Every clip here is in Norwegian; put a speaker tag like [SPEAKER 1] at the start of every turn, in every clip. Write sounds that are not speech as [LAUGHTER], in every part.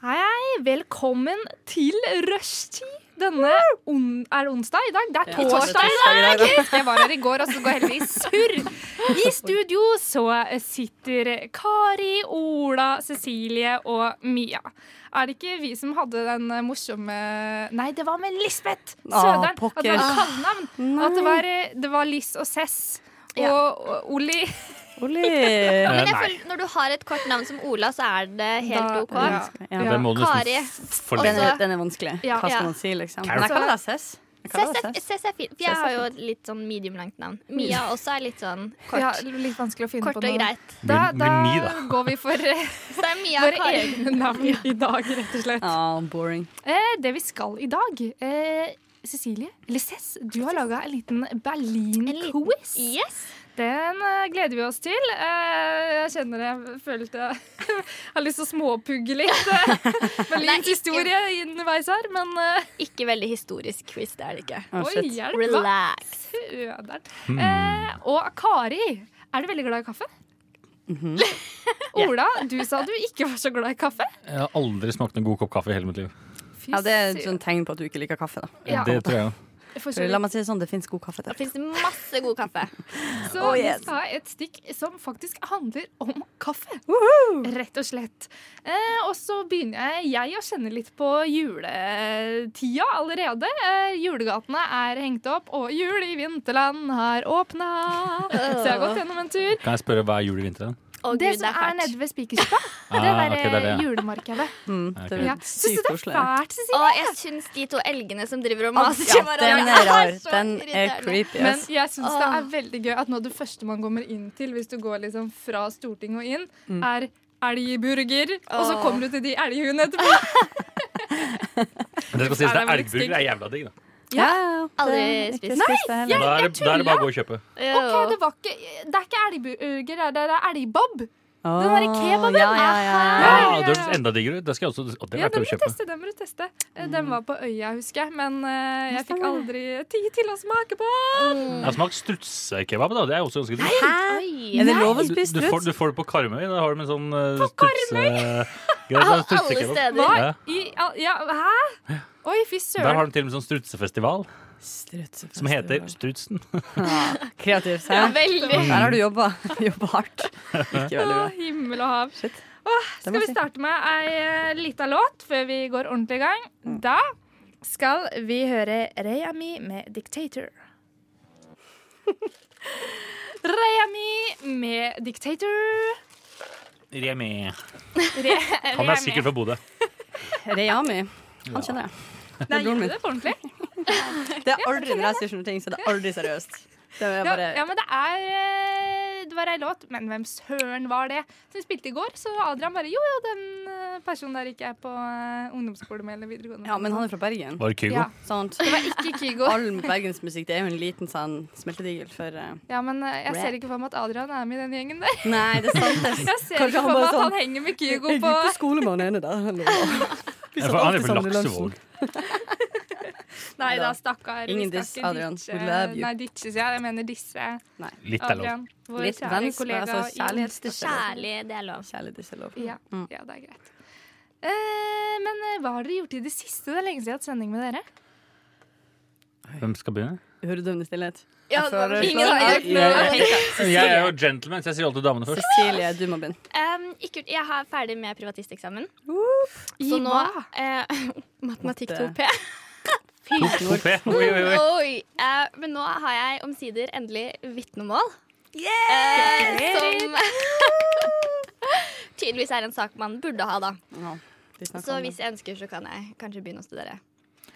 [SPEAKER 1] Hei, hei. Velkommen til rushtid. Denne on er det onsdag i dag? Det er torsdag i dag! Jeg var her i går, og så går hele i surr. I studio så sitter Kari, Ola, Cecilie og Mia. Er det ikke vi som hadde den morsomme Nei, det var med Lisbeth
[SPEAKER 2] Ah,
[SPEAKER 1] Søderen! at det
[SPEAKER 2] pokker.
[SPEAKER 1] var et kallenavn. At det var, eh, det var Liss og Cess. Og, og Olli.
[SPEAKER 2] Olé!
[SPEAKER 3] Men jeg føler, når du har et kort navn som Ola, så er det helt
[SPEAKER 1] Da-
[SPEAKER 3] OK.
[SPEAKER 1] Ja.
[SPEAKER 2] Ja.
[SPEAKER 4] Det må du
[SPEAKER 3] Kari.
[SPEAKER 4] nesten f- forlenge.
[SPEAKER 2] Den, er, den er vanskelig.
[SPEAKER 1] Ja.
[SPEAKER 2] Hva
[SPEAKER 3] Ja.
[SPEAKER 2] skal man si, liksom? Men jeg kaller deg Cess. Jeg kaller deg Cess.
[SPEAKER 3] Cess er fint. For jeg har jo et litt sånn mediumlangt navn. Mia også er litt
[SPEAKER 1] [LAUGHS]
[SPEAKER 3] sånn kort.
[SPEAKER 1] Ja, litt vanskelig å finne
[SPEAKER 3] Kort
[SPEAKER 1] på
[SPEAKER 3] og
[SPEAKER 1] noe.
[SPEAKER 3] greit.
[SPEAKER 1] Da,
[SPEAKER 4] Blir-
[SPEAKER 1] da
[SPEAKER 4] blir mi, da.
[SPEAKER 1] går vi for
[SPEAKER 3] [LAUGHS]
[SPEAKER 1] eh,
[SPEAKER 3] Så det er Mia og
[SPEAKER 1] våre
[SPEAKER 3] Kari.
[SPEAKER 1] egne navn i dag, rett og slett.
[SPEAKER 2] Ah, boring.
[SPEAKER 1] Eh, det vi skal i dag eh, Cecilie, eller Cess, du har laga en liten
[SPEAKER 3] liten-
[SPEAKER 1] Berlin-quiz.
[SPEAKER 3] Yes.
[SPEAKER 1] Den eh, gleder vi oss til. Eh, jeg kjenner jeg følte jeg [LAUGHS] har lyst til å småpugge litt eh,
[SPEAKER 3] [LAUGHS] Nei,
[SPEAKER 1] Berlins
[SPEAKER 3] ikke-
[SPEAKER 1] historie underveis her, men eh,
[SPEAKER 3] Ikke veldig historisk quiz, det er det ikke.
[SPEAKER 2] Oh,
[SPEAKER 1] oi,
[SPEAKER 2] shit.
[SPEAKER 1] hjelp! hva
[SPEAKER 3] Relax.
[SPEAKER 1] Søderen.
[SPEAKER 4] Hmm.
[SPEAKER 1] Eh, og Kari, er du veldig glad i kaffe? [LAUGHS]
[SPEAKER 2] Mhm.
[SPEAKER 1] Ola, du sa du ikke var så glad i kaffe.
[SPEAKER 4] Jeg har aldri smakt en god kopp kaffe i hele mitt liv.
[SPEAKER 1] Fy
[SPEAKER 2] Ja, det er et
[SPEAKER 1] søren.
[SPEAKER 2] sånt tegn på at du ikke liker kaffe. Da.
[SPEAKER 1] Ja.
[SPEAKER 4] Det tror jeg også.
[SPEAKER 1] For så
[SPEAKER 2] For La
[SPEAKER 1] vidt.
[SPEAKER 2] meg si det sånn, det fins god kaffe
[SPEAKER 3] Det
[SPEAKER 2] der.
[SPEAKER 3] fins masse god kaffe.
[SPEAKER 1] Så
[SPEAKER 2] Oh,
[SPEAKER 1] vi
[SPEAKER 2] yes.
[SPEAKER 1] skal ha et stikk som faktisk handler om kaffe. Rett og slett. Eh, og så begynner jeg, jeg å kjenne litt på juletida allerede. Eh, julegatene er hengt opp, og jul i vinterland har åpna.
[SPEAKER 2] [LAUGHS]
[SPEAKER 1] Så jeg har gått gjennom en tur.
[SPEAKER 4] Kan jeg spørre hva er jul i vinteren?
[SPEAKER 3] Å,
[SPEAKER 1] Det
[SPEAKER 3] Gud,
[SPEAKER 1] som
[SPEAKER 3] det er
[SPEAKER 1] er
[SPEAKER 3] fælt.
[SPEAKER 1] nede ved Spikerspa, det
[SPEAKER 4] [LAUGHS] Ah,
[SPEAKER 1] der
[SPEAKER 4] ok, det er det, ja.
[SPEAKER 1] julemarkedet.
[SPEAKER 2] Mm, det
[SPEAKER 4] Ok.
[SPEAKER 2] er
[SPEAKER 1] Ja. Syns du
[SPEAKER 2] sykt
[SPEAKER 1] det er
[SPEAKER 2] koselig.
[SPEAKER 1] fælt, Cecilie?
[SPEAKER 3] Å, jeg syns de to elgene som driver og
[SPEAKER 2] Ja,
[SPEAKER 3] maser til
[SPEAKER 2] den
[SPEAKER 3] hverandre,
[SPEAKER 2] er rar.
[SPEAKER 3] så
[SPEAKER 2] Den er
[SPEAKER 3] irriterende.
[SPEAKER 2] creepy.
[SPEAKER 1] Men
[SPEAKER 2] ass.
[SPEAKER 1] jeg syns det er
[SPEAKER 3] Åh.
[SPEAKER 1] veldig gøy at nå det første man kommer inn til hvis du går liksom fra Stortinget og inn,
[SPEAKER 4] Mm.
[SPEAKER 1] er elgburger, og så
[SPEAKER 3] Åh.
[SPEAKER 1] kommer du til de elghundene etterpå.
[SPEAKER 4] Men det skal sies,
[SPEAKER 1] Er
[SPEAKER 4] det
[SPEAKER 1] det veldig
[SPEAKER 4] er elgburger. Det er jævla digg, da.
[SPEAKER 2] Ja, ja, det-
[SPEAKER 3] Aldri
[SPEAKER 2] ikke
[SPEAKER 3] spist.
[SPEAKER 2] spist det heller.
[SPEAKER 4] Da er, det, da er det bare å gå og kjøpe.
[SPEAKER 3] Jo.
[SPEAKER 1] OK, det var ikke Det er ikke elgburger, det er elgbob.
[SPEAKER 2] Åh,
[SPEAKER 1] den der kebaben,
[SPEAKER 2] Ja, ja, ja, ja.
[SPEAKER 4] Ja,
[SPEAKER 1] ja,
[SPEAKER 4] og Det høres enda diggere ut. Det skal jeg også og det er
[SPEAKER 1] Ja,
[SPEAKER 4] verdt
[SPEAKER 1] den
[SPEAKER 4] å
[SPEAKER 1] må du
[SPEAKER 4] kjøpe.
[SPEAKER 1] teste. Den må du teste. Eh, Den var på Øya, husker jeg, men eh, jeg fikk aldri tid til å smake på den.
[SPEAKER 4] Jeg har smakt strutsekebab, da. Det er også ganske digg.
[SPEAKER 2] Er
[SPEAKER 3] Oi.
[SPEAKER 2] det lov å
[SPEAKER 4] Du,
[SPEAKER 2] spise
[SPEAKER 4] du, får,
[SPEAKER 2] struts?
[SPEAKER 4] du får det på Karmøy. Da har de en sånn uh, strutse... Ja, sånn
[SPEAKER 3] Alle
[SPEAKER 4] strutsekebab.
[SPEAKER 3] steder.
[SPEAKER 1] Hva
[SPEAKER 4] Ja.
[SPEAKER 1] i all Ja, hæ? Oi, fy
[SPEAKER 4] Der
[SPEAKER 1] søren.
[SPEAKER 4] har de til og med sånn strutsefestival
[SPEAKER 2] Struts-
[SPEAKER 4] som heter Strutsen.
[SPEAKER 2] Ja, Kreativ, se.
[SPEAKER 3] Ja,
[SPEAKER 2] Der
[SPEAKER 3] veldig.
[SPEAKER 2] har du [LAUGHS] jobba. Jobba
[SPEAKER 4] [LAUGHS]
[SPEAKER 2] hardt. Ikke veldig
[SPEAKER 1] Å,
[SPEAKER 2] bra.
[SPEAKER 1] himmel og hav.
[SPEAKER 2] Shit.
[SPEAKER 1] Åh,
[SPEAKER 2] må
[SPEAKER 1] skal vi
[SPEAKER 2] jeg si.
[SPEAKER 1] starte med ei eh, lita låt før vi går ordentlig i gang?
[SPEAKER 2] Mm.
[SPEAKER 1] Da skal vi høre Reyami med 'Dictator'. [LAUGHS] Reyami med 'Dictator'.
[SPEAKER 4] Remi.
[SPEAKER 2] [LAUGHS]
[SPEAKER 1] Re
[SPEAKER 4] Han er sikkert fra Bodø.
[SPEAKER 2] Reyami. Han kjenner jeg.
[SPEAKER 1] Nei,
[SPEAKER 2] broren
[SPEAKER 1] gjorde
[SPEAKER 2] min.
[SPEAKER 1] du det på ordentlig?
[SPEAKER 2] Det er aldri når jeg sier sånne ting, så det er aldri seriøst. Det er
[SPEAKER 1] Ja,
[SPEAKER 2] bare
[SPEAKER 1] ja, men det er eh, Det var ei låt, men hvem søren var det? Som vi spilte i går, så Adrian bare Jo, jo, den eh, personen der ikke er på eh, ungdomsskole med eller videregående.
[SPEAKER 2] Ja, men han er fra Bergen.
[SPEAKER 4] Var det Kygo?
[SPEAKER 1] Ja.
[SPEAKER 2] Sant?
[SPEAKER 1] Det var ikke Kygo.
[SPEAKER 2] All bergensmusikk det er jo en liten sånn smeltedigel for eh,
[SPEAKER 1] Ja, men eh, jeg
[SPEAKER 2] Rap.
[SPEAKER 1] ser ikke for meg at Adrian er med i den gjengen
[SPEAKER 2] [LAUGHS]
[SPEAKER 1] der.
[SPEAKER 2] Nei, det er sant. det.
[SPEAKER 1] Jeg ser
[SPEAKER 2] Kanskje
[SPEAKER 1] ikke for
[SPEAKER 2] han
[SPEAKER 1] meg
[SPEAKER 2] bare
[SPEAKER 1] at han
[SPEAKER 2] sånn,
[SPEAKER 1] henger med Kygo
[SPEAKER 2] Jeg
[SPEAKER 1] på
[SPEAKER 2] gikk på skole med han ene der. eller hva? Vi
[SPEAKER 4] Ja,
[SPEAKER 2] satt
[SPEAKER 4] for Han
[SPEAKER 2] alltid
[SPEAKER 4] er fra
[SPEAKER 2] sammen i lunsjen.
[SPEAKER 4] Laksevåg.
[SPEAKER 1] Nei da, stakkar. Vi
[SPEAKER 2] Ingen
[SPEAKER 1] skal
[SPEAKER 2] diss,
[SPEAKER 1] ikke
[SPEAKER 2] Adrian.
[SPEAKER 1] ditche-
[SPEAKER 2] We love you.
[SPEAKER 1] Nei, ditche, sier jeg. Jeg mener disse.
[SPEAKER 4] Litt er lov.
[SPEAKER 1] Adrian, vår
[SPEAKER 2] Litt
[SPEAKER 1] kjære
[SPEAKER 2] vens, men
[SPEAKER 1] kollega.
[SPEAKER 2] altså
[SPEAKER 1] i-
[SPEAKER 2] kjærlighetsdiss.
[SPEAKER 3] Kjærlig, det er lov.
[SPEAKER 2] Kjærlighetsdiss-lov.
[SPEAKER 1] Ja,
[SPEAKER 2] Mm.
[SPEAKER 1] ja, det er greit. Eh, men eh, hva har dere gjort i det siste? Det er lenge siden jeg har hatt sending med dere.
[SPEAKER 4] Hvem skal begynne?
[SPEAKER 2] Høredøvende stillhet.
[SPEAKER 3] Ja,
[SPEAKER 2] Jeg føler-
[SPEAKER 3] ingen har
[SPEAKER 2] Ja,
[SPEAKER 3] gjort noe.
[SPEAKER 2] jeg-
[SPEAKER 4] Jeg er jo gentleman, så jeg sier alltid damene først.
[SPEAKER 2] Cecilie, du må begynne.
[SPEAKER 3] Um, ikke, gjort- jeg er ferdig med privatisteksamen.
[SPEAKER 1] I
[SPEAKER 3] Så nå
[SPEAKER 1] hva?
[SPEAKER 3] eh, [LAUGHS] Matematikk
[SPEAKER 2] Matte.
[SPEAKER 3] 2P.
[SPEAKER 4] Tok P. [LAUGHS] Oi, oi, oi.
[SPEAKER 3] Oi, eh, men nå har jeg omsider endelig vitnemål. Eh, som [LAUGHS] tydeligvis er en sak man burde ha, da.
[SPEAKER 2] Ja, vi snakker
[SPEAKER 3] Så
[SPEAKER 2] om det.
[SPEAKER 3] hvis jeg ønsker, så kan jeg kanskje begynne å studere.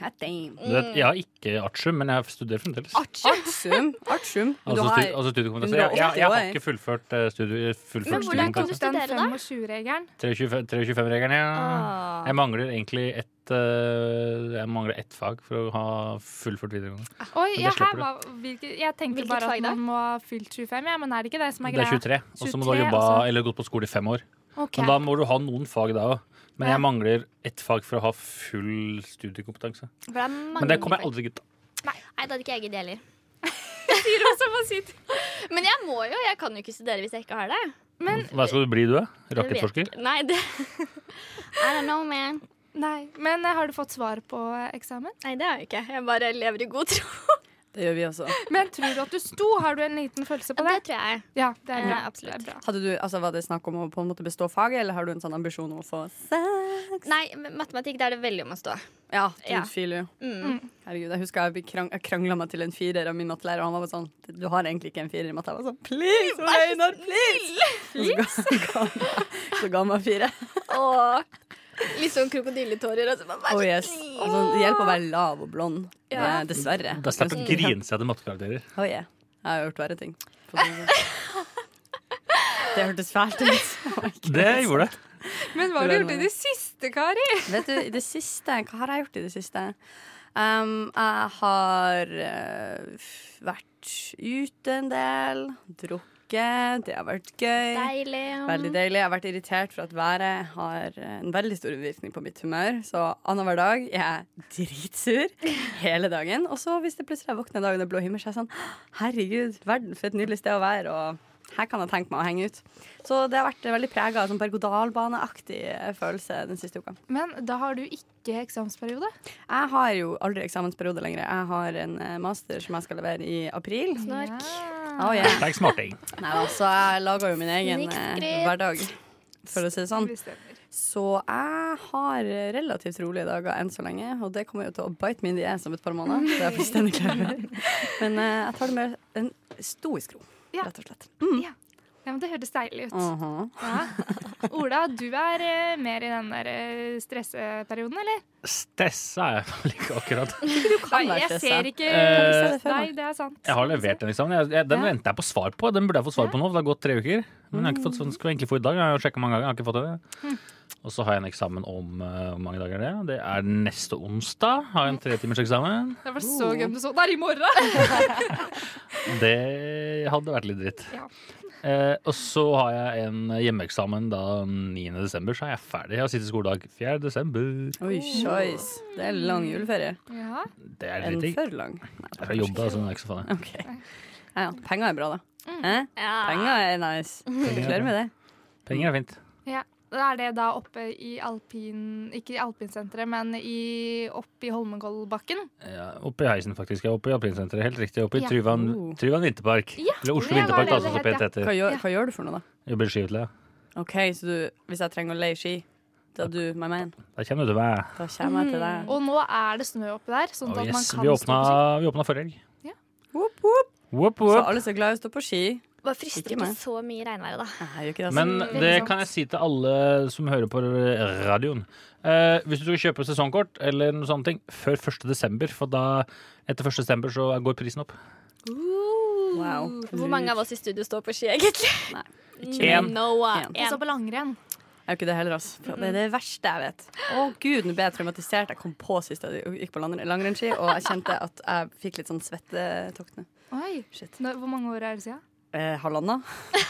[SPEAKER 2] Hot damn.
[SPEAKER 4] Du vet, jeg har ikke artium, men jeg studerer fremdeles.
[SPEAKER 2] Artium. Artium. Men du
[SPEAKER 4] Altså,
[SPEAKER 2] har
[SPEAKER 4] stu- altså studiekompetanse. Jeg, jeg, jeg har ikke fullført eh, studie,
[SPEAKER 3] Men
[SPEAKER 4] fullført
[SPEAKER 3] hvordan kan du
[SPEAKER 4] studiekompetanse.
[SPEAKER 3] studere, da?
[SPEAKER 1] 25-regelen.
[SPEAKER 4] 325-regelen, ja.
[SPEAKER 3] Ah.
[SPEAKER 4] Jeg mangler egentlig ett ett eh, Jeg mangler ett fag for å ha fullført videregående.
[SPEAKER 1] Oi,
[SPEAKER 4] det
[SPEAKER 1] ja, her
[SPEAKER 4] slipper du.
[SPEAKER 1] var, hvilke, jeg tenkte
[SPEAKER 3] Hvilket
[SPEAKER 1] bare
[SPEAKER 3] fag
[SPEAKER 1] at
[SPEAKER 3] da?
[SPEAKER 1] man må ha fylt 25, ja, men er det ikke det som er
[SPEAKER 4] Det er
[SPEAKER 1] greia?
[SPEAKER 4] 23, og så må du ha
[SPEAKER 1] 23,
[SPEAKER 4] jobba
[SPEAKER 1] altså.
[SPEAKER 4] eller gått på skole i fem år.
[SPEAKER 1] Ok.
[SPEAKER 4] Men da må du ha noen fag da òg. Men
[SPEAKER 1] Ja.
[SPEAKER 4] jeg mangler ett fag for å ha full studiekompetanse.
[SPEAKER 3] For det er mange
[SPEAKER 4] Men det kommer jeg
[SPEAKER 3] folk.
[SPEAKER 4] aldri til.
[SPEAKER 3] Nei, det hadde ikke jeg giddet [LAUGHS] heller.
[SPEAKER 1] Sier hun som må si til-
[SPEAKER 3] Men jeg må jo, jeg kan jo ikke studere hvis jeg ikke har det.
[SPEAKER 1] Men,
[SPEAKER 4] Hva skal du bli, du? da?
[SPEAKER 3] Jeg vet
[SPEAKER 4] Rakettforsker?
[SPEAKER 3] ikke. Nei, det [LAUGHS] I don't know, man.
[SPEAKER 1] nei, men eh, har du fått svar på eh, eksamen?
[SPEAKER 3] Nei, det har jeg ikke. Jeg bare lever i god tro.
[SPEAKER 2] Det gjør vi også.
[SPEAKER 1] Men tror du at du sto? Har du en liten følelse på
[SPEAKER 3] Det [LAUGHS]
[SPEAKER 1] det?
[SPEAKER 3] tror jeg.
[SPEAKER 1] Ja, det er bra.
[SPEAKER 3] Ja, absolutt.
[SPEAKER 1] Det er bra.
[SPEAKER 2] Hadde du, altså, var det snakk om å på en måte bestå faget, eller har du en sånn ambisjon om å få sex?
[SPEAKER 3] Nei, men matematikk, det er det veldig om å stå.
[SPEAKER 2] Ja, du
[SPEAKER 3] Ja.
[SPEAKER 2] feel you.
[SPEAKER 3] Mm.
[SPEAKER 2] Herregud, jeg husker jeg, krang, jeg krangla meg til en firer av min mattelærer, og han var bare sånn Du har egentlig ikke en firer i matte. Jeg var sånn Please, Ole Einar,
[SPEAKER 3] [LAUGHS]
[SPEAKER 2] please! [LAUGHS] Så ga, ga, han meg- så ga han meg fire.
[SPEAKER 3] Og litt sånn krokodilletårer. Og så bare, vær
[SPEAKER 2] Oh
[SPEAKER 3] så
[SPEAKER 2] yes.
[SPEAKER 3] snill.
[SPEAKER 2] Altså, det hjelper å være lav og blond.
[SPEAKER 3] Ja.
[SPEAKER 2] Eh, Dessverre.
[SPEAKER 4] Da slapp å grine seg til mattekarakterer.
[SPEAKER 2] [LAUGHS] Oh yeah. Jeg har gjort verre ting. på den
[SPEAKER 3] [LAUGHS]
[SPEAKER 2] måten. sånn. Det hørtes fælt ut. Oh my God.
[SPEAKER 4] Det gjorde det.
[SPEAKER 1] Men hva har du
[SPEAKER 2] Hvordan
[SPEAKER 1] gjort
[SPEAKER 2] var
[SPEAKER 1] i
[SPEAKER 2] det?
[SPEAKER 1] det siste, Kari?
[SPEAKER 2] Vet du, i det siste Hva har jeg gjort i det siste? Um, jeg har eh, f- vært ute en del, drukket, det har vært gøy.
[SPEAKER 3] Deilig.
[SPEAKER 2] Veldig deilig. Jeg har vært irritert for at været har eh, en veldig stor innvirkning på mitt humør. Så annenhver dag er jeg dritsur hele dagen. Og så hvis det plutselig jeg våkner en dag under blå himmel, så er jeg sånn Herregud, verden for et nydelig sted å være. Og her kan jeg tenke meg å henge ut. Så det har vært veldig prega av sånn berg-og-dal-baneaktig eh, følelse den siste uka.
[SPEAKER 1] Men da har du ikke eksamensperiode.
[SPEAKER 2] Jeg har jo aldri eksamensperiode lenger. Jeg har en eh, master som jeg skal levere i april.
[SPEAKER 3] Snork.
[SPEAKER 2] Oh, yeah.
[SPEAKER 4] Det er ikke smarting.
[SPEAKER 2] Neida, så jeg lager jo min egen eh,
[SPEAKER 3] Snikskryt.
[SPEAKER 2] hverdag, for å si det sånn.
[SPEAKER 1] Det stemmer.
[SPEAKER 2] Så jeg har relativt rolige dager enn så lenge, og det kommer jo til å bite min dié som et par måneder. Det er jeg fullstendig klar over. Men eh, jeg tar det med en stoisk ro,
[SPEAKER 1] Ja.
[SPEAKER 2] rett og slett.
[SPEAKER 1] Ja. ja, men det hørtes deilig ut.
[SPEAKER 2] Mhm.
[SPEAKER 1] Ja. Ola, du er eh, mer i den der eh, stresseperioden, eller?
[SPEAKER 4] Stressa er jeg [LAUGHS] vel ikke akkurat.
[SPEAKER 1] Du
[SPEAKER 2] kan være
[SPEAKER 1] Jeg ser
[SPEAKER 2] stressa.
[SPEAKER 1] ikke
[SPEAKER 4] Eh,
[SPEAKER 1] Nei, det er sant.
[SPEAKER 4] Jeg har levert den eksamen. Jeg, jeg, den
[SPEAKER 1] Ja.
[SPEAKER 4] venter jeg på svar på. Den burde jeg få svar på nå, for det har gått tre uker. Men jeg har ikke fått,
[SPEAKER 2] Mm.
[SPEAKER 4] den skulle jeg egentlig få i dag. Jeg har jo sjekket mange ganger. Jeg har ikke fått det. Og så har jeg en eksamen om eh, hvor mange dager er det Det er neste onsdag. Har jeg en tretimers eksamen.
[SPEAKER 1] Det var så gøy om du så Det er i morgen!
[SPEAKER 4] Det hadde vært litt dritt.
[SPEAKER 1] Ja.
[SPEAKER 4] Eh, og så har jeg en hjemmeeksamen da 9. desember, så er jeg ferdig. Jeg har siste skoledag 4. desember.
[SPEAKER 2] Oi, sjois. Det er lang juleferie.
[SPEAKER 1] Ja.
[SPEAKER 4] Det er
[SPEAKER 2] En
[SPEAKER 4] dritdigg.
[SPEAKER 2] for lang. Nei,
[SPEAKER 4] Jeg skal jobbe, altså. Det er ikke så faen.
[SPEAKER 2] OK. Ja, ja. Penger er bra, da. Eh?
[SPEAKER 3] Ja.
[SPEAKER 2] Penger er nice. Gratulerer Mm. med det.
[SPEAKER 4] Penger er fint.
[SPEAKER 1] ja. Er det da oppe i alpin... Ikke i alpinsenteret, men i, oppe i Holmenkollbakken?
[SPEAKER 4] Ja, oppe i heisen, faktisk. Jeg er oppe i Alpinsenteret. Helt riktig. Oppe i
[SPEAKER 1] Ja.
[SPEAKER 4] Tryvann,
[SPEAKER 2] Oh.
[SPEAKER 4] Tryvann vinterpark.
[SPEAKER 1] Ja,
[SPEAKER 4] Eller Oslo
[SPEAKER 1] det var
[SPEAKER 4] vinterpark, da,
[SPEAKER 1] det
[SPEAKER 4] som
[SPEAKER 1] det
[SPEAKER 4] det pent
[SPEAKER 1] het,
[SPEAKER 4] heter.
[SPEAKER 2] Hva gjør,
[SPEAKER 1] Ja.
[SPEAKER 2] hva gjør du for noe, da?
[SPEAKER 4] Jobber i skiutleie.
[SPEAKER 2] OK, så du, hvis jeg trenger å leie ski, da du, my man,
[SPEAKER 4] Der kommer du til meg.
[SPEAKER 2] da kommer jeg til deg.
[SPEAKER 1] Og nå er det snø oppe der, sånn
[SPEAKER 4] Oh,
[SPEAKER 1] at man
[SPEAKER 4] yes.
[SPEAKER 1] kan
[SPEAKER 4] Vi
[SPEAKER 1] stå på ski.
[SPEAKER 4] åpna, vi åpna forrige helg.
[SPEAKER 3] Mm.
[SPEAKER 2] Whoop, whoop.
[SPEAKER 4] Whoop,
[SPEAKER 2] Så
[SPEAKER 4] whoop.
[SPEAKER 2] alle som er glad i å stå på ski
[SPEAKER 3] Bare frister
[SPEAKER 2] Ikke
[SPEAKER 3] ikke
[SPEAKER 2] meg.
[SPEAKER 3] så mye i regnværet, da.
[SPEAKER 2] Nei, jeg gjør ikke det. altså.
[SPEAKER 4] Men
[SPEAKER 1] Veldig
[SPEAKER 4] det
[SPEAKER 1] sant.
[SPEAKER 4] kan jeg si til alle som hører på radioen. Eh, hvis du skal kjøpe sesongkort eller noe sånne ting, før 1. desember, for da etter 1. desember så går prisen opp.
[SPEAKER 2] Wow.
[SPEAKER 3] Mm. Hvor mange av oss i studio står på ski, egentlig? Mm.
[SPEAKER 2] Nei,
[SPEAKER 4] En.
[SPEAKER 3] No uh, one.
[SPEAKER 2] En.
[SPEAKER 1] Jeg så på langrenn.
[SPEAKER 2] Jeg gjør ikke det heller, altså. For Det
[SPEAKER 3] Mm.
[SPEAKER 2] er det verste jeg vet. Å gud, nå ble jeg traumatisert. Jeg kom på sist jeg gikk på langren- langrennsski, og jeg kjente at jeg fikk litt sånn svettetokt nå.
[SPEAKER 1] Oi.
[SPEAKER 2] Shit.
[SPEAKER 1] Nå, hvor mange år er det siden?
[SPEAKER 2] Eh, halvanna?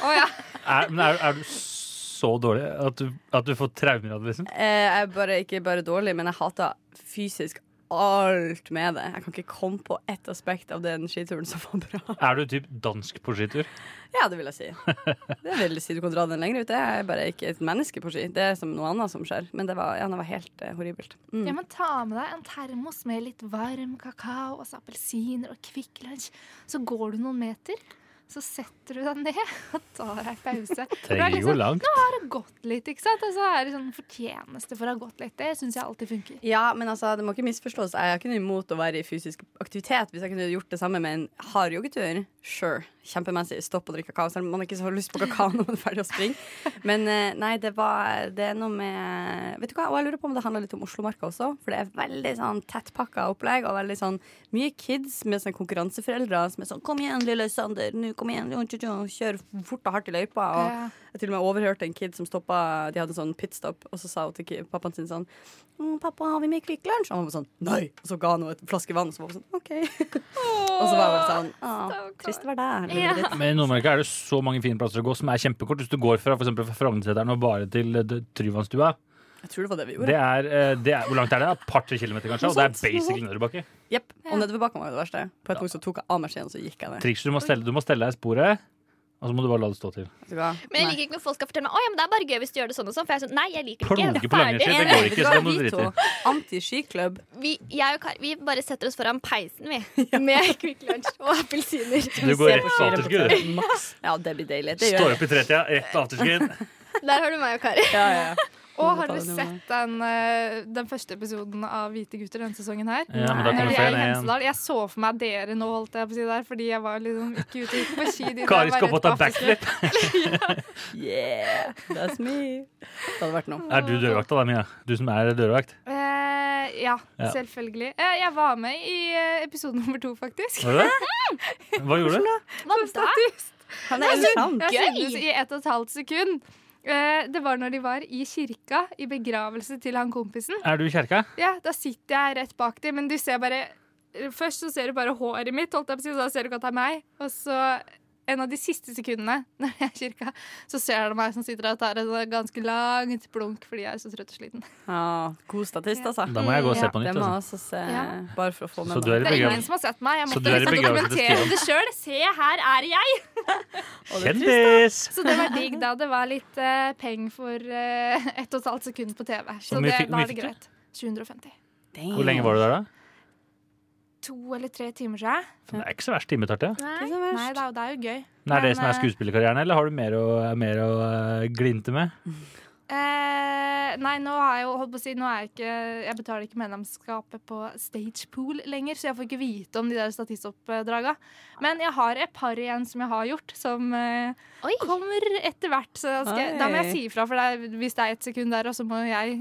[SPEAKER 1] Å ja.
[SPEAKER 4] Er, men er, er du så dårlig at du, at du får traumer av det? Liksom?
[SPEAKER 2] Eh, jeg er bare, ikke bare dårlig, men jeg hater fysisk alt med det. Jeg kan ikke komme på ett aspekt av den skituren som var bra.
[SPEAKER 4] Er du typ dansk på skitur?
[SPEAKER 2] Ja, det vil jeg si. Det vil jeg si. Du kan dra den lenger ut. Jeg er bare ikke et menneske på ski. Det er som noe annet som skjer. Men det var, ja, det var helt eh, horribelt. Mm.
[SPEAKER 1] ja, men ta med deg en termos med litt varm kakao og så appelsiner og Kvikk Lunsj. Så går du noen meter, så setter du deg ned [LAUGHS] og tar deg en
[SPEAKER 4] [LAUGHS]
[SPEAKER 1] pause. For det er
[SPEAKER 4] Trenger jo
[SPEAKER 1] liksom-
[SPEAKER 4] langt.
[SPEAKER 1] Nå har det gått litt, ikke sant? Og så er det sånn fortjeneste for å ha gått litt. Det syns jeg alltid funker.
[SPEAKER 2] Ja, men altså, det må ikke misforstås. Jeg er ikke noe imot å være i fysisk aktivitet. Hvis jeg kunne gjort det samme med en hard joggetur, sure. Kjempemessig. Stopp og drikk kakao. Selv om man ikke så har lyst på kakao når man er ferdig å springe. Men eh, nei, det var Det er noe med Vet du hva, og jeg lurer på om det handler litt om Oslomarka også. For det er veldig sånn tettpakka opplegg, og veldig sånn mye kids med sånn konkurranseforeldre som er sånn Kom igjen, lille Sander, nå kom igjen, jo, jo, jo, kjør fort og hardt i løypa. Og
[SPEAKER 1] Ja.
[SPEAKER 2] Jeg til og med overhørte en kid som stoppa De hadde en sånn pitstop, og så sa hun til ki- pappaen sin sånn «Mm, 'Pappa, har vi med Kvikk Lunsj?' Og han var sånn 'Nei!' Og så ga han henne et flaske vann, og så var hun sånn 'OK'. og så var hun sånn «Ah,
[SPEAKER 1] stakkar.»
[SPEAKER 2] Trist å være der.
[SPEAKER 3] Ja.
[SPEAKER 2] livet ditt.»
[SPEAKER 4] Men i Nordmarka er det så mange fine plasser å gå som er kjempekort. Hvis du går fra for eksempel fra Frognerseteren og bare til eh, d- Tryvannstua
[SPEAKER 2] Jeg tror det var det vi gjorde.
[SPEAKER 4] det er, eh, det er, Hvor langt er det? Et par-tre kilometer, kanskje? Og det er basically nedoverbakke.
[SPEAKER 2] Jepp. Og nedoverbakken var jo det verste. På et punkt så tok jeg av meg skien, og så gikk jeg ned.
[SPEAKER 4] Trikset du må stelle, du må stelle deg i sporet, og så må du bare la det stå til.
[SPEAKER 2] Vet du hva?
[SPEAKER 3] Men jeg
[SPEAKER 2] Nei.
[SPEAKER 3] liker ikke når folk skal fortelle meg Å, ja, men det er bare gøy hvis du gjør det sånn og sånn. For jeg er sånn, nei, jeg liker det ikke.
[SPEAKER 4] Plonke på
[SPEAKER 3] Ferdig.
[SPEAKER 4] langrennsski, det går ikke. Så det må du
[SPEAKER 2] Vi
[SPEAKER 4] drite
[SPEAKER 2] to,
[SPEAKER 4] i.
[SPEAKER 2] anti-skiklubb.
[SPEAKER 3] Vi, jeg og Kar, vi bare setter oss foran peisen,
[SPEAKER 2] [LAUGHS]
[SPEAKER 3] vi. Med Kvikk Lunsj og appelsiner.
[SPEAKER 4] Du går rett på afterskudd. du.
[SPEAKER 2] Ja, det blir deilig. Det
[SPEAKER 4] Står opp i tretida, rett på [LAUGHS] afterskudd.
[SPEAKER 3] Der har du meg og Kari.
[SPEAKER 2] Ja, ja, ja.
[SPEAKER 1] Og har
[SPEAKER 2] Ta
[SPEAKER 1] dere
[SPEAKER 2] det nå.
[SPEAKER 1] sett den, eh, den første episoden av Hvite gutter denne sesongen her?
[SPEAKER 4] Ja, men
[SPEAKER 1] Når
[SPEAKER 4] da kommer
[SPEAKER 1] de er i
[SPEAKER 4] flere igjen.
[SPEAKER 1] Hemsedal. Jeg så for meg dere nå, holdt jeg på å si der, fordi jeg var liksom ikke ute gikk på ski. de der
[SPEAKER 4] Kari
[SPEAKER 1] var
[SPEAKER 4] skal opp
[SPEAKER 1] rett
[SPEAKER 4] og ta
[SPEAKER 1] på afterskole.
[SPEAKER 4] backflip.
[SPEAKER 2] Yeah, that's me. Det hadde vært noe.
[SPEAKER 4] Er du dørvakta da, Mia? Du som er dørvakt?
[SPEAKER 1] Eh, ja,
[SPEAKER 4] Ja.
[SPEAKER 1] selvfølgelig. Eh, jeg var med i eh, episode nummer to, faktisk.
[SPEAKER 4] Var du det? Hva gjorde du?
[SPEAKER 3] Hva da?
[SPEAKER 2] Han er interessant.
[SPEAKER 1] Jeg
[SPEAKER 3] Gøy!
[SPEAKER 1] syntes i ett og et halvt sekund. Eh, det var når de var i kirka, i begravelse til han kompisen.
[SPEAKER 4] Er du i kjerka?
[SPEAKER 1] Ja, da sitter jeg rett bak dem, men du ser bare Først så ser du bare håret mitt, holdt jeg på å si, og da ser du ikke at det er meg. Og så en av de siste sekundene [LAUGHS] når jeg er i kirka, så ser du meg som sitter der og tar et ganske langt blunk fordi jeg er så trøtt og sliten.
[SPEAKER 2] Ja, god statist, altså.
[SPEAKER 4] Da må jeg gå og se
[SPEAKER 1] Ja,
[SPEAKER 4] på nytt.
[SPEAKER 2] det må jeg
[SPEAKER 4] Altså.
[SPEAKER 2] også se.
[SPEAKER 1] Ja.
[SPEAKER 2] Bare for å få med
[SPEAKER 4] Så du
[SPEAKER 1] Det
[SPEAKER 4] er i
[SPEAKER 1] er ingen
[SPEAKER 4] begravelse?
[SPEAKER 1] som har sett meg. Jeg
[SPEAKER 4] Så
[SPEAKER 1] måtte
[SPEAKER 4] du er i
[SPEAKER 1] liksom
[SPEAKER 4] begravelse til
[SPEAKER 1] dokumentere
[SPEAKER 4] Stian?
[SPEAKER 1] det sjøl. Se, her er jeg!
[SPEAKER 4] Kjendis!
[SPEAKER 1] Så det var digg da. Det var litt eh, peng for eh, [LAUGHS] ett og et halvt sekund på TV. Så
[SPEAKER 4] Hvor mye
[SPEAKER 1] det,
[SPEAKER 4] fikk-
[SPEAKER 1] da
[SPEAKER 4] hvor mye
[SPEAKER 1] er det
[SPEAKER 4] fikk du?
[SPEAKER 1] greit. 750.
[SPEAKER 4] Hvor lenge var du der, da?
[SPEAKER 1] To eller tre timer siden.
[SPEAKER 4] Det er ikke så verst timetart, det.
[SPEAKER 1] Nei,
[SPEAKER 2] Nei,
[SPEAKER 1] Nei da, det er jo gøy.
[SPEAKER 4] Men Er det
[SPEAKER 1] Men,
[SPEAKER 4] som er
[SPEAKER 1] eh,
[SPEAKER 4] skuespillerkarrieren, eller har du mer å, mer å eh, glinte med?
[SPEAKER 1] Eh, nei, nå har jeg jo holdt på å si Nå er jeg ikke Jeg betaler ikke medlemskapet på Stagepool lenger, så jeg får ikke vite om de der statistoppdraga. Men jeg har et par igjen som jeg har gjort, som eh,
[SPEAKER 3] Oi.
[SPEAKER 1] kommer etter hvert. Så da skal, jeg- da må jeg si ifra, for det er, hvis det er et sekund der, og så må
[SPEAKER 4] [LAUGHS]
[SPEAKER 1] jeg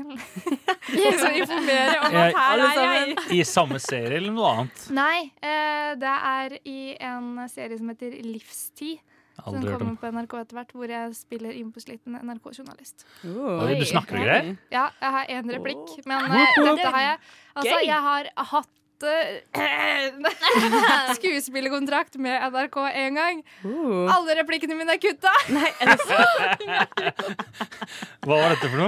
[SPEAKER 1] [LAUGHS] også informere om
[SPEAKER 4] Jeg-
[SPEAKER 1] at her er jeg.
[SPEAKER 4] I samme serie eller noe annet?
[SPEAKER 1] Nei, eh, det er i en serie som heter Livstid, som
[SPEAKER 4] Aldri hørt om.
[SPEAKER 1] kommer på NRK etter hvert, hvor jeg spiller innpåsliten NRK-journalist. Oh,
[SPEAKER 4] Oi, du snakker og greier?
[SPEAKER 1] Ja, jeg har én replikk,
[SPEAKER 2] Åh.
[SPEAKER 1] men eh, dette har jeg Altså,
[SPEAKER 3] Gøy.
[SPEAKER 1] jeg har hatt eh, [LAUGHS] skuespillerkontrakt med NRK en gang.
[SPEAKER 2] Uh.
[SPEAKER 1] Alle replikkene mine er kutta!
[SPEAKER 2] Nei, er det sant?
[SPEAKER 4] Hva var dette for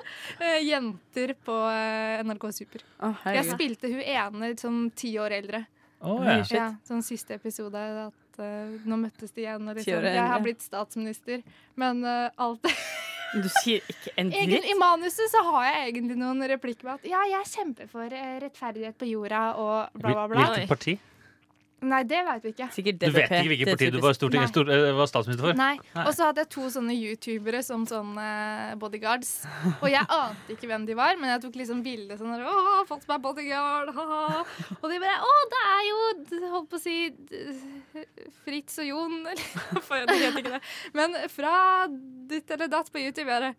[SPEAKER 1] [LAUGHS] Eh, Jenter på eh, NRK Super.
[SPEAKER 2] Å,
[SPEAKER 1] Jeg
[SPEAKER 2] herregud.
[SPEAKER 1] spilte hun ene som ti år eldre.
[SPEAKER 4] Å, ja.
[SPEAKER 2] Shit.
[SPEAKER 1] Ja, sånn siste episode. At, eh, nå møttes de igjen. Og
[SPEAKER 2] Ti år
[SPEAKER 1] liksom, jeg har
[SPEAKER 2] eldre.
[SPEAKER 1] blitt statsminister. Men eh,
[SPEAKER 2] [LAUGHS]
[SPEAKER 1] alt
[SPEAKER 2] Men du sier ikke en
[SPEAKER 1] Egen,
[SPEAKER 2] dritt.
[SPEAKER 1] I manuset så har jeg egentlig noen replikker med at ja, jeg kjemper for eh, rettferdighet på jorda og bla, bla, bla.
[SPEAKER 4] Hvilket parti?
[SPEAKER 1] Nei, det veit vi
[SPEAKER 4] [LAUGHS]
[SPEAKER 1] ikke.
[SPEAKER 2] Sikkert
[SPEAKER 4] Du vet
[SPEAKER 2] DDP.
[SPEAKER 4] ikke hvilket
[SPEAKER 2] Det er
[SPEAKER 4] parti du
[SPEAKER 2] typisk.
[SPEAKER 4] var, storting,
[SPEAKER 1] Nei.
[SPEAKER 4] stor, eh, var statsminister for?
[SPEAKER 1] Nei. Og så hadde jeg to sånne youtubere som sånne bodyguards. Og jeg ante ikke hvem de var, men jeg tok liksom bilde sånn der, Åh, fått meg bodyguard, haha. Og de bare Å, det er jo d- Holdt på å si d- Fritz og Jon, [LAUGHS] eller for jeg vet ikke det. Men fra ditt eller datt på YouTube er det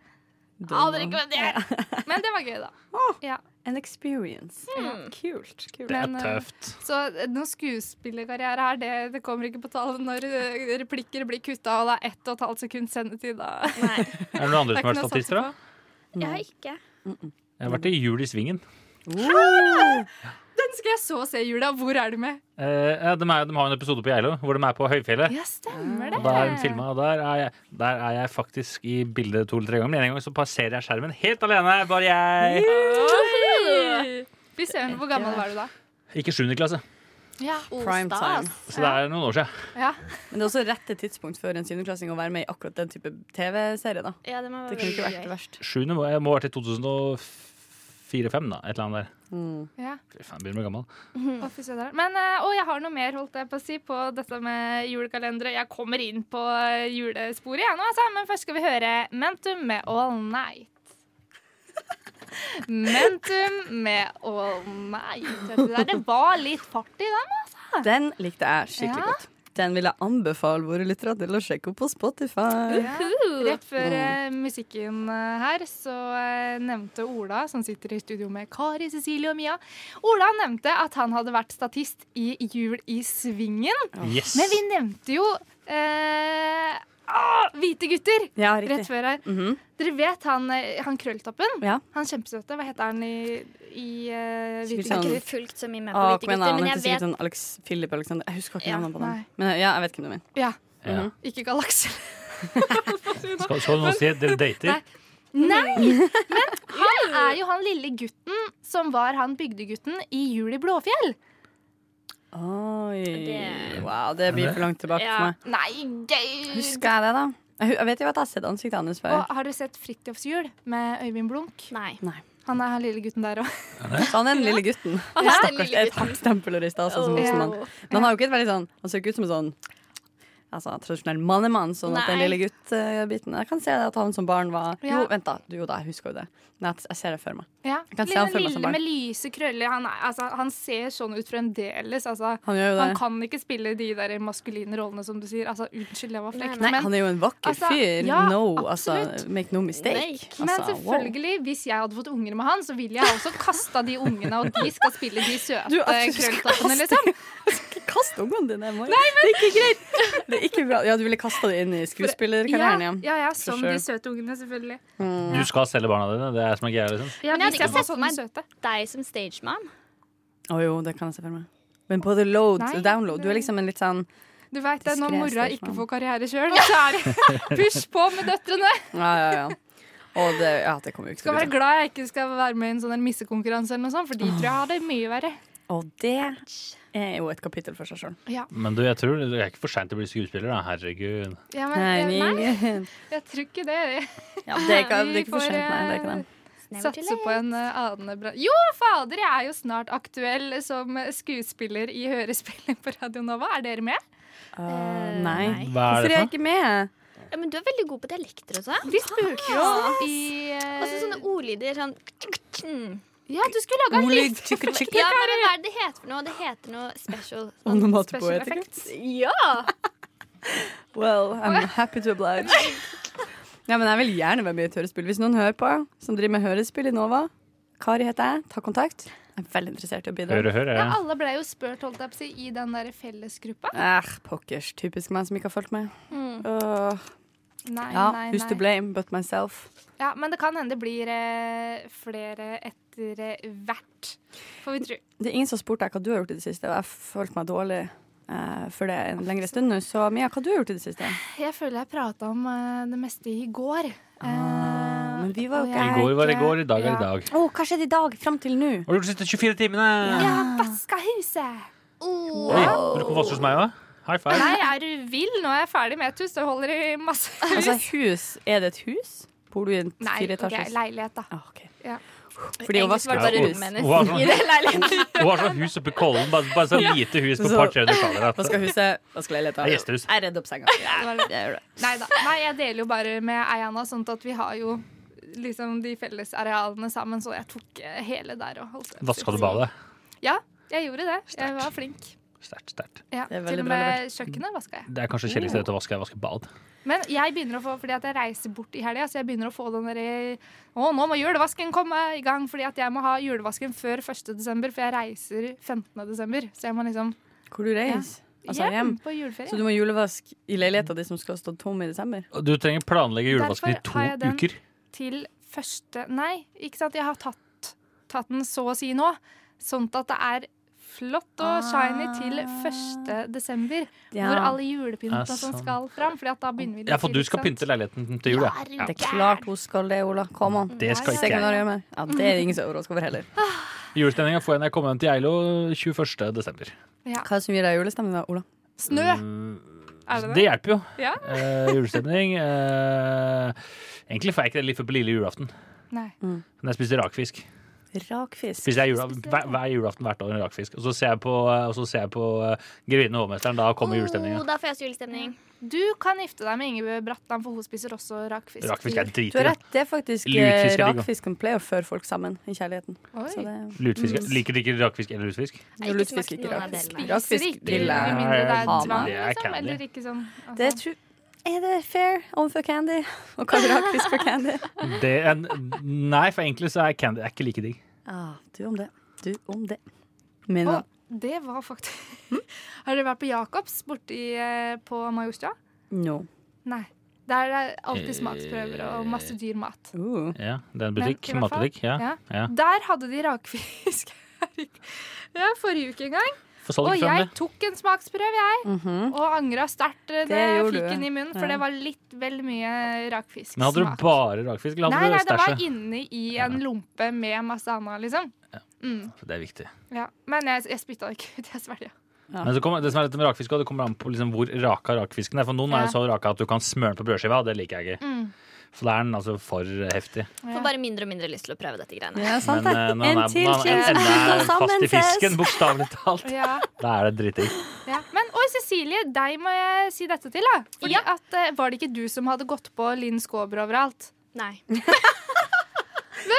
[SPEAKER 1] Aner ikke hvem de er. Men det var gøy, da.
[SPEAKER 2] An experience.
[SPEAKER 1] Mm.
[SPEAKER 3] Hmm.
[SPEAKER 2] Kult. kult.
[SPEAKER 4] Det er
[SPEAKER 1] Men, eh,
[SPEAKER 4] tøft.
[SPEAKER 1] [LAUGHS] Så noen skuespillerkarriere her, det, det kommer ikke på tall når eh, replikker blir kutta, og det er ett og et halvt sekund sendetid, da.
[SPEAKER 2] [LAUGHS]
[SPEAKER 3] Nei,
[SPEAKER 4] Er det noen
[SPEAKER 1] Det er
[SPEAKER 4] andre som har
[SPEAKER 1] ikke
[SPEAKER 4] vært
[SPEAKER 1] noe å satse
[SPEAKER 4] statister, da?
[SPEAKER 1] på. Mm.
[SPEAKER 3] jeg
[SPEAKER 2] Mm.
[SPEAKER 3] har ikke.
[SPEAKER 4] Jeg har vært i Jul i Svingen.
[SPEAKER 2] Uh.
[SPEAKER 1] Den skal jeg så se i jula. Hvor er du med?
[SPEAKER 4] Eh, ja, de, er, de har en episode på Geilo hvor de er på høyfjellet.
[SPEAKER 1] Ja, stemmer det.
[SPEAKER 4] Og der, filmet, og der, er jeg, der er jeg faktisk i bildet to eller tre ganger. Men en gang så passerer jeg skjermen helt alene. Bare jeg.
[SPEAKER 1] Oi! Fy søren, hvor gammel var du da?
[SPEAKER 4] Ikke 7. klasse,
[SPEAKER 1] Ja.
[SPEAKER 2] Prime time.
[SPEAKER 4] så det er noen år siden.
[SPEAKER 1] ja.
[SPEAKER 2] Men det er også rette tidspunkt før en syvendeklassing å være med i akkurat den type TV-serie, da.
[SPEAKER 3] Ja, det må være
[SPEAKER 2] Det kunne ikke
[SPEAKER 3] veldig
[SPEAKER 2] vært
[SPEAKER 3] gøy.
[SPEAKER 2] verst.
[SPEAKER 4] 7. må jeg må ha vært i 2004-2005, da. Et eller annet der.
[SPEAKER 1] ja.
[SPEAKER 4] Fy faen, begynner å bli gammel.
[SPEAKER 1] Å, fy søren. Men eh, å, jeg har noe mer holdt jeg på å si på dette med julekalendere. Jeg kommer inn på eh, julesporet, jeg nå, altså. Men først skal vi høre Mentum med All Night. [LAUGHS] Mentum med All Night. Hørte du det? Det var litt fart i den, altså.
[SPEAKER 2] Den likte jeg skikkelig
[SPEAKER 1] Ja.
[SPEAKER 2] godt. Den vil jeg anbefale våre lyttere til å sjekke opp på Spotify.
[SPEAKER 1] Rett før eh, musikken eh, her så eh, nevnte Ola, som sitter i studio med Kari, Cecilie og Mia Ola nevnte at han hadde vært statist i Jul i Svingen.
[SPEAKER 4] Yes.
[SPEAKER 1] Men vi nevnte jo eh, Åh, hvite gutter!
[SPEAKER 2] Ja,
[SPEAKER 1] Rett
[SPEAKER 2] riktig.
[SPEAKER 1] før her.
[SPEAKER 2] Mhm.
[SPEAKER 1] Dere vet han, eh, han krølltoppen?
[SPEAKER 2] Ja.
[SPEAKER 1] Han kjempesøte. Hva heter han i, i eh,
[SPEAKER 2] Sikkert
[SPEAKER 1] hvite
[SPEAKER 3] Jeg
[SPEAKER 2] sånn-
[SPEAKER 1] gutter?
[SPEAKER 3] har ikke fulgt så mye med på
[SPEAKER 2] Å,
[SPEAKER 3] hvite
[SPEAKER 2] kom igjen, da.
[SPEAKER 3] gutter, men
[SPEAKER 2] Han
[SPEAKER 3] jeg
[SPEAKER 2] heter sikkert
[SPEAKER 3] vet
[SPEAKER 2] sånn Alex Philip Alexander. Jeg husker ikke
[SPEAKER 3] Ja,
[SPEAKER 2] navnet på
[SPEAKER 1] nei.
[SPEAKER 2] den. Men ja, jeg vet hvem du mener.
[SPEAKER 1] Ja,
[SPEAKER 4] Ja.
[SPEAKER 1] ikke [LAUGHS] galakser.
[SPEAKER 4] Skal, skal du nå si at dere dater?
[SPEAKER 1] Nei. Nei! Men han er jo han lille gutten som var han bygdegutten i Jul i Blåfjell.
[SPEAKER 2] Oi.
[SPEAKER 3] Det-
[SPEAKER 2] Wow, det blir for langt tilbake
[SPEAKER 3] Ja.
[SPEAKER 2] for meg.
[SPEAKER 1] Nei, gøy!
[SPEAKER 2] Husker jeg det, da? Jeg hu- Jeg vet jo at jeg har sett ansiktet hans før.
[SPEAKER 1] Og har dere sett Fridtjofs jul med Øyvind Blunk?
[SPEAKER 3] Nei.
[SPEAKER 1] Han er han lille gutten der òg.
[SPEAKER 2] Så han er den lille gutten.
[SPEAKER 3] [LAUGHS] Han er den
[SPEAKER 2] Stakkars, det
[SPEAKER 3] lille
[SPEAKER 2] er et hardt stempel å riste av seg Sånn altså, som voksen mann.
[SPEAKER 3] Åh.
[SPEAKER 2] Men han har jo ikke et veldig sånn Han ser ikke ut som en sånn Altså tradisjonell mannemann, sånn at den
[SPEAKER 3] Nei.
[SPEAKER 2] lille gutt-biten Jeg kan se det at han som barn var
[SPEAKER 1] Ja.
[SPEAKER 2] Jo, vent, da. Du, jo da, jeg husker jo det. Men jeg- jeg ser det for meg.
[SPEAKER 1] Ja.
[SPEAKER 2] kan se han for meg
[SPEAKER 1] lille
[SPEAKER 2] som barn.
[SPEAKER 1] med lyse krøller. Han, er, altså, han ser sånn ut fremdeles. Altså,
[SPEAKER 2] Han gjør jo
[SPEAKER 1] han
[SPEAKER 2] det.
[SPEAKER 1] kan ikke spille de der maskuline rollene som du sier. Altså, unnskyld, jeg var frekk.
[SPEAKER 2] Nei,
[SPEAKER 1] Men,
[SPEAKER 2] han er jo en vakker
[SPEAKER 1] altså,
[SPEAKER 2] fyr.
[SPEAKER 1] ja,
[SPEAKER 2] no,
[SPEAKER 1] absolutt.
[SPEAKER 2] altså. Make no mistake.
[SPEAKER 3] Nei.
[SPEAKER 2] Altså,
[SPEAKER 1] men
[SPEAKER 2] wow.
[SPEAKER 1] selvfølgelig, hvis jeg hadde fått unger med han, så ville jeg også kasta de ungene, og de skal spille de søte
[SPEAKER 2] Du, at du skal
[SPEAKER 1] krølltoppene,
[SPEAKER 2] kaste-
[SPEAKER 1] liksom.
[SPEAKER 2] Kast ungene dine, Mari. Det er ikke greit. Det er ikke bra. Ja, du ville kasta det inn i
[SPEAKER 1] Ja,
[SPEAKER 2] skuespillerkarrieren, ja.
[SPEAKER 1] ja, ja, som
[SPEAKER 2] sure.
[SPEAKER 1] de søte ungene, selvfølgelig.
[SPEAKER 4] Du skal selge barna dine? Det er som er greia, liksom.
[SPEAKER 3] Men
[SPEAKER 1] Ja,
[SPEAKER 3] jeg
[SPEAKER 1] de
[SPEAKER 3] hadde ikke
[SPEAKER 1] skal
[SPEAKER 3] sett
[SPEAKER 1] få
[SPEAKER 3] for
[SPEAKER 1] sånne
[SPEAKER 3] meg-
[SPEAKER 1] søte.
[SPEAKER 3] Deg som stageman.
[SPEAKER 2] Å jo, det kan jeg se for meg. Men på the load
[SPEAKER 1] Nei,
[SPEAKER 2] og download, du er liksom en litt sånn
[SPEAKER 1] Du vet det, når
[SPEAKER 2] Diskré
[SPEAKER 1] mora
[SPEAKER 2] stagemann.
[SPEAKER 1] ikke får karriere sjøl, [LAUGHS] så er det push på med døtrene.
[SPEAKER 2] Ja, ja, ja. Og det, ja, det kommer jo ikke
[SPEAKER 1] Skal
[SPEAKER 2] til å
[SPEAKER 1] være
[SPEAKER 2] bli sånn.
[SPEAKER 1] glad jeg ikke skal være med i en sånn der missekonkurranse, eller noe sånt, for de tror jeg har det mye verre.
[SPEAKER 2] Og det er jo et kapittel for seg sjøl.
[SPEAKER 4] Men du, jeg tror det er ikke for seint å bli skuespiller, da. Herregud.
[SPEAKER 1] Ja, men,
[SPEAKER 2] Nei,
[SPEAKER 1] jeg, nei,
[SPEAKER 2] ingen.
[SPEAKER 1] jeg tror ikke det.
[SPEAKER 2] [LAUGHS] Ja, det er ikke, det er ikke
[SPEAKER 1] Vi får,
[SPEAKER 2] for sent, nei. Det er ikke det.
[SPEAKER 3] Never too
[SPEAKER 1] Satse på en eh, annen bra... Jo, fader, jeg er jo snart aktuell som skuespiller i hørespillet på Radio Nova. Er dere med?
[SPEAKER 2] Øh, nei.
[SPEAKER 3] nei.
[SPEAKER 4] Hva er
[SPEAKER 2] Hvorfor er jeg
[SPEAKER 4] det for noe?
[SPEAKER 2] ikke med?
[SPEAKER 3] late. Ja, men du er veldig god på dialekter også.
[SPEAKER 1] Vi spurte jo i eh,
[SPEAKER 3] Altså sånne ordlyder sånn mm.
[SPEAKER 1] Ja, du skulle laga en
[SPEAKER 2] Ordlyd,
[SPEAKER 1] liste.
[SPEAKER 2] tjukk og tjukk.
[SPEAKER 3] Ja, men hva er det det heter for noe? Det heter noe
[SPEAKER 2] [LAUGHS]
[SPEAKER 3] special. Sånn.
[SPEAKER 1] Special
[SPEAKER 2] Onomatopoetikk.
[SPEAKER 1] effects.
[SPEAKER 3] Ja!
[SPEAKER 2] [LAUGHS] Well, I'm happy to oblige. Ja, men jeg vil gjerne være med i et hørespill. Hvis noen hører på, som driver med hørespill i Nova, Kari heter jeg, ta kontakt. Jeg er veldig interessert i å bidra.
[SPEAKER 4] Hør og hør,
[SPEAKER 1] Ja,
[SPEAKER 4] ja.
[SPEAKER 1] alle ble jo spurt holdt jeg på å si, i den der fellesgruppa.
[SPEAKER 2] Eh, pokkers. Typisk meg som ikke har fulgt med.
[SPEAKER 3] Mm.
[SPEAKER 2] Åh.
[SPEAKER 1] Nei,
[SPEAKER 2] ja,
[SPEAKER 1] nei,
[SPEAKER 2] who's to
[SPEAKER 1] nei.
[SPEAKER 2] blame but myself?
[SPEAKER 1] Ja, men det kan hende det blir eh, flere etter eh, hvert, får vi tro.
[SPEAKER 2] Det er ingen som har spurt deg hva du har gjort i det siste, og jeg følte meg dårlig eh, for det en lengre stund nå. Så Mia, hva har du gjort i det siste?
[SPEAKER 1] Jeg føler jeg prata om eh, det meste i går. Eh,
[SPEAKER 2] men vi var jo
[SPEAKER 1] og
[SPEAKER 2] ikke
[SPEAKER 4] I
[SPEAKER 1] jeg
[SPEAKER 4] går var i
[SPEAKER 1] ikke-
[SPEAKER 4] går, i dag
[SPEAKER 1] Ja.
[SPEAKER 4] er i dag.
[SPEAKER 2] Å, hva skjedde i dag, fram til nå?
[SPEAKER 4] Hva har du gjort de siste 24 timene?
[SPEAKER 1] Jeg har vaska huset!
[SPEAKER 3] Oh.
[SPEAKER 4] Oi, har du kommet fast hos meg òg? High five.
[SPEAKER 1] Nei, er du vill? Nå er jeg ferdig med et hus. Det holder i masse hus.
[SPEAKER 2] [LAUGHS] Altså, hus. Er det et hus? Bor du i en
[SPEAKER 1] [LAUGHS] Nei, ok,
[SPEAKER 2] fireetasjes?
[SPEAKER 1] leilighet, da.
[SPEAKER 2] Ah, ok.
[SPEAKER 1] Ja.
[SPEAKER 2] Fordi hun
[SPEAKER 3] Egentlig
[SPEAKER 2] vasker
[SPEAKER 3] var det bare
[SPEAKER 4] Ja,
[SPEAKER 2] hus.
[SPEAKER 3] rommet hennes
[SPEAKER 4] Hva er det?
[SPEAKER 3] i det
[SPEAKER 2] [LAUGHS]
[SPEAKER 3] leiligheten.
[SPEAKER 4] sånn- Hun har sånn hus oppe i Kollen. Bare, bare sånn lite hus
[SPEAKER 2] Så-
[SPEAKER 4] på et par-tre lokaler. at-
[SPEAKER 2] Vasker huset, vasker leiligheta.
[SPEAKER 4] Det er gjestehus.
[SPEAKER 2] Jeg redder opp senga.
[SPEAKER 1] Det
[SPEAKER 2] Jeg gjør det.
[SPEAKER 1] Nei da. Nei, jeg deler jo bare med Eiana, sånn at vi har jo liksom de felles arealene sammen, så jeg tok eh, hele der og holdt det.
[SPEAKER 4] Vaska du badet?
[SPEAKER 1] Ja, jeg gjorde det. Jeg var flink.
[SPEAKER 4] Sterkt, sterkt.
[SPEAKER 1] Ja, til
[SPEAKER 2] Det er veldig
[SPEAKER 1] og
[SPEAKER 2] bra
[SPEAKER 1] med kjøkkenet vaska jeg.
[SPEAKER 4] Det er kanskje kjedeligste stedet å vaske, er å vaske bad.
[SPEAKER 1] Men jeg begynner å få, fordi at jeg reiser bort i helga, så jeg begynner å få den derre Å, nå må julevasken komme i gang, fordi at jeg må ha julevasken før 1. desember, for jeg reiser 15. desember. Så jeg må liksom
[SPEAKER 2] Hvor du reiser? Altså
[SPEAKER 1] hjem
[SPEAKER 2] hjem?
[SPEAKER 1] på juleferie.
[SPEAKER 2] Så du må julevaske i leiligheta di som skal stå tom i desember?
[SPEAKER 4] Og Du trenger planlegge julevasken i
[SPEAKER 1] Derfor har jeg
[SPEAKER 4] to
[SPEAKER 1] den.
[SPEAKER 4] uker.
[SPEAKER 1] Til første Nei, ikke sant. Jeg har tatt, tatt den så å si nå, sånn at det er flott og shiny til 1. desember, hvor
[SPEAKER 2] Ah. Ja.
[SPEAKER 1] alle julepyntene som
[SPEAKER 4] sant.
[SPEAKER 1] skal fram. For da begynner vi litt
[SPEAKER 4] sånn. Ja, for du
[SPEAKER 1] tidlig,
[SPEAKER 4] skal
[SPEAKER 1] ikke sant?
[SPEAKER 4] pynte leiligheten til jul, ja.
[SPEAKER 3] Herregud.
[SPEAKER 2] Det er klart hun skal det, Ola. Kom an.
[SPEAKER 4] Det skal
[SPEAKER 1] Ja,
[SPEAKER 4] ikke
[SPEAKER 2] Se hva
[SPEAKER 4] jeg.
[SPEAKER 2] du gjør med. Ja, det er det ingen som er overraska over heller.
[SPEAKER 4] Julestemninga får jeg når jeg kommer hjem til Geilo 21. desember.
[SPEAKER 2] Hva er det som gir deg julestemning da, Ola?
[SPEAKER 1] Snø! Er det det?
[SPEAKER 4] Mm. Det hjelper jo.
[SPEAKER 1] Ja.
[SPEAKER 4] Eh, julestemning. eh, egentlig får jeg ikke det litt før på lille julaften.
[SPEAKER 1] Nei.
[SPEAKER 4] Men jeg spiser rakfisk.
[SPEAKER 2] Rakfisk.
[SPEAKER 4] Spiser jeg jula, hver, hver julaften hvert år en rakfisk. Og så ser jeg på, og så ser jeg på eh, Grevinnen og hovmesteren. Da kommer julestemninga.
[SPEAKER 3] Oh, da får jeg også julestemning.
[SPEAKER 1] Du kan gifte deg med Ingebjørg Bratland, for hun spiser også rakfisk.
[SPEAKER 4] Rakfisk
[SPEAKER 2] Du
[SPEAKER 4] er
[SPEAKER 2] har
[SPEAKER 4] dritdigg.
[SPEAKER 2] rett, det er faktisk
[SPEAKER 4] Lutfisk er
[SPEAKER 2] eh,
[SPEAKER 4] digg, da.
[SPEAKER 2] rakfisken pleier å føre folk sammen i kjærligheten.
[SPEAKER 1] Oi.
[SPEAKER 2] Så det
[SPEAKER 4] Lutfisk. er- Liker du ikke rakfisk eller lutfisk?
[SPEAKER 3] Jeg har ikke
[SPEAKER 2] Lutfisk,
[SPEAKER 3] smakt
[SPEAKER 2] ikke
[SPEAKER 3] noen av
[SPEAKER 2] rakfisk.
[SPEAKER 3] delene.
[SPEAKER 1] Spiser
[SPEAKER 2] Rakfisk
[SPEAKER 1] ikke med
[SPEAKER 4] vil jeg
[SPEAKER 1] mindre det er
[SPEAKER 2] ha
[SPEAKER 1] tvang,
[SPEAKER 4] meg. Det er
[SPEAKER 1] liksom.
[SPEAKER 4] candy.
[SPEAKER 1] Eller ikke sånn altså.
[SPEAKER 2] Det tror Er det fair overfor Candy? Og hva er rakfisk for Candy?
[SPEAKER 4] Det er, en- nei, for egentlig så er candy er ikke like digg.
[SPEAKER 2] Ah, du om det. Du om det. Min
[SPEAKER 1] Å, det var [LAUGHS] faktisk Har dere vært på Jacobs borti eh, på Majorstua?
[SPEAKER 2] No.
[SPEAKER 1] Nei. Der er det alltid smaksprøver og masse dyr mat.
[SPEAKER 2] Uh.
[SPEAKER 4] Ja, det er en
[SPEAKER 1] Men
[SPEAKER 4] Eh. butikk.
[SPEAKER 1] i hvert fall-
[SPEAKER 4] Matbutikk. Ja.
[SPEAKER 1] ja.
[SPEAKER 4] ja.
[SPEAKER 1] Der hadde de rakfisk [LAUGHS] her i ja, forrige uke en gang.
[SPEAKER 4] For salg
[SPEAKER 1] Og
[SPEAKER 4] frem
[SPEAKER 1] jeg
[SPEAKER 4] det.
[SPEAKER 1] tok en smaksprøve, jeg. Og angra sterkt eh, da jeg
[SPEAKER 2] Mhm. gjorde
[SPEAKER 1] fikk
[SPEAKER 2] du.
[SPEAKER 1] den i munnen, for
[SPEAKER 2] Ja.
[SPEAKER 1] det var litt vel mye rakfisksmak.
[SPEAKER 4] Men hadde du bare rakfisk, eller
[SPEAKER 1] Nei,
[SPEAKER 4] hadde
[SPEAKER 1] nei,
[SPEAKER 4] du
[SPEAKER 1] det var
[SPEAKER 4] stæsje?
[SPEAKER 1] inni i en lompe med masse annet, liksom. Mm,
[SPEAKER 4] Det er viktig.
[SPEAKER 1] ja. Men jeg, jeg spytta det ikke ut, jeg svelga.
[SPEAKER 2] Ja.
[SPEAKER 4] Men så kommer, det som er dette med rakfisk, også, det kommer an på liksom hvor raka rakfisken er. For noen
[SPEAKER 1] Ja.
[SPEAKER 4] er jo så raka at du kan smøre den på brødskiva, og det liker jeg ikke. For da er den altså for heftig.
[SPEAKER 3] Får bare mindre og mindre lyst til å prøve dette greiene.
[SPEAKER 2] Ja, sant
[SPEAKER 4] Men
[SPEAKER 2] det.
[SPEAKER 4] eh, når
[SPEAKER 2] En
[SPEAKER 4] den er,
[SPEAKER 2] til
[SPEAKER 4] når den
[SPEAKER 2] kinkis,
[SPEAKER 4] ender
[SPEAKER 2] og [LAUGHS] sammen
[SPEAKER 4] fast i
[SPEAKER 2] ses.
[SPEAKER 4] fisken, bokstavelig talt,
[SPEAKER 1] [LAUGHS] Ja,
[SPEAKER 4] da er det dritdigg.
[SPEAKER 1] ja. Men oi, Cecilie, deg må jeg si dette til, da. Fordi at, eh, var det ikke du som hadde gått på Linn Skåber overalt?
[SPEAKER 3] Nei.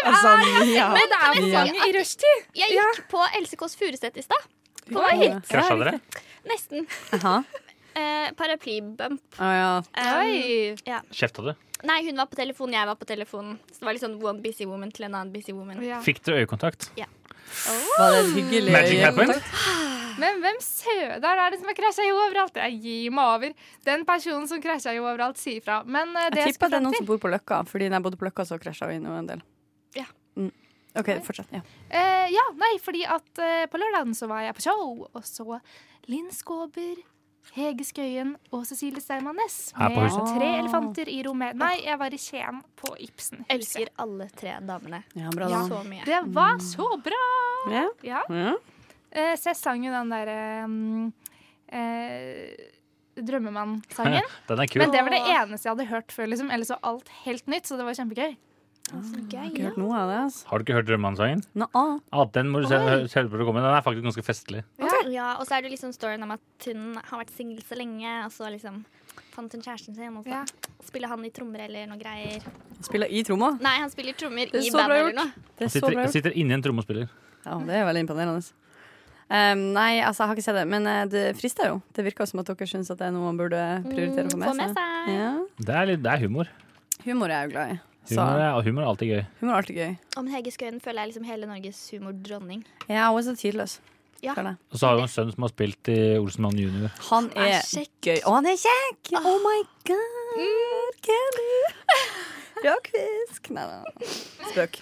[SPEAKER 2] Altså, [LAUGHS] ja.
[SPEAKER 1] Men det er jo
[SPEAKER 2] Ja.
[SPEAKER 1] mange i rushtid!
[SPEAKER 3] Jeg gikk på Else Kåss Furuseth i stad. På vei hit.
[SPEAKER 4] Krasja dere?
[SPEAKER 3] Nesten.
[SPEAKER 2] Mm. Aha.
[SPEAKER 3] Eh, Paraplybump.
[SPEAKER 2] Å, ja.
[SPEAKER 3] Um,
[SPEAKER 1] Oi!
[SPEAKER 4] Kjefta du?
[SPEAKER 3] Nei, hun var på telefonen, jeg var på telefonen. Så det var litt sånn one busy woman til en annen busy woman.
[SPEAKER 1] Ja.
[SPEAKER 4] Fikk dere øyekontakt?
[SPEAKER 2] Var det et hyggelig
[SPEAKER 4] Magic
[SPEAKER 2] øyekontakt?
[SPEAKER 4] happened?
[SPEAKER 1] Men hvem søder er det som har krasja jo overalt? Jeg gir meg over. Den personen som krasja jo overalt, sier fra. Men eh, det
[SPEAKER 2] Jeg
[SPEAKER 1] jeg
[SPEAKER 2] tipper
[SPEAKER 1] skal
[SPEAKER 2] det er
[SPEAKER 1] fram
[SPEAKER 2] noen
[SPEAKER 1] til
[SPEAKER 2] som bor på Løkka, Fordi da jeg bodde på Løkka, så krasja vi inn en del.
[SPEAKER 3] Ja.
[SPEAKER 2] Mm. OK, fortsett. Ja.
[SPEAKER 1] Eh, Ja, nei, fordi at eh, på lørdagen så var jeg på show og så Linn Skåber. Hege Skøyen og Cecilie Steinmann Næss
[SPEAKER 4] Her på
[SPEAKER 1] med
[SPEAKER 4] huset.
[SPEAKER 1] tre elefanter i rommet. Nei, jeg var i Skien, på Ibsen.
[SPEAKER 3] Elsker alle tre damene
[SPEAKER 2] Ja, bra da.
[SPEAKER 3] så mye.
[SPEAKER 1] Det var så bra!
[SPEAKER 2] Ja.
[SPEAKER 1] Ja.
[SPEAKER 2] Ja.
[SPEAKER 1] Eh, Så jeg sang jo den derre mm, eh,
[SPEAKER 4] [LAUGHS]
[SPEAKER 1] Drømmemann-sangen.
[SPEAKER 4] Den er
[SPEAKER 1] Men
[SPEAKER 4] kul.
[SPEAKER 1] det var det eneste jeg hadde hørt før, liksom. Ellers var alt helt nytt, så det var kjempegøy.
[SPEAKER 2] Jeg har ikke hørt noe av det. Altså.
[SPEAKER 4] Har du ikke hørt Drømmemannssangen?
[SPEAKER 2] Nå, ah.
[SPEAKER 4] Ja, den må du se, se på det komme. Den er faktisk ganske festlig.
[SPEAKER 3] Ja, og så er det liksom storyen om at hun har vært singel så lenge, og så liksom fant hun kjæresten sin, og så
[SPEAKER 1] Ja.
[SPEAKER 3] spiller han i trommer eller noe greier.
[SPEAKER 2] Spiller i tromma.
[SPEAKER 3] Nei, han spiller trommer
[SPEAKER 2] Det er
[SPEAKER 3] i
[SPEAKER 2] så bra
[SPEAKER 3] bandet eller
[SPEAKER 2] gjort.
[SPEAKER 3] noe.
[SPEAKER 2] Det er
[SPEAKER 4] Han
[SPEAKER 2] så
[SPEAKER 4] sitter,
[SPEAKER 2] bra gjort.
[SPEAKER 4] sitter inni en tromme og spiller.
[SPEAKER 2] Ja, det er veldig imponerende. Um, nei, altså, jeg har ikke sett det, men eh, det frister jo. Det virker som at dere syns at det er noe man burde prioritere å få
[SPEAKER 3] Mm,
[SPEAKER 2] med seg. Ja.
[SPEAKER 4] Det er, litt, det er humor.
[SPEAKER 2] Humor er jeg jo glad i. Så
[SPEAKER 4] Humor er, humor er alltid gøy.
[SPEAKER 2] humor er alltid gøy.
[SPEAKER 3] Og men Hege Skøyen føler jeg liksom hele Norges humordronning.
[SPEAKER 2] Ja, hun er så tidløs.
[SPEAKER 3] Ja.
[SPEAKER 2] føler jeg.
[SPEAKER 4] Og så har hun en sønn som har spilt i Olsenmann junior.
[SPEAKER 2] Ah, Han er,
[SPEAKER 3] er kjekk.
[SPEAKER 2] gøy. Og han er kjekk! Oh my god, Kelly! Rakfisk. Nei, nei, nei. Spøk.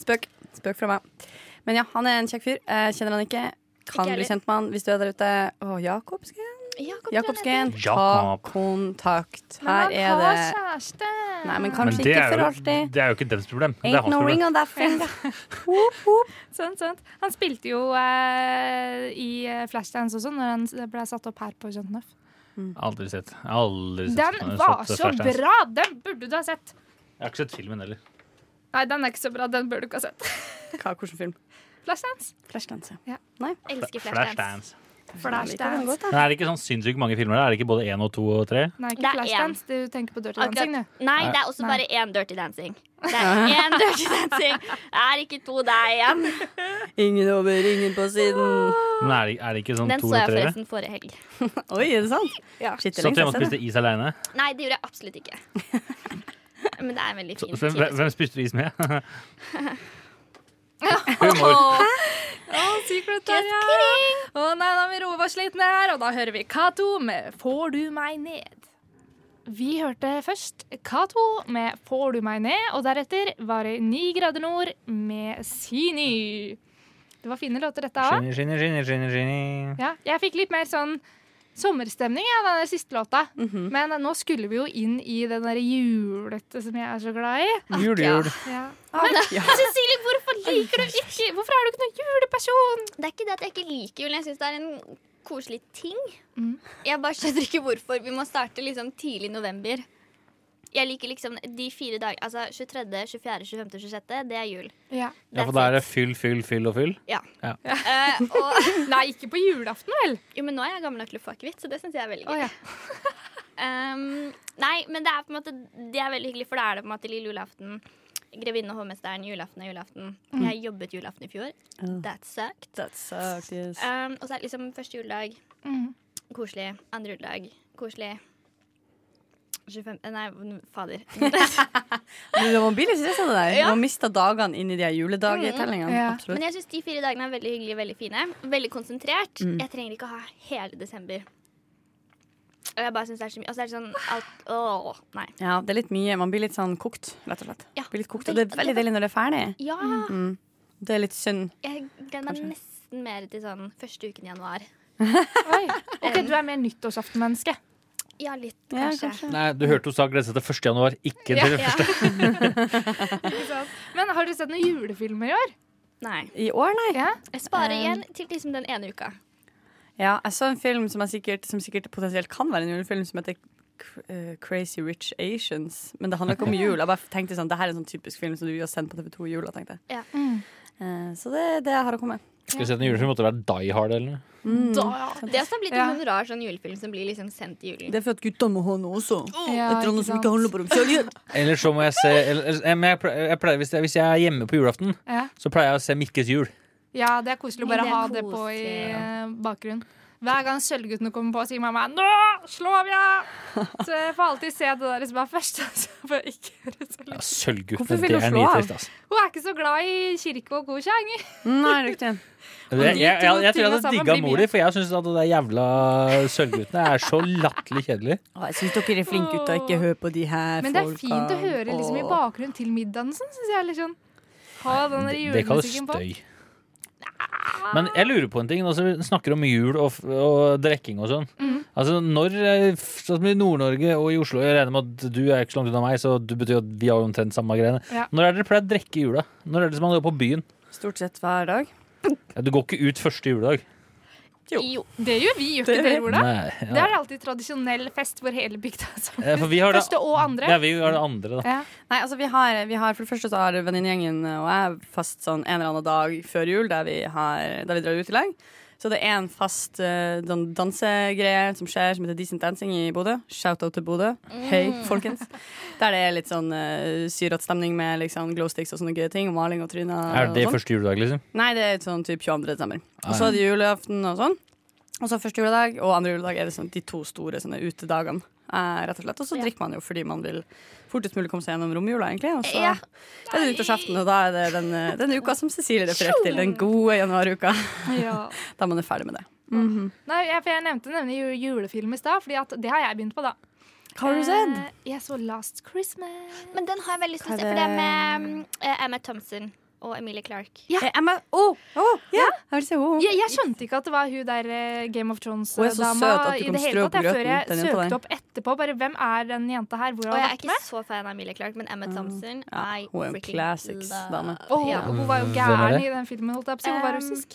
[SPEAKER 2] Spøk. Spøk fra meg. Men ja, han er en kjekk fyr. Jeg kjenner han ikke. Kan
[SPEAKER 3] Ikke
[SPEAKER 2] bli
[SPEAKER 3] heller.
[SPEAKER 2] kjent med han hvis du er der ute. Å, Jakobsgen.
[SPEAKER 3] Jakob
[SPEAKER 2] Jakobsgen, ta
[SPEAKER 4] Jakob.
[SPEAKER 2] kontakt.
[SPEAKER 1] Men
[SPEAKER 2] Her
[SPEAKER 1] han
[SPEAKER 2] er
[SPEAKER 1] har
[SPEAKER 2] det
[SPEAKER 1] kjæreste!
[SPEAKER 2] Nei, men
[SPEAKER 4] Men
[SPEAKER 2] kanskje
[SPEAKER 4] det
[SPEAKER 2] ikke
[SPEAKER 4] er,
[SPEAKER 2] for
[SPEAKER 4] jo,
[SPEAKER 2] alltid.
[SPEAKER 4] det er jo ikke deres problem. Det er
[SPEAKER 2] Ain't
[SPEAKER 4] hans
[SPEAKER 2] no ring
[SPEAKER 4] problem.
[SPEAKER 2] on that [LAUGHS] finger. Whoop, whoop.
[SPEAKER 1] Sant, sant. Han spilte jo eh, i eh, Flashdance også, når han ble satt opp her på Jøntenhoff.
[SPEAKER 4] Aldri sett. Aldri sett.
[SPEAKER 1] Den
[SPEAKER 4] Jeg har
[SPEAKER 1] var
[SPEAKER 4] sett
[SPEAKER 1] så
[SPEAKER 4] Flashdance.
[SPEAKER 1] bra! Den burde du ha sett.
[SPEAKER 4] Jeg har ikke sett filmen heller.
[SPEAKER 1] Nei, den er ikke så bra. Den burde du ikke ha sett. [LAUGHS]
[SPEAKER 2] Hva, hvilken film?
[SPEAKER 1] Flashdance.
[SPEAKER 2] Flashdance. ja.
[SPEAKER 1] Ja.
[SPEAKER 2] Nei.
[SPEAKER 3] Elsker Flashdance.
[SPEAKER 4] Flashdance.
[SPEAKER 2] jeg liker den godt, jeg.
[SPEAKER 4] Men er det ikke sånn sinnssykt mange filmer der? Er det ikke både én og to og tre?
[SPEAKER 1] Nei,
[SPEAKER 3] Det
[SPEAKER 1] ikke
[SPEAKER 3] er
[SPEAKER 1] Flashdance. Du tenker på Dirty
[SPEAKER 3] Akkurat.
[SPEAKER 1] Dancing, du.
[SPEAKER 3] Nei, det er også
[SPEAKER 1] Nei.
[SPEAKER 3] bare én Dirty Dancing. Det er én
[SPEAKER 1] [LAUGHS]
[SPEAKER 3] Dirty Dancing. Det er ikke to, det er én.
[SPEAKER 2] Ingen over, ingen på siden.
[SPEAKER 4] Men er det, er det ikke sånn
[SPEAKER 3] Den
[SPEAKER 4] to
[SPEAKER 3] så jeg
[SPEAKER 4] og tre?
[SPEAKER 3] forresten forrige helg.
[SPEAKER 2] Oi, er det sant?
[SPEAKER 3] Ja.
[SPEAKER 2] Shit, det er
[SPEAKER 4] Satt du
[SPEAKER 2] lenge
[SPEAKER 4] hjemme og
[SPEAKER 2] siden jeg har sett
[SPEAKER 4] spiste is aleine?
[SPEAKER 3] Nei, det gjorde jeg absolutt
[SPEAKER 4] [LAUGHS]
[SPEAKER 3] ikke. Men det er en veldig fin
[SPEAKER 4] Hvem,
[SPEAKER 3] type.
[SPEAKER 4] hvem spiste du is med? [LAUGHS] Humor.
[SPEAKER 1] Å, Secret der, ja. Å nei, da vi roer oss litt ned her, og da hører vi Cato med 'Får du meg ned'. Vi hørte først Cato med 'Får du meg ned', og deretter var det 'Ni grader nord' med Sini. Det var fine låter, dette òg.
[SPEAKER 4] Skinny, skinny, skinny, skinny, skinny.
[SPEAKER 1] Ja, jeg fikk litt mer sånn sommerstemning av den der siste låta. Men nå skulle vi jo inn i den der julete som jeg er så glad i.
[SPEAKER 4] Jul, jul.
[SPEAKER 1] Ja.
[SPEAKER 2] [LAUGHS] Ja.
[SPEAKER 3] Cecilie, hvorfor liker du
[SPEAKER 1] Ikke, hvorfor er du ikke noen juleperson?
[SPEAKER 3] Det er ikke det at jeg ikke liker jul. Jeg syns det er en koselig ting.
[SPEAKER 1] Mm.
[SPEAKER 3] Jeg bare skjønner ikke hvorfor. Vi må starte liksom tidlig i november. Jeg liker liksom de fire dager Altså 23., 24., 25., 26. Det er jul.
[SPEAKER 1] Ja.
[SPEAKER 4] Ja,
[SPEAKER 3] That's
[SPEAKER 4] for da er
[SPEAKER 3] it.
[SPEAKER 4] det fyll, fyll, fyll og fyll.
[SPEAKER 3] Ja.
[SPEAKER 4] Ja.
[SPEAKER 3] Eh, og, [LAUGHS]
[SPEAKER 1] Nei, ikke på julaften, vel?
[SPEAKER 3] jo, men nå er jeg gammel nok til å få akevitt, så det syns jeg er veldig gøy.
[SPEAKER 1] Å, ja.
[SPEAKER 3] Ehm, nei, men det er på en måte Det er veldig hyggelig, for da er det på en måte lille julaften. Grevinne og hovmesteren, julaften er julaften.
[SPEAKER 2] Mm.
[SPEAKER 3] Jeg jobbet julaften i fjor. That sucked.
[SPEAKER 2] That sucked, yes.
[SPEAKER 3] Ehm, og så er det liksom første juledag
[SPEAKER 2] Mm.
[SPEAKER 1] Mhm.
[SPEAKER 3] koselig. Andre juledag koselig. 25 Nei, n- fader.
[SPEAKER 2] Men det var billig, synes jeg sa det der.
[SPEAKER 3] Ja.
[SPEAKER 2] Man mister dagene inn i de her juledagetellingene.
[SPEAKER 1] Mm, ja.
[SPEAKER 3] Men
[SPEAKER 2] Absolutt.
[SPEAKER 3] jeg syns de fire dagene er veldig
[SPEAKER 2] Mm.
[SPEAKER 3] hyggelige, veldig fine. Veldig konsentrert. Jeg trenger ikke å ha hele desember. Og jeg bare syns det er så mye. Og så er det sånn alt Åh, nei.
[SPEAKER 2] Ja, det er litt mye. Man blir litt sånn kokt, rett og slett.
[SPEAKER 3] Ja.
[SPEAKER 2] Blir litt kokt, og det er veldig deilig når det er ferdig.
[SPEAKER 3] Ja.
[SPEAKER 2] Mm. Det er litt synd.
[SPEAKER 3] Jeg gleder meg
[SPEAKER 2] Kanskje.
[SPEAKER 3] nesten mer til sånn første uken i januar.
[SPEAKER 1] Oi. Ok, Du er mer nyttårsaftenmenneske.
[SPEAKER 3] Ja, litt,
[SPEAKER 2] Ja,
[SPEAKER 3] kanskje.
[SPEAKER 2] kanskje.
[SPEAKER 4] Nei, du hørte hun sa glede seg til 1. januar, ikke
[SPEAKER 1] Ja,
[SPEAKER 4] til
[SPEAKER 3] ja.
[SPEAKER 4] første.
[SPEAKER 1] ikke sant? Men har dere sett noen julefilmer i år?
[SPEAKER 3] [LAUGHS] Nei.
[SPEAKER 2] I år, nei.
[SPEAKER 1] Ja.
[SPEAKER 3] Jeg sparer
[SPEAKER 2] Um,
[SPEAKER 3] igjen til liksom den ene uka.
[SPEAKER 2] Ja, jeg så en film som, jeg sikkert, som sikkert potensielt kan være en julefilm, som heter K- eh, Crazy Rich Asians. Men det handler [LAUGHS] ikke om jul. Jeg bare tenkte sånn, det her er en sånn typisk film som du har sendt på TV2 i jula, tenkte jeg.
[SPEAKER 1] Mm.
[SPEAKER 2] Eh, Så det er det jeg har å komme med.
[SPEAKER 4] Skal vi se en julefilm, måtte det være Die Hard eller noe?
[SPEAKER 2] Mm.
[SPEAKER 3] Det har også blitt
[SPEAKER 1] Ja.
[SPEAKER 3] en sånn rar sånn julefilm som blir liksom sendt i julen.
[SPEAKER 2] Det er for at guttene må ha noe også.
[SPEAKER 1] Ja,
[SPEAKER 2] Etter noe
[SPEAKER 1] ikke
[SPEAKER 2] som
[SPEAKER 1] sant?
[SPEAKER 2] ikke handler bare om kjærlighet. [LAUGHS]
[SPEAKER 4] Eller så må jeg se eller, eller- eh, men jeg ple- jeg pleier, hvis, jeg, hvis jeg er hjemme på julaften,
[SPEAKER 1] Ja.
[SPEAKER 4] så pleier jeg å se Mikkes jul.
[SPEAKER 1] ja, det er koselig å bare
[SPEAKER 3] Det er
[SPEAKER 1] ha det på i
[SPEAKER 3] koselig.
[SPEAKER 1] eh, bakgrunnen. Hver gang Sølvguttene kommer på, sier mamma 'Nå slår vi
[SPEAKER 4] [LAUGHS]
[SPEAKER 1] av!' Så jeg får alltid se det der som er først. Så jeg bare ikke gjør det så
[SPEAKER 4] Ja,
[SPEAKER 1] lenge.
[SPEAKER 4] Sølvguttene,
[SPEAKER 2] Hvorfor vil
[SPEAKER 4] det
[SPEAKER 2] du
[SPEAKER 4] er
[SPEAKER 2] slå av?
[SPEAKER 4] nitrist, altså.
[SPEAKER 1] Hun er ikke så glad i kirke og korsang.
[SPEAKER 2] Mm, Nei, riktig.
[SPEAKER 4] Jeg, jeg, jeg, jeg, tror jeg
[SPEAKER 1] tingene
[SPEAKER 4] hadde
[SPEAKER 1] sammen
[SPEAKER 4] digga
[SPEAKER 1] blir
[SPEAKER 4] mor di, for jeg syns at det der jævla Sølvguttene er så latterlig kjedelig.
[SPEAKER 2] Å, jeg syns dere er flinke gutter. Ikke hør på de her
[SPEAKER 1] Men det er
[SPEAKER 2] folka.
[SPEAKER 1] fint å høre liksom, i
[SPEAKER 2] Å.
[SPEAKER 1] bakgrunnen til middagen. Sånn, synes jeg, litt sånn. Ha den der
[SPEAKER 4] Det, det kalles
[SPEAKER 1] julemusikken på.
[SPEAKER 4] støy. Men jeg lurer på en ting. Altså, vi snakker om jul og, f- og drikking og sånn.
[SPEAKER 2] Mhm.
[SPEAKER 4] Altså, når eh, f- Sånn som i Nord-Norge og i Oslo Jeg regner med at du er ikke så langt unna meg, så du betyr at vi har jo omtrent samme greiene.
[SPEAKER 1] Ja.
[SPEAKER 4] Når er det dere pleier å drikke i jula? Når er det som man går på byen?
[SPEAKER 2] Stort sett hver dag.
[SPEAKER 4] Ja, du går ikke ut første juledag.
[SPEAKER 2] Jo.
[SPEAKER 3] Jo.
[SPEAKER 1] Det gjør vi, gjør
[SPEAKER 2] Det
[SPEAKER 1] ikke det,
[SPEAKER 2] gjør
[SPEAKER 1] Ola?
[SPEAKER 4] Nei, ja.
[SPEAKER 1] Det er alltid tradisjonell fest hvor hele bygda er sammen.
[SPEAKER 4] Eh, For vi har det,
[SPEAKER 1] Første og andre.
[SPEAKER 4] ja, vi har det andre, da.
[SPEAKER 1] Ja.
[SPEAKER 2] Nei, altså vi har, vi har For det første så har venninnegjengen og jeg fast sånn en eller annen dag før jul der vi, har, der vi drar ut i lag. Så det er en fast eh, sånn dansegreie som skjer, som heter Decent Dancing i Bodø. Shout-out til Bodø. Hei, folkens. Der det er litt sånn uh, syrete stemning med liksom glow sticks og sånne gøye ting. Og maling og tryner.
[SPEAKER 4] Er det
[SPEAKER 2] og sånn.
[SPEAKER 4] første juledag, liksom?
[SPEAKER 2] Nei, det er sånn typ 22. desember.
[SPEAKER 4] Ah,
[SPEAKER 2] Og så er det julaften og sånn. Og så første juledag og andre juledag er det sånn de to store sånne utedagene. Eh, rett og slett. Og så
[SPEAKER 3] Ja.
[SPEAKER 2] drikker man jo fordi man vil fortest mulig komme seg gjennom romjula, egentlig. Og så
[SPEAKER 3] Ja.
[SPEAKER 2] er det nyttårsaften, og da er det den, eh, den uka som Cecilie refererte til. Den gode januaruka.
[SPEAKER 1] Ja.
[SPEAKER 2] [LAUGHS] Da man er ferdig med det.
[SPEAKER 1] Nei, jeg, for jeg nevnte nemlig ju- julefilm i stad, for det har jeg begynt på, da.
[SPEAKER 2] Hva har du sett?
[SPEAKER 1] Eh, Jeg så Last Christmas.
[SPEAKER 3] Men den har jeg veldig lyst til å
[SPEAKER 2] Hva
[SPEAKER 3] se,
[SPEAKER 2] er
[SPEAKER 3] for det er
[SPEAKER 2] det?
[SPEAKER 3] med mm, eh, Emma Thompson og Emilie Clark.
[SPEAKER 1] Ja.
[SPEAKER 2] Eh, Emma Å! å, ja! Jeg vil si henne.
[SPEAKER 1] Jeg, jeg skjønte ikke at det var hun der eh, Game of
[SPEAKER 2] Hun er så
[SPEAKER 1] Thrones-dama
[SPEAKER 2] søt at du
[SPEAKER 1] i
[SPEAKER 2] kom
[SPEAKER 1] det hele
[SPEAKER 2] strø
[SPEAKER 1] tatt.
[SPEAKER 2] på
[SPEAKER 1] Jeg, før
[SPEAKER 2] grøten, den
[SPEAKER 1] jeg
[SPEAKER 2] jenta der.
[SPEAKER 1] søkte opp etterpå, bare hvem er den jenta her? Hvor
[SPEAKER 3] Og
[SPEAKER 1] har hun
[SPEAKER 3] jeg er
[SPEAKER 1] vært med?
[SPEAKER 3] ikke så fan av Emilie Clark, men Emma Thompson
[SPEAKER 2] Mm. Ja,
[SPEAKER 3] I
[SPEAKER 2] hun er jo en
[SPEAKER 3] freaking
[SPEAKER 2] classics
[SPEAKER 3] love.
[SPEAKER 2] dame.
[SPEAKER 1] Åh,
[SPEAKER 3] Ja.
[SPEAKER 1] og Hun var jo
[SPEAKER 4] Hvem er
[SPEAKER 1] gæren
[SPEAKER 4] det?
[SPEAKER 1] i den filmen, holdt jeg på å si. Hun var
[SPEAKER 3] Um,
[SPEAKER 1] russisk.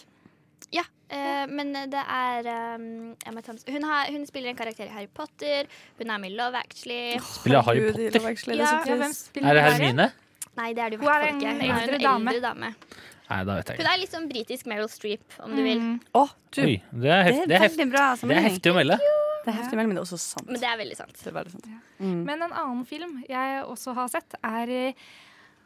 [SPEAKER 3] Ja, eh, men det er um, Emma Thompson. Hun, har, hun spiller en karakter i Harry Potter. Hun er med i Love Actually.
[SPEAKER 4] Spiller Harry
[SPEAKER 2] Gud, i
[SPEAKER 4] Potter?
[SPEAKER 2] Love Actually,
[SPEAKER 3] Ja,
[SPEAKER 2] det
[SPEAKER 1] Ja,
[SPEAKER 2] er så
[SPEAKER 1] hvem
[SPEAKER 2] trist.
[SPEAKER 1] spiller
[SPEAKER 4] Er det
[SPEAKER 1] der?
[SPEAKER 4] Hermine?
[SPEAKER 3] Nei, det er det jo i
[SPEAKER 1] Hun
[SPEAKER 3] hvert
[SPEAKER 1] er
[SPEAKER 3] fall ikke.
[SPEAKER 1] en
[SPEAKER 3] Hun er
[SPEAKER 1] eldre
[SPEAKER 3] en
[SPEAKER 1] dame.
[SPEAKER 3] eldre dame.
[SPEAKER 4] Nei, da vet jeg
[SPEAKER 3] Hun
[SPEAKER 4] ikke.
[SPEAKER 3] er litt sånn britisk Meryl Streep, om du vil.
[SPEAKER 2] Å, du.
[SPEAKER 4] Oi, det
[SPEAKER 2] Det
[SPEAKER 4] er, heft,
[SPEAKER 2] er
[SPEAKER 4] det, er heft,
[SPEAKER 2] veldig bra
[SPEAKER 4] det er
[SPEAKER 2] sammenligning.
[SPEAKER 4] heftig å melde.
[SPEAKER 2] Det er heftig, men det er også sant.
[SPEAKER 3] Men det er veldig sant.
[SPEAKER 2] Det er sånn, veldig sant.
[SPEAKER 1] Men en annen film jeg også har sett, er eh,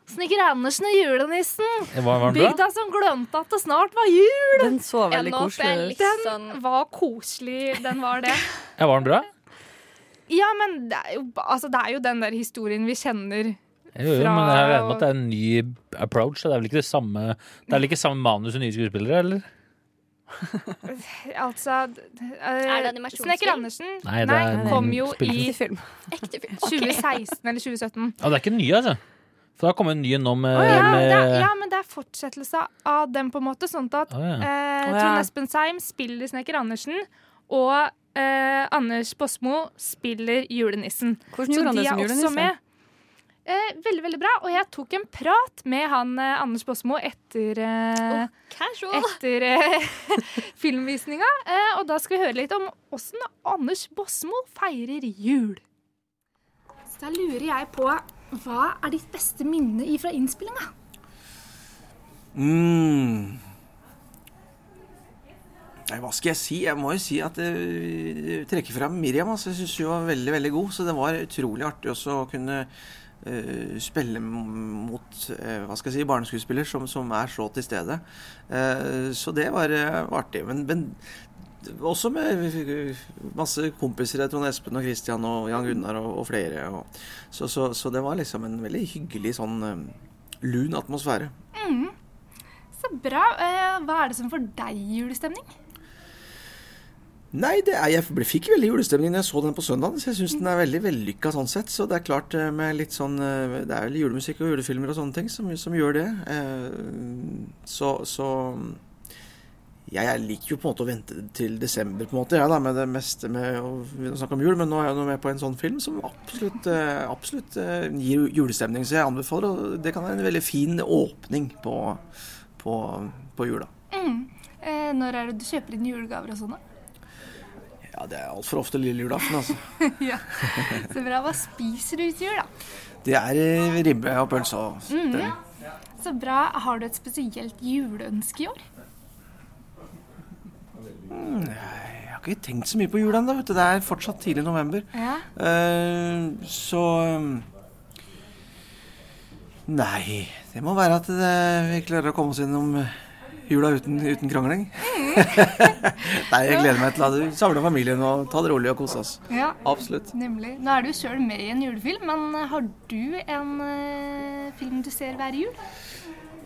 [SPEAKER 1] Snekker Andersen og julenissen.
[SPEAKER 4] Var, var den bra?
[SPEAKER 1] Bygda som glemte at det snart var jul.
[SPEAKER 2] Den så
[SPEAKER 3] Ja,
[SPEAKER 2] veldig
[SPEAKER 3] nå får jeg
[SPEAKER 2] koselig ut.
[SPEAKER 3] litt sånn
[SPEAKER 1] Var koselig, den var det. [LAUGHS]
[SPEAKER 4] Ja, var den bra?
[SPEAKER 1] Ja, men det er jo, altså, det er jo den der historien vi kjenner.
[SPEAKER 4] Jo, jo,
[SPEAKER 1] Fra-
[SPEAKER 4] men jeg regner med at det er en ny approach. da. Det er vel ikke det samme Det er vel ikke samme manus og nye skuespillere, eller?
[SPEAKER 1] Altså
[SPEAKER 3] Er det
[SPEAKER 1] uh,
[SPEAKER 3] animasjonsfilm?
[SPEAKER 1] Snekker Andersen
[SPEAKER 4] Nei, det er en
[SPEAKER 1] kom jo i
[SPEAKER 4] spillefilm.
[SPEAKER 2] Film.
[SPEAKER 3] ekte film.
[SPEAKER 1] 2016 eller 2017.
[SPEAKER 4] Ja, det er ikke nye, altså. For det har kommet en ny nå med,
[SPEAKER 1] Ja, det er,
[SPEAKER 4] med
[SPEAKER 1] ja, men det er fortsettelse av den, på en måte. Sånn at
[SPEAKER 4] Å, ja.
[SPEAKER 1] eh,
[SPEAKER 2] Å, ja.
[SPEAKER 1] Trond Espen Seim spiller Snekker Andersen, og eh, Anders Bosmo spiller julenissen.
[SPEAKER 2] Hvordan gjorde han det som julenisse?
[SPEAKER 1] Eh, veldig, veldig bra. Og jeg tok en prat med han eh, Anders Bosmo etter eh,
[SPEAKER 3] Casual.
[SPEAKER 1] etter
[SPEAKER 5] [LAUGHS]
[SPEAKER 1] eh, filmvisninga. Eh, og da skal vi høre litt om åssen Anders Bosmo feirer jul. Så da lurer jeg på hva er ditt beste minne fra innspillinga?
[SPEAKER 6] Mm. Nei, hva skal jeg si? Jeg må jo si at jeg trekker fram Miriam. Altså, jeg syns hun var veldig veldig god, så det var utrolig artig også å kunne eh, spille m- mot eh, hva skal jeg si, barneskuespiller som, som er så til stede. Eh, så det var eh, var artig. Men, men også med eh, masse kompiser. Trond Espen og Christian og Jan Gunnar og, og flere. Og, så, så, så det var liksom en veldig hyggelig sånn eh, lun atmosfære.
[SPEAKER 1] Så bra. Eh, hva er det som får deg julestemning?
[SPEAKER 6] Nei, det er, jeg ble, fikk veldig julestemning når jeg så den på søndag. Så jeg syns den er veldig vellykka sånn sett. Så det er klart eh, med litt sånn eh, Det er vel julemusikk og julefilmer og sånne ting som, som gjør det. Eh, Så, så jeg, jeg liker jo på en måte å vente til desember, på en måte, jeg, da, med det meste med å begynne å snakke om jul. Men nå er jeg nå med på en sånn film som absolutt, eh, absolutt eh, gir julestemning. Så jeg anbefaler, og det kan være en veldig fin åpning på, på, på jula.
[SPEAKER 5] Eh, når er det du kjøper inn julegaver og sånn,
[SPEAKER 1] [LAUGHS]
[SPEAKER 5] da?
[SPEAKER 6] Ja, det er altfor ofte lille julaften, altså.
[SPEAKER 5] ja. Så bra. Hva spiser du til jul, da?
[SPEAKER 6] Det er eh, ribbe og pølse og det-
[SPEAKER 5] Så bra. Har du et spesielt juleønske i år?
[SPEAKER 6] Jeg har ikke tenkt så mye på jul ennå, vet du. Det er fortsatt tidlig november.
[SPEAKER 5] Ja.
[SPEAKER 6] Eh, så um, Nei, det må være at det, vi klarer å komme oss gjennom eh, jula uten, uten krangling. [LAUGHS] nei, jeg gleder meg til å samle familien og ta det rolig og kose oss.
[SPEAKER 5] Ja,
[SPEAKER 6] Absolutt.
[SPEAKER 5] nemlig. Nå er du sjøl med i en julefilm, men eh, har du en eh, film du ser hver jul?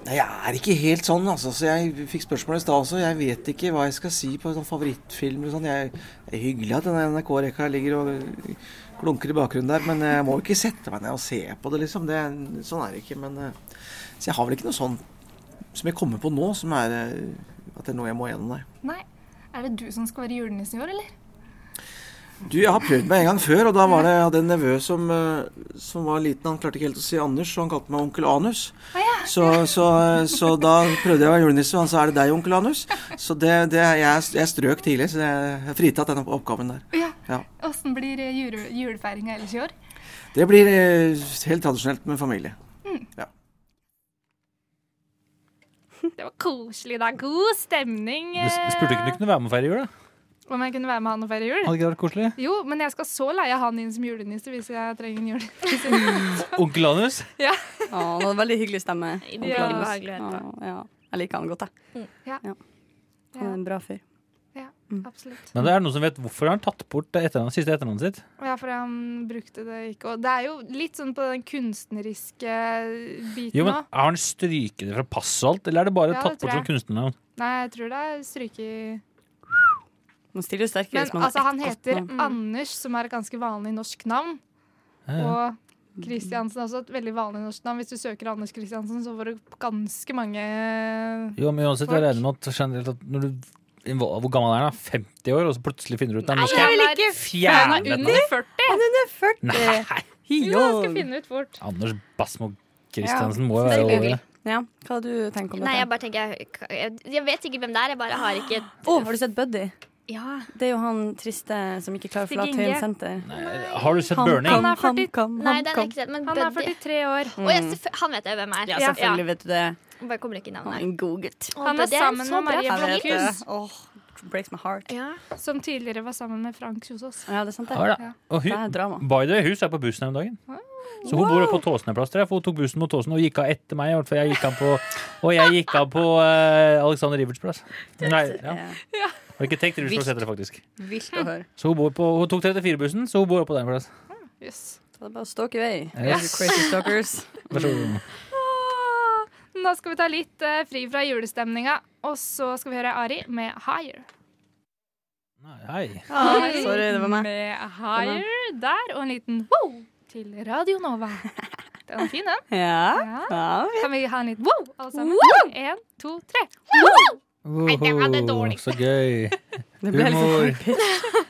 [SPEAKER 6] Nei, Jeg er ikke helt sånn, altså. Så jeg fikk spørsmål i stad også. Jeg vet ikke hva jeg skal si på sånn favorittfilm eller sånn. Jeg, det er hyggelig at denne NRK-rekka ligger og klunker i bakgrunnen der, men jeg må jo ikke sette meg ned og se på det, liksom. Det, sånn er det ikke. Men eh, Så jeg har vel ikke noe sånn som jeg kommer på nå, som er eh, at det er noe jeg må gjennom, nei.
[SPEAKER 5] Nei. Er det du som skal være julenissen i år, eller?
[SPEAKER 6] Du, jeg har prøvd meg en gang før, og da var det, jeg hadde en nevø som, eh, som var liten. Han klarte ikke helt å si Anders, så han kalte meg onkel Anus. Så, så, så da prøvde jeg å være julenisse, og han sa er det deg, onkel Anus? Så det, det, jeg, jeg strøk tidlig, så jeg er fritatt den oppgaven der.
[SPEAKER 5] Ja.
[SPEAKER 6] Ja.
[SPEAKER 5] Åssen blir eh, jule, julefeiringa ellers i år?
[SPEAKER 6] Det blir eh, helt tradisjonelt med familie.
[SPEAKER 1] Det var koselig. Det er god stemning.
[SPEAKER 4] Du s- spurte ikke om du kunne være med og feire jul? da?
[SPEAKER 1] eh, Om jeg kunne være med han og feire jul?
[SPEAKER 4] Hadde ikke det vært koselig?
[SPEAKER 1] Jo, men jeg skal så leie han inn som julenisse hvis jeg trenger en jul. [LAUGHS]
[SPEAKER 4] Onkel Anus?
[SPEAKER 2] Å, han hadde veldig hyggelig stemme.
[SPEAKER 3] Veldig
[SPEAKER 2] Onkel Anders.
[SPEAKER 3] behagelig å høre på.
[SPEAKER 2] Å, ja. Jeg liker han godt, jeg.
[SPEAKER 1] Ja.
[SPEAKER 2] Han er en bra fyr.
[SPEAKER 1] Absolutt.
[SPEAKER 4] Men det er noen som vet hvorfor har han tatt bort det etternavn- siste etternavnet sitt?
[SPEAKER 1] Og ja, for han brukte det ikke. Og det er jo litt sånn på den kunstneriske biten
[SPEAKER 4] Jo, men
[SPEAKER 1] nå.
[SPEAKER 4] Har han stryket det fra passet og alt, eller er det bare
[SPEAKER 1] Ja,
[SPEAKER 4] tatt
[SPEAKER 1] det tror
[SPEAKER 4] bort som kunstnernavn?
[SPEAKER 1] Nei, jeg tror det er stryket
[SPEAKER 2] Man stiller jo sterkere hvis
[SPEAKER 1] Men
[SPEAKER 2] man
[SPEAKER 1] altså, han
[SPEAKER 2] ett godt
[SPEAKER 1] heter
[SPEAKER 2] navn.
[SPEAKER 1] Anders, som er et ganske vanlig norsk navn. Og Kristiansen er også et veldig vanlig norsk navn. Hvis du søker Anders Kristiansen, så får du ganske mange
[SPEAKER 4] Jo, men uansett, jeg
[SPEAKER 1] Folk.
[SPEAKER 4] regner med at generelt at når du Hvor hvor gammel er han? 50 år, og så plutselig finner du ut Nei, nå skal
[SPEAKER 1] Han
[SPEAKER 4] jeg
[SPEAKER 1] er- Han
[SPEAKER 4] fjerne
[SPEAKER 1] er
[SPEAKER 4] den.
[SPEAKER 1] under 40!
[SPEAKER 4] Nei,
[SPEAKER 1] Jo, han skal finne ut fort.
[SPEAKER 4] Anders Basmo Christiansen må jo være
[SPEAKER 2] Veldig
[SPEAKER 4] over det.
[SPEAKER 2] Ja, hva hadde du tenkt om
[SPEAKER 3] Nei, jeg
[SPEAKER 2] dette?
[SPEAKER 3] bare tenker jeg, jeg, jeg vet sikkert hvem det er, jeg bare har ikke
[SPEAKER 2] Å, har du sett Buddy?
[SPEAKER 3] Ja.
[SPEAKER 2] Det er jo han triste som ikke klarer å forlate
[SPEAKER 1] Stig Inge.
[SPEAKER 2] Tøyen senter.
[SPEAKER 4] Har du sett Burning?
[SPEAKER 1] er 40.
[SPEAKER 2] Kam,
[SPEAKER 3] Nei, det er ikke det. Men
[SPEAKER 1] Han er
[SPEAKER 3] Buddy
[SPEAKER 1] 43 år.
[SPEAKER 3] Å, ja, selvfø- Han vet jeg hvem er.
[SPEAKER 2] Ja, selvfølgelig vet du det.
[SPEAKER 3] Ja, bare kommer ikke
[SPEAKER 2] Han er
[SPEAKER 3] navnet.
[SPEAKER 2] en god gutt.
[SPEAKER 3] Å,
[SPEAKER 1] Han er
[SPEAKER 3] Buddy
[SPEAKER 1] sammen
[SPEAKER 3] så bra
[SPEAKER 1] med Maria
[SPEAKER 3] fyr.
[SPEAKER 1] Blokk. Blokkhus.
[SPEAKER 2] Åh, breaks my heart.
[SPEAKER 3] Ja.
[SPEAKER 1] Som tidligere var sammen med Frank Kjosås.
[SPEAKER 2] Ja, det er sant det.
[SPEAKER 4] Ja, da. Og
[SPEAKER 2] Det er
[SPEAKER 4] hun,
[SPEAKER 2] drama.
[SPEAKER 4] by the way, hun er på bussen her om dagen. Så hun bor oppe på Tåsneplass, tror jeg, for hun tok bussen mot Tåsen og gikk av etter meg. i hvert fall. Jeg gikk av på, og jeg gikk av på eh, Alexander Riverts plass. Nei, ja.
[SPEAKER 2] Eh,
[SPEAKER 4] Har ikke tenkt Riverts plass heter det faktisk.
[SPEAKER 2] Vilt å høre.
[SPEAKER 4] Så hun, bor på, hun tok 34-bussen, så hun bor oppe på den plass.
[SPEAKER 1] Yes.
[SPEAKER 2] Så det er bare å stalke i vei.
[SPEAKER 4] Yes.
[SPEAKER 2] You Crazy stalkers.
[SPEAKER 4] Vær så god.
[SPEAKER 1] Ah, Nå skal vi ta litt eh, fri fra julestemninga, og så skal vi høre Ari med 'Higher'.
[SPEAKER 4] Nei, Hei.
[SPEAKER 2] Sorry, det var meg.
[SPEAKER 1] Med Higher der, og en liten wow til Radio Nova. Den var fin, den.
[SPEAKER 2] Ja.
[SPEAKER 1] Ja.
[SPEAKER 2] ja.
[SPEAKER 1] Kan vi ha en liten wow, alle sammen? En, to, tre.
[SPEAKER 4] Nei,
[SPEAKER 1] det var det dårlig.
[SPEAKER 4] Så
[SPEAKER 1] [LAUGHS]
[SPEAKER 4] gøy.
[SPEAKER 2] Det ble
[SPEAKER 4] Humor.
[SPEAKER 2] litt sånn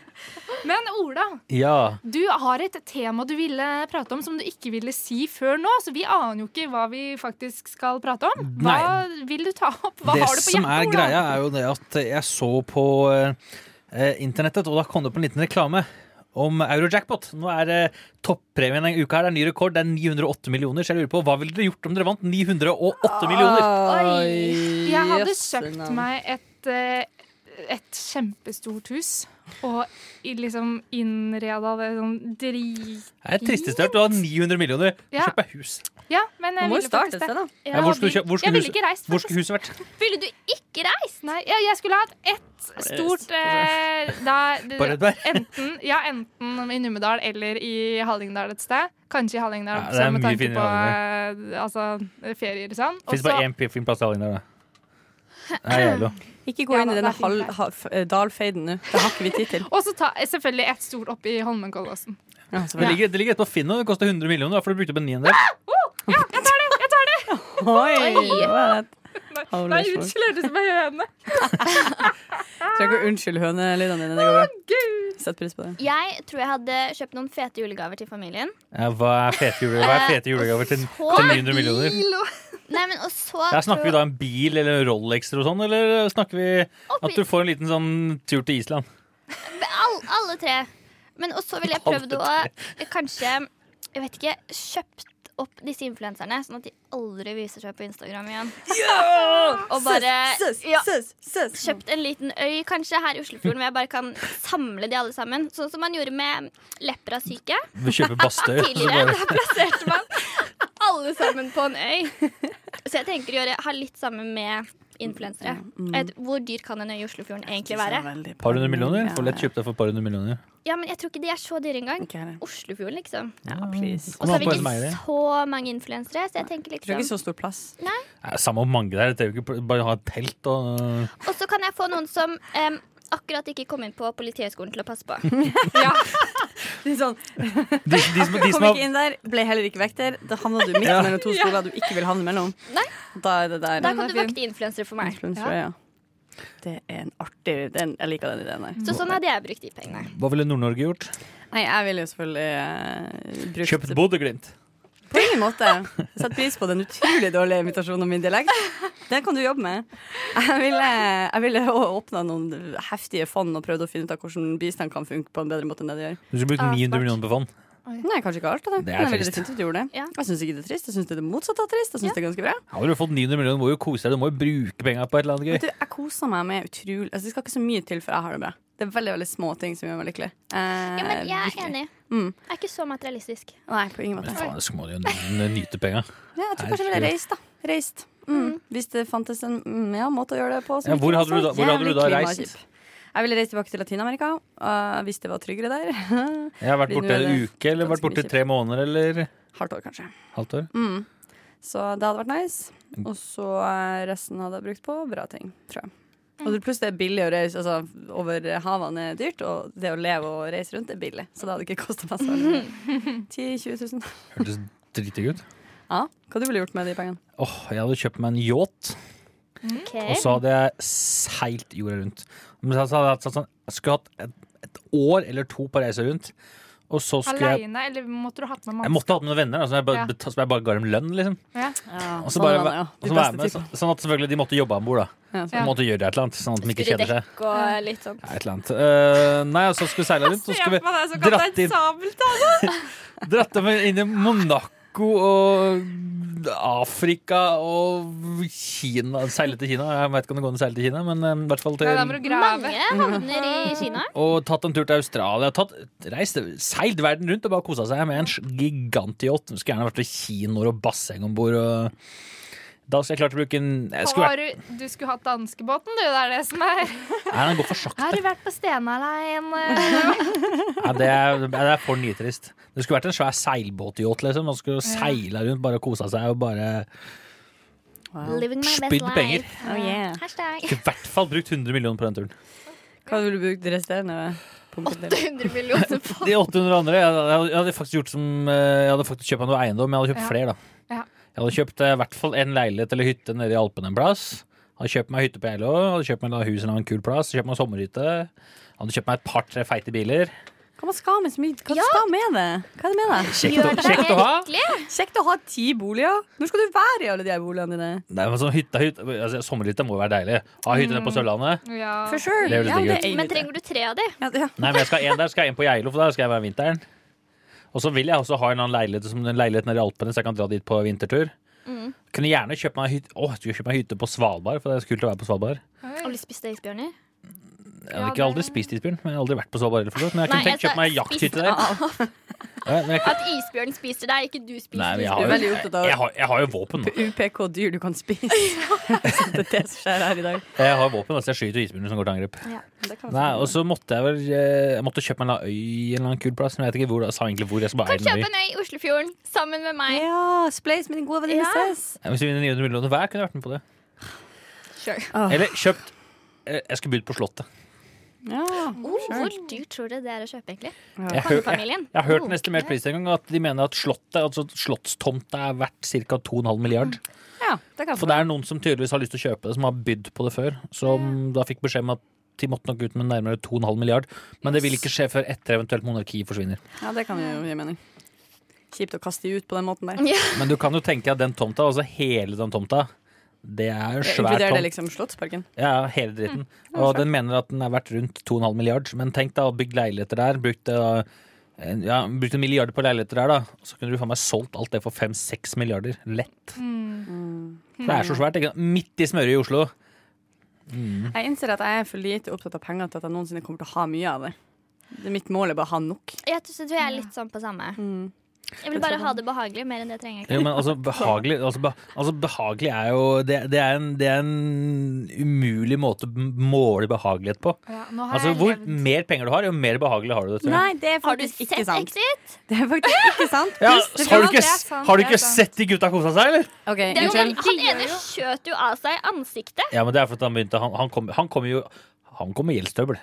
[SPEAKER 1] Men Ola,
[SPEAKER 4] Ja.
[SPEAKER 1] du har et tema du ville prate om som du ikke ville si før nå, så vi aner jo ikke hva vi faktisk skal prate om. Hva vil du ta opp? Hva
[SPEAKER 4] det
[SPEAKER 1] har du på
[SPEAKER 4] som er
[SPEAKER 1] hjertet, Ola?
[SPEAKER 4] greia, er jo det at jeg så på eh, internettet, og da kom det på en liten reklame om Eurojackpot. Nå er eh, toppremien denne uka her, det er ny rekord, det er 908 millioner. Så jeg lurer på, hva ville dere gjort om dere vant
[SPEAKER 1] Ah,
[SPEAKER 4] 908 millioner?
[SPEAKER 2] Oi,
[SPEAKER 1] Jeg hadde
[SPEAKER 2] jøsse
[SPEAKER 1] kjøpt
[SPEAKER 2] navn.
[SPEAKER 1] meg et, eh, et kjempestort hus. Og i- liksom innreda det sånn drit...
[SPEAKER 4] Det er tristest hørt, du har 900 millioner.
[SPEAKER 1] Ja.
[SPEAKER 4] Kjøp deg hus.
[SPEAKER 1] Ja, men
[SPEAKER 2] Man
[SPEAKER 1] jeg
[SPEAKER 2] må jo
[SPEAKER 1] ville faktisk
[SPEAKER 2] starte et sted,
[SPEAKER 1] det.
[SPEAKER 2] da.
[SPEAKER 3] Ja.
[SPEAKER 4] Nei, hvor skulle, kjø- hvor
[SPEAKER 1] Jeg
[SPEAKER 4] skulle,
[SPEAKER 1] ville
[SPEAKER 4] huset,
[SPEAKER 1] ikke reist,
[SPEAKER 4] hvor skulle huset vært?
[SPEAKER 3] Ville du ikke reist?
[SPEAKER 1] Nei, jeg, jeg skulle hatt ett stort
[SPEAKER 4] [LAUGHS]
[SPEAKER 1] eh, da,
[SPEAKER 4] Bare et bær?
[SPEAKER 1] [LAUGHS] enten, ja, enten i Numedal eller i Hallingdal et sted. Kanskje i Hallingdal,
[SPEAKER 4] Ja, det er
[SPEAKER 1] også, med
[SPEAKER 4] mye
[SPEAKER 1] tanke
[SPEAKER 4] finere i
[SPEAKER 1] på eh, altså, ferier og sånn.
[SPEAKER 4] Fins
[SPEAKER 1] Også-
[SPEAKER 4] bare én p- fin plass i Hallingdal. da. Nei, jeg er lov.
[SPEAKER 2] Ikke gå
[SPEAKER 1] Ja
[SPEAKER 2] inn
[SPEAKER 1] da,
[SPEAKER 2] i
[SPEAKER 1] det
[SPEAKER 2] denne
[SPEAKER 1] er fint,
[SPEAKER 2] hal-
[SPEAKER 1] det.
[SPEAKER 2] ha- f- eh, dalfeiden nå. Det har ikke vi
[SPEAKER 4] [LAUGHS]
[SPEAKER 2] tid til.
[SPEAKER 1] Og så ta selvfølgelig et stort opp i Holmenkollåsen.
[SPEAKER 2] Ja,
[SPEAKER 4] Det
[SPEAKER 2] selvfølgelig.
[SPEAKER 4] ligger, det ligger et på Finn, og det koster 100 millioner, da, for du brukte på 900.
[SPEAKER 2] Oi!
[SPEAKER 4] [LAUGHS]
[SPEAKER 2] hva er det? Holy
[SPEAKER 1] Nei,
[SPEAKER 2] smoke.
[SPEAKER 1] unnskyld, hørtes meg i høne.
[SPEAKER 2] Trenger ikke å unnskylde hønelydene dine. Det går bra. Sett pris på det.
[SPEAKER 3] Jeg tror jeg hadde kjøpt noen fete julegaver til familien.
[SPEAKER 4] Ja, hva er fete julegaver, hva er fete julegaver til, til 900 millioner?
[SPEAKER 3] Nei, men og så
[SPEAKER 4] Ja, snakker vi
[SPEAKER 3] tror-
[SPEAKER 4] da en bil eller en Rolex eller sånn, eller snakker vi at du får en liten sånn tur til Island?
[SPEAKER 3] All, alle tre. Men og så ville jeg prøvd å kanskje Jeg vet ikke. Kjøpt opp disse influenserne, sånn at de aldri viser seg på Instagram igjen. Og bare ja, kjøpt en liten øy, kanskje, her i Oslofjorden, hvor jeg bare kan samle de alle sammen. Sånn som man gjorde med leprasyke.
[SPEAKER 4] Vi kjøper Bastøy. og så
[SPEAKER 3] Tidligere
[SPEAKER 4] bare-
[SPEAKER 3] [LAUGHS] da plasserte man alle sammen på en øy. Så jeg tenker å gjøre, ha litt samme med influensere.
[SPEAKER 2] Mm,
[SPEAKER 3] Et- Hvor dyr kan en øy i Oslofjorden egentlig være?
[SPEAKER 4] Par hundre millioner? Får lett kjøpt det for et par hundre millioner.
[SPEAKER 3] Ja, men jeg tror ikke de er så dyre engang.
[SPEAKER 2] Ikke heller.
[SPEAKER 3] Oslofjorden, liksom.
[SPEAKER 2] Ja, please.
[SPEAKER 3] Og så
[SPEAKER 4] Kom an
[SPEAKER 3] har
[SPEAKER 4] på
[SPEAKER 3] vi
[SPEAKER 4] hvem eier det.
[SPEAKER 3] ikke så mange influensere, så jeg tenker
[SPEAKER 2] Jeg tror ikke
[SPEAKER 3] liksom
[SPEAKER 2] så stor plass.
[SPEAKER 4] Nei, Samme om mange der, det er jo ikke bare å ha et telt og
[SPEAKER 3] Og så kan jeg få noen som em, akkurat ikke kom inn på Politihøgskolen til å
[SPEAKER 2] [LAUGHS]
[SPEAKER 3] passe på.
[SPEAKER 2] Litt sånn,
[SPEAKER 4] De, de, som, de
[SPEAKER 2] Kom
[SPEAKER 4] som har
[SPEAKER 2] ikke inn der, ble heller ikke vekter. Da havna du midt
[SPEAKER 4] Ja.
[SPEAKER 2] mellom to stoler du ikke vil havne mellom.
[SPEAKER 3] Nei.
[SPEAKER 2] Da er det der.
[SPEAKER 3] Da
[SPEAKER 1] Den
[SPEAKER 3] kan du
[SPEAKER 1] er fin.
[SPEAKER 3] vakte influensere for meg.
[SPEAKER 2] Influencer, ja. Det er en artig den, Jeg liker den ideen der.
[SPEAKER 3] Så sånn hadde jeg brukt de pengene.
[SPEAKER 4] Hva ville Nord-Norge gjort?
[SPEAKER 2] Nei, jeg ville jo selvfølgelig eh, brukt
[SPEAKER 4] Kjøpt Bodø-Glimt.
[SPEAKER 2] På ingen måte. Jeg setter pris på den utrolig dårlige imitasjonen av min dialekt. Den kan du jobbe med. Jeg ville, jeg ville åpna noen heftige fond og prøvd å finne ut av hvordan bistand kan funke på en bedre måte enn det det gjør.
[SPEAKER 4] Du skulle brukt
[SPEAKER 1] Ah,
[SPEAKER 4] 900
[SPEAKER 1] smart.
[SPEAKER 4] millioner på fond.
[SPEAKER 2] Nei, kanskje ikke alt av det.
[SPEAKER 4] Det er
[SPEAKER 2] Men jeg ville
[SPEAKER 4] trist.
[SPEAKER 2] definitivt gjort det.
[SPEAKER 3] Ja.
[SPEAKER 2] Jeg syns ikke det er trist. Jeg syns det er det motsatte av trist. Jeg syns det er ganske bra.
[SPEAKER 4] Ja, men du har fått 900 millioner, du må jo kose deg. Du må jo bruke penga på et eller
[SPEAKER 2] Vet
[SPEAKER 4] annet gøy.
[SPEAKER 2] du, jeg koser meg med utrolig altså, Det skal ikke så mye til for jeg har det bra. Det er veldig veldig små ting som gjør meg lykkelig. Eh,
[SPEAKER 3] Ja, men jeg er
[SPEAKER 2] virkelig.
[SPEAKER 3] enig.
[SPEAKER 2] Mm.
[SPEAKER 3] Jeg er ikke så materialistisk.
[SPEAKER 2] Nei, på ingen måte.
[SPEAKER 4] Men faen, så må du jo n- nyte penga.
[SPEAKER 2] Ja, jeg tror kanskje jeg ville reist, da. Reist. Mm. Hvis det fantes en mm, ja, måte å gjøre det sånn. på. som
[SPEAKER 4] Ja, hvor
[SPEAKER 2] ikke var
[SPEAKER 4] hadde du
[SPEAKER 2] så
[SPEAKER 4] da- hvor hadde du da
[SPEAKER 2] jævlig
[SPEAKER 4] reist?
[SPEAKER 2] klimakjip. Jeg ville reist tilbake til Latin-Amerika øh, hvis det var tryggere der. [LAUGHS]
[SPEAKER 4] Jeg har vært
[SPEAKER 2] Blir nå
[SPEAKER 4] borte en
[SPEAKER 2] det
[SPEAKER 4] uke, eller vært
[SPEAKER 2] ganske mye
[SPEAKER 4] borte tre måneder, eller
[SPEAKER 2] Halvt år, kanskje.
[SPEAKER 4] halvt år.
[SPEAKER 2] Mm. Så det hadde vært nice.
[SPEAKER 4] Mm.
[SPEAKER 2] Og så øh, resten hadde jeg brukt på bra ting, tror jeg. Og det- pluss det er billig å reise altså, over havene er dyrt, og det å leve og reise rundt er billig. Så det hadde ikke kosta meg så veldig mye. [LAUGHS] 10 000-20 000.
[SPEAKER 4] Hørtes dritdigg ut.
[SPEAKER 2] Ja, hva du ville gjort med de pengene?
[SPEAKER 4] Åh, Jeg hadde kjøpt meg en yacht,
[SPEAKER 3] Ok.
[SPEAKER 4] og så hadde jeg seilt jorda rundt. Men så hadde jeg hatt sånn, jeg skulle hatt et, et år eller to på reise rundt, og så skulle jeg
[SPEAKER 1] Aleine, eller måtte du hatt med
[SPEAKER 4] jeg
[SPEAKER 1] mamma?
[SPEAKER 4] måtte ha hatt noen venner, da, så jeg bare,
[SPEAKER 1] Ja.
[SPEAKER 4] bet- så jeg bare ga dem lønn. liksom
[SPEAKER 2] Ja,
[SPEAKER 4] Og så bare,
[SPEAKER 2] sånn er det, ja.
[SPEAKER 4] og
[SPEAKER 2] De
[SPEAKER 4] så være
[SPEAKER 2] beste
[SPEAKER 4] med,
[SPEAKER 2] tipene.
[SPEAKER 4] så- Sånn at selvfølgelig de måtte jobbe om bord.
[SPEAKER 2] Ja,
[SPEAKER 4] De måtte gjøre et eller annet, sånn at de ikke
[SPEAKER 3] Skru
[SPEAKER 4] kjeder seg.
[SPEAKER 3] dekk og litt sånn.
[SPEAKER 4] Ja, Et eller annet. Eh, nei, og så skulle vi seile rundt. Så
[SPEAKER 1] Se
[SPEAKER 4] skulle
[SPEAKER 1] på meg, det er så
[SPEAKER 4] vi
[SPEAKER 1] kalt
[SPEAKER 4] dratt
[SPEAKER 1] en
[SPEAKER 4] inn,
[SPEAKER 1] sabeltann.
[SPEAKER 4] dratt dem inn i Monaco og Afrika og Kina. Seile til Kina. Jeg vet ikke om det går an å seile til Kina, men eh, i hvert fall
[SPEAKER 1] Ja, da må
[SPEAKER 4] til
[SPEAKER 1] du grave.
[SPEAKER 3] Mange havner i Kina.
[SPEAKER 4] Og tatt en tur til Australia. Tatt, reist, seilt verden rundt og bare kosa seg med en sj- gigantyacht. Skulle gjerne vært ved kinoer og basseng om bord. Og... Da skulle jeg klart å bruke en jeg skulle vært,
[SPEAKER 1] Har du, du skulle hatt danskebåten, du. Det er det som er
[SPEAKER 4] Nei, den går for sakte.
[SPEAKER 1] Har du vært på Stenaleien?
[SPEAKER 4] Nei, det, er, det er for nitrist. Det skulle vært en svær seilbåtyacht. Liksom. Man skulle seile rundt, bare kosa seg og bare
[SPEAKER 2] Wow.
[SPEAKER 3] Living my best
[SPEAKER 4] Spydd penger.
[SPEAKER 3] life.
[SPEAKER 2] Oh, yeah.
[SPEAKER 3] Hashtag.
[SPEAKER 4] I hvert fall brukt 100 millioner på den turen.
[SPEAKER 2] Hva ville du brukt det resterende punktet til?
[SPEAKER 3] 800 millioner på
[SPEAKER 4] De 800 andre jeg hadde, jeg hadde faktisk gjort som eh, Jeg hadde faktisk kjøpt meg noe eiendom, men jeg hadde kjøpt
[SPEAKER 1] Ja.
[SPEAKER 4] flere, da.
[SPEAKER 1] Ja.
[SPEAKER 4] Jeg hadde kjøpt eh, i hvert fall en leilighet eller hytte nede i Alpene en plass. Hadde kjøpt meg hytte på Eilå, hadde kjøpt meg et hus en annen kul plass, kjøpt meg sommerhytte. Hadde kjøpt meg et par-tre feite biler.
[SPEAKER 2] Hva man skal med så mye? Hva du skal med det? Hva er det med det?
[SPEAKER 4] Kjekt, å- kjekt å ha.
[SPEAKER 2] Kjekt å ha ti boliger. Når skal du være i alle de her boligene dine?
[SPEAKER 4] Nei, men sånn hytte, hytte, altså, sommerhytte må jo være deilig. Ha hytte nede på Sørlandet.
[SPEAKER 1] [LAUGHS] Ja.
[SPEAKER 2] For sure.
[SPEAKER 4] Det høres digg ut.
[SPEAKER 3] Men trenger du tre av de?
[SPEAKER 2] ja, ja.
[SPEAKER 4] Nei, men jeg skal ha en der, skal jeg en på Geilo, for der skal jeg være vinteren. Og så vil jeg også ha en annen leilighet som en leilighet nede i Alpene, så jeg kan dra dit på vintertur.
[SPEAKER 3] Mm.
[SPEAKER 4] Kunne gjerne kjøpt meg hytte Åh, jeg skulle kjøpt meg hytte på Svalbard, for det er så kult å være på Svalbard.
[SPEAKER 3] Har du spist isbjørner?
[SPEAKER 4] Jeg hadde
[SPEAKER 1] Ja,
[SPEAKER 4] ikke aldri
[SPEAKER 1] det-
[SPEAKER 4] spist isbjørn, men jeg har aldri vært på Svalbard heller, for så vidt, Men jeg kunne
[SPEAKER 3] Nei,
[SPEAKER 4] tenkt
[SPEAKER 3] jeg
[SPEAKER 4] kjøpt meg
[SPEAKER 3] skal spise
[SPEAKER 4] jakthytte der. [LAUGHS] Ja, men jeg,
[SPEAKER 3] At isbjørnen spiser deg, ikke du spiser
[SPEAKER 4] nei, men jeg
[SPEAKER 2] Du
[SPEAKER 4] har,
[SPEAKER 2] er
[SPEAKER 4] jo,
[SPEAKER 2] veldig opptatt av-
[SPEAKER 4] jeg, har, jeg har jo våpen nå.
[SPEAKER 2] UPK dyr du kan spise. [LAUGHS] det er det som skjer her i dag.
[SPEAKER 4] Jeg har våpen, altså jeg skyter isbjørner som går til angrep.
[SPEAKER 2] Det kan
[SPEAKER 4] Nei, og så måtte jeg vel eh, Jeg måtte kjøpe meg en eller annen øy en eller annen kul plass, men jeg vet ikke hvor. Jeg sa egentlig hvor. Jeg skal bare
[SPEAKER 3] Kan
[SPEAKER 4] eie en
[SPEAKER 3] kjøpe
[SPEAKER 4] øy.
[SPEAKER 3] en øy i Oslofjorden sammen med meg.
[SPEAKER 2] ja, Spleis med din gode venninne
[SPEAKER 3] Ja.
[SPEAKER 2] Cess.
[SPEAKER 4] Hvis vi vinner 900 millioner hver, kunne jeg vært med på det.
[SPEAKER 3] Sure.
[SPEAKER 4] Eller kjøpt eh, Jeg skulle bydd på Slottet.
[SPEAKER 2] Ja, sure.
[SPEAKER 3] Oh, Hvor dyrt tror dere det er å kjøpe, egentlig?
[SPEAKER 4] Jeg, hø- jeg,
[SPEAKER 3] Kongefamilien?
[SPEAKER 4] jeg har hørt
[SPEAKER 3] Oh,
[SPEAKER 4] en estimert
[SPEAKER 3] ja.
[SPEAKER 4] pris en gang at de mener at Slottet, altså Slottstomta er verdt ca. 2,5 milliard.
[SPEAKER 2] ja, det kan
[SPEAKER 4] For det er noen som tydeligvis har lyst til å kjøpe det, som har bydd på det før. Som da fikk beskjed om at de måtte nok ut med nærmere 2,5 milliard. Men det vil ikke skje før etter eventuelt monarkiet forsvinner.
[SPEAKER 2] ja, det kan jo gi mening. Kjipt å kaste de ut på den måten der.
[SPEAKER 4] Men du kan jo tenke at den tomta, altså hele den tomta, det er en svær
[SPEAKER 2] Inkluderer det
[SPEAKER 4] tomt.
[SPEAKER 2] liksom Slottsparken?
[SPEAKER 4] Ja, hele dritten. Og den mener at den er verdt rundt 2,5 milliard. Men tenk da, å bygge leiligheter der, brukt, eh, en- ja, brukt en milliard på leiligheter der, da. Og så kunne du faen meg solgt alt det for 5-6 milliarder. Lett. For det er så svært. Ikke? sant? Midt i smøret i Oslo.
[SPEAKER 2] Jeg innser at jeg er for lite opptatt av penger til at jeg noensinne kommer til å ha mye av det. det mitt mål er bare å ha nok.
[SPEAKER 3] Jeg tror så tror jeg er litt sånn på samme. Jeg vil bare ha det behagelig, mer enn det trenger jeg ikke.
[SPEAKER 4] Jo, men altså, behagelig, altså, be, altså, behagelig er jo det, det, er en, det er en umulig måte å måle behagelighet på.
[SPEAKER 1] Ja, nå har
[SPEAKER 4] Altså,
[SPEAKER 1] jeg
[SPEAKER 4] Hvor
[SPEAKER 1] levd-
[SPEAKER 4] mer penger du har, jo mer behagelig har du det. tror jeg.
[SPEAKER 2] det er
[SPEAKER 3] Har du sett Exit?
[SPEAKER 2] Det er faktisk ikke sant.
[SPEAKER 3] [LAUGHS]
[SPEAKER 4] Ja,
[SPEAKER 2] Pluss det
[SPEAKER 1] det er
[SPEAKER 4] har du ikke,
[SPEAKER 1] sant,
[SPEAKER 4] har du
[SPEAKER 1] det er
[SPEAKER 4] ikke
[SPEAKER 1] sant.
[SPEAKER 4] sett de gutta kosa seg, eller?
[SPEAKER 2] OK,
[SPEAKER 3] Det er jo,
[SPEAKER 2] unnskyld.
[SPEAKER 3] han ene skjøt jo av seg ansiktet.
[SPEAKER 4] Ja, men det er fordi han begynte Han, han kommer han kom jo han kom med gjeldsstøvel.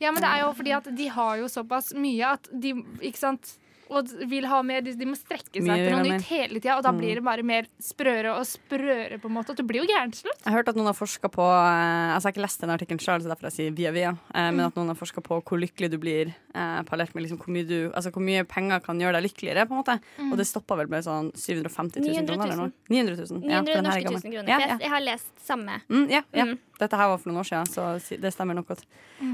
[SPEAKER 1] Ja, men det er jo fordi at de har jo såpass mye at de Ikke sant? Og d- vil ha mer. De, de må strekke seg
[SPEAKER 2] Mye
[SPEAKER 1] etter
[SPEAKER 2] vil ha
[SPEAKER 1] noe
[SPEAKER 2] mer.
[SPEAKER 1] nytt hele tida, og da blir det bare mer sprøere og sprøere, på en måte. At du blir jo gæren til slutt.
[SPEAKER 2] Jeg har hørt at noen har forska på eh, Altså, jeg har ikke lest den artikkelen sjøl, så derfor jeg sier via via. eh,
[SPEAKER 3] Mm.
[SPEAKER 2] Men at noen har forska på hvor lykkelig du blir eh, parallelt med liksom hvor, mye du, altså hvor mye penger kan gjøre deg lykkeligere, på en måte.
[SPEAKER 3] Mm.
[SPEAKER 2] Og det stoppa vel med sånn 750 000 kroner eller noe. 900 000.
[SPEAKER 3] 900 norske
[SPEAKER 2] gammel.
[SPEAKER 3] tusen kroner.
[SPEAKER 2] Ja,
[SPEAKER 3] For
[SPEAKER 2] ja.
[SPEAKER 3] jeg, jeg har lest samme.
[SPEAKER 2] Mm, ja, ja.
[SPEAKER 3] Mm.
[SPEAKER 2] Dette her var for noen år siden, så si- det stemmer nok godt.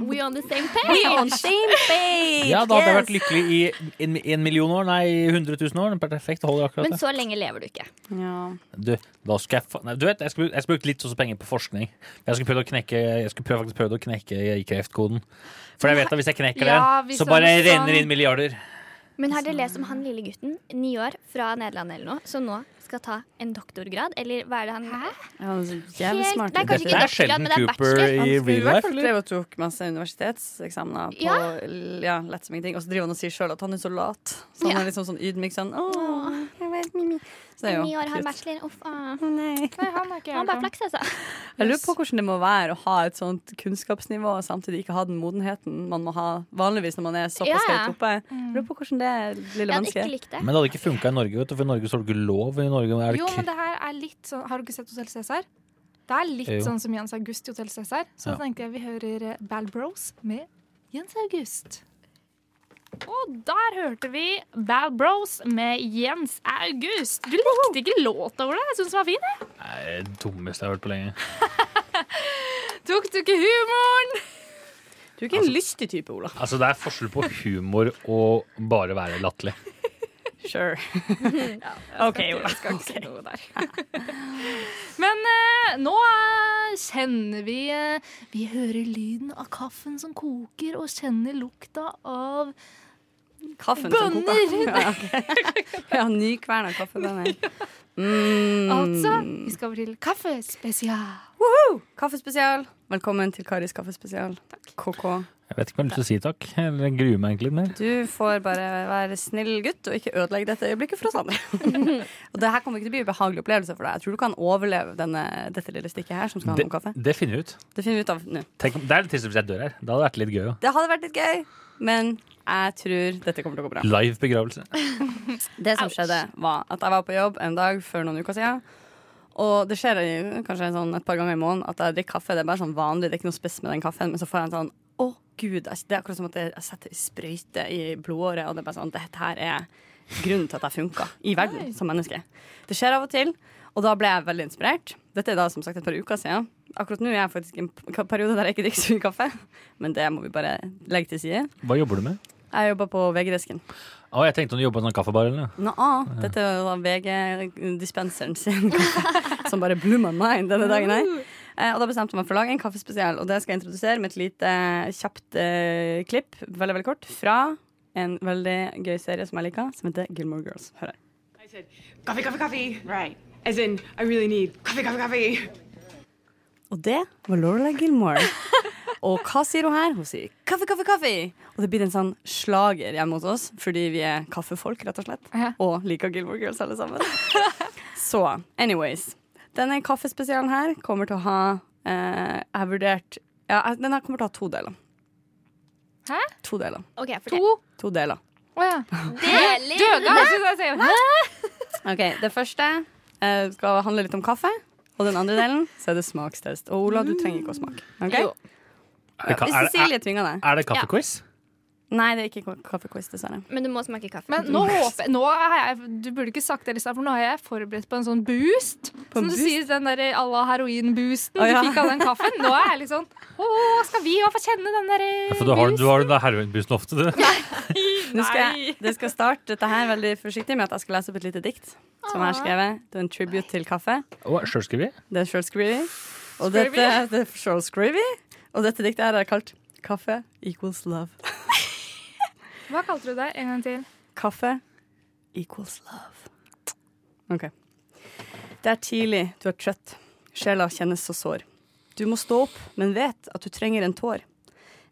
[SPEAKER 3] We on the same page.
[SPEAKER 2] same page!
[SPEAKER 4] Ja, da hadde jeg vært lykkelig i en, en million år, nei, 100 000 år. Perfekt. Holder akkurat
[SPEAKER 3] Men
[SPEAKER 4] det.
[SPEAKER 3] så lenge lever du ikke.
[SPEAKER 2] Ja.
[SPEAKER 4] Du, da skal jeg, fa- nei, du vet, jeg skulle, jeg skulle brukt litt sånn penger på forskning. Jeg skulle prøvd å knekke, jeg skulle prøve, faktisk prøvd å knekke kreftkoden. For jeg vet at hvis jeg knekker
[SPEAKER 1] Ja,
[SPEAKER 4] den,
[SPEAKER 1] hvis
[SPEAKER 4] så bare
[SPEAKER 1] han-
[SPEAKER 4] renner inn milliarder.
[SPEAKER 3] Men har dere lest om han lille gutten, ni år, fra Nederland eller noe, som nå skal ta en doktorgrad? Eller hva er det han
[SPEAKER 2] ja det er så jævlig
[SPEAKER 3] Helt,
[SPEAKER 2] smart.
[SPEAKER 3] det er kanskje
[SPEAKER 4] Dette
[SPEAKER 3] ikke
[SPEAKER 4] er
[SPEAKER 3] doktorgrad,
[SPEAKER 4] Sheldon
[SPEAKER 3] men det er
[SPEAKER 4] Cooper
[SPEAKER 3] bachelor.
[SPEAKER 4] i
[SPEAKER 2] Han skulle
[SPEAKER 4] real
[SPEAKER 2] i hvert
[SPEAKER 4] life,
[SPEAKER 2] fall
[SPEAKER 4] eller?
[SPEAKER 2] drev og tok masse universitetseksamener på
[SPEAKER 3] Ja.
[SPEAKER 2] l- ja, lett som ingenting. Og så driver han og sier sjøl at han er så lat. Så han
[SPEAKER 3] Ja.
[SPEAKER 2] er liksom sånn ydmyk sånn Åh, jeg vet, Mimi. Så det er
[SPEAKER 3] Ni
[SPEAKER 2] jo
[SPEAKER 3] år har
[SPEAKER 2] cute.
[SPEAKER 3] bachelor. Uff, ah.
[SPEAKER 2] Å, nei.
[SPEAKER 1] Nei, han er ikke
[SPEAKER 3] Han bare flaks, altså.
[SPEAKER 2] Jeg lurer på hvordan det må være å ha et sånt kunnskapsnivå og samtidig ikke ha den modenheten man må ha vanligvis når man er såpass
[SPEAKER 3] Ja.
[SPEAKER 2] høyt oppe. Jeg lurer på hvordan det er,
[SPEAKER 3] Jeg
[SPEAKER 2] lille
[SPEAKER 3] hadde ikke
[SPEAKER 2] mennesket.
[SPEAKER 3] likt det.
[SPEAKER 4] Men det hadde ikke funka i Norge, vet du, for i Norge så har du ikke lov. I Norge er det
[SPEAKER 1] Jo, men
[SPEAKER 4] k-
[SPEAKER 1] det her er litt sånn Har du ikke sett Hotell Cæsar? Det er litt
[SPEAKER 4] Jo.
[SPEAKER 1] sånn som Jens August i Hotell Cæsar. Så
[SPEAKER 4] Ja.
[SPEAKER 1] tenkte jeg vi hører eh, Bal Bros med Jens August. Og der hørte vi Bal Bros med Jens August. Du likte ikke låta, Ola? Jeg syns den var fin. jeg.
[SPEAKER 4] Nei, det er det dummeste jeg har hørt på lenge.
[SPEAKER 1] Tok du ikke humoren?
[SPEAKER 2] Du er ikke en lystig type, Ola.
[SPEAKER 4] Altså, det er forskjell på humor og bare være latterlig.
[SPEAKER 2] Sure. [LAUGHS] OK, Ola.
[SPEAKER 1] [LAUGHS] Men eh, nå eh, kjenner vi eh, Vi hører lyden av kaffen som koker, og kjenner lukta av
[SPEAKER 2] Kaffen som koker.
[SPEAKER 1] Bønner!
[SPEAKER 2] Ja, ok. [LAUGHS] ja nykverna
[SPEAKER 3] [LAUGHS]
[SPEAKER 2] kaffebønner. Mm.
[SPEAKER 1] Altså, vi skal over til kaffespesial.
[SPEAKER 2] Woohoo! Kaffespesial. Velkommen til Karis kaffespesial. KK.
[SPEAKER 4] Jeg vet ikke om jeg har lyst til å si takk. Eller jeg gruer meg egentlig litt mer.
[SPEAKER 2] Du får bare være snill gutt og ikke ødelegge dette øyeblikket for oss andre. og det her kommer ikke til å bli en behagelig opplevelse for deg. Jeg tror du kan overleve denne, dette lille stikket her som skal handle om kaffe.
[SPEAKER 4] Det, det finner vi ut.
[SPEAKER 2] Det finner vi ut av nå.
[SPEAKER 4] Tenk, om- det er litt trist hvis jeg dør her. Det hadde vært litt gøy òg.
[SPEAKER 2] Det hadde vært litt gøy, men jeg tror dette kommer til å gå bra.
[SPEAKER 4] Live begravelse.
[SPEAKER 2] Det som skjedde var at jeg var på jobb en dag for noen uker siden. Og det skjer jo kanskje sånn et par ganger i måneden at jeg drikker kaffe. Det er bare sånn vanlig, det er ikke noe spes med den kaffen. Men så får jeg en sånn Å, gud. jeg- Det er akkurat som at jeg jeg setter en sprøyte i blodåret, og det er bare sånn Dette her er grunnen til at jeg funker i verden som menneske. Det skjer av og til, og da ble jeg veldig inspirert. Dette er da som sagt et par uker siden. Akkurat nå er jeg faktisk i en p- periode der jeg ikke drikker så mye kaffe, men det må vi bare legge til side.
[SPEAKER 4] Hva jobber du med?
[SPEAKER 2] Jeg jobber på VG-desken.
[SPEAKER 4] Å, jeg tenkte om du jobba på en sånn kaffebar eller noe.
[SPEAKER 2] Nå, dette var VG-dispenseren sin som bare blew my mind denne dagen her. Eh, Og da bestemte jeg meg for å lage en kaffespesial, og det skal jeg introdusere med et lite eh, kjapt eh, klipp, veldig, veldig kort, fra en veldig gøy serie som jeg liker, som heter Gilmore Girls. Hør her.
[SPEAKER 7] I said, coffee, coffee, coffee. Right. As in, I really need coffee, coffee, coffee.
[SPEAKER 2] Og det var Lorelai Gilmore. Og hva sier hun her? Hun sier kaffe, kaffe, kaffe. Og det blir en sånn slager hjemme hos oss, fordi vi er kaffefolk, rett og slett.
[SPEAKER 1] Ja.
[SPEAKER 2] Og liker Gilmore Girls alle sammen. Så anyways. Denne kaffespesialen her kommer til å ha Eh, jeg har vurdert ja, jeg- Den her kommer til å ha to deler.
[SPEAKER 1] Hæ?
[SPEAKER 2] To deler.
[SPEAKER 3] OK, fortell.
[SPEAKER 1] To?
[SPEAKER 2] To deler.
[SPEAKER 1] Å ja.
[SPEAKER 3] Deler
[SPEAKER 1] Døga! Jeg synes jeg sier, Hæ?
[SPEAKER 2] Ok, Det første eh, skal handle litt om kaffe. Og den andre delen så er det smakstest. Og Ola, du trenger ikke å smake. Okay?
[SPEAKER 1] Jo.
[SPEAKER 4] Det kan-
[SPEAKER 2] Hvis
[SPEAKER 4] er det-
[SPEAKER 2] Cecilie tvinger deg.
[SPEAKER 4] Er det kaffequiz?
[SPEAKER 2] Nei, det er ikke ka- kaffequiz, dessverre.
[SPEAKER 3] Men du må smake kaffe.
[SPEAKER 1] Men nå håper nå har jeg Du burde ikke sagt det, Lisa, for nå har jeg forberedt på en sånn boost.
[SPEAKER 2] På
[SPEAKER 1] som
[SPEAKER 2] en
[SPEAKER 1] du
[SPEAKER 2] boost?
[SPEAKER 1] sier, den der à la heroin-boosten
[SPEAKER 2] Å, ja.
[SPEAKER 1] du fikk av den kaffen. Nå er jeg
[SPEAKER 2] [LAUGHS]
[SPEAKER 1] liksom Å, skal vi òg få kjenne den der eh,
[SPEAKER 8] For du har, du
[SPEAKER 1] boost?
[SPEAKER 8] har den der heroinbussen ofte, du.
[SPEAKER 2] Nå skal jeg, det skal starte dette her veldig forsiktig med at jeg skal lese opp et lite dikt som jeg har skrevet. Det er en tribute til kaffe.
[SPEAKER 4] Å, Sjølskrevet?
[SPEAKER 2] Det er sjølskrivi. Og dette, det er sjølskrivi. Og dette diktet her er kalt 'Kaffe equals love'.
[SPEAKER 1] Hva kalte du deg en gang til?
[SPEAKER 2] Kaffe equals love. OK. Det er tidlig, du er trøtt. Sjela kjennes så sår. Du må stå opp, men vet at du trenger en tår.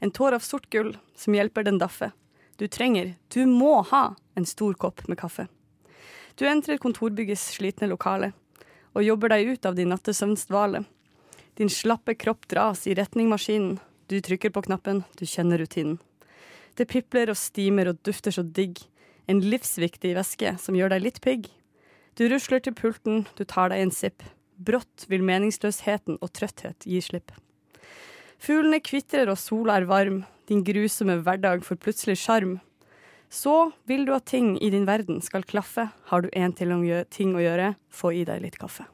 [SPEAKER 2] En tår av sort gull som hjelper den daffe. Du trenger, du må ha, en stor kopp med kaffe. Du entrer kontorbyggets slitne lokale og jobber deg ut av din nattesøvns dvale. Din slappe kropp dras i retning maskinen. Du trykker på knappen, du kjenner rutinen. Det pipler og stimer og dufter så digg. En livsviktig væske som gjør deg litt pigg. Du rusler til pulten, du tar deg en sipp. Brått vil meningsløsheten og trøtthet gi slipp. Fuglene kvitrer og sola er varm, din grusomme hverdag får plutselig sjarm. Så vil du at ting i din verden skal klaffe, har du én til å gjø- ting å gjøre, få i deg litt kaffe.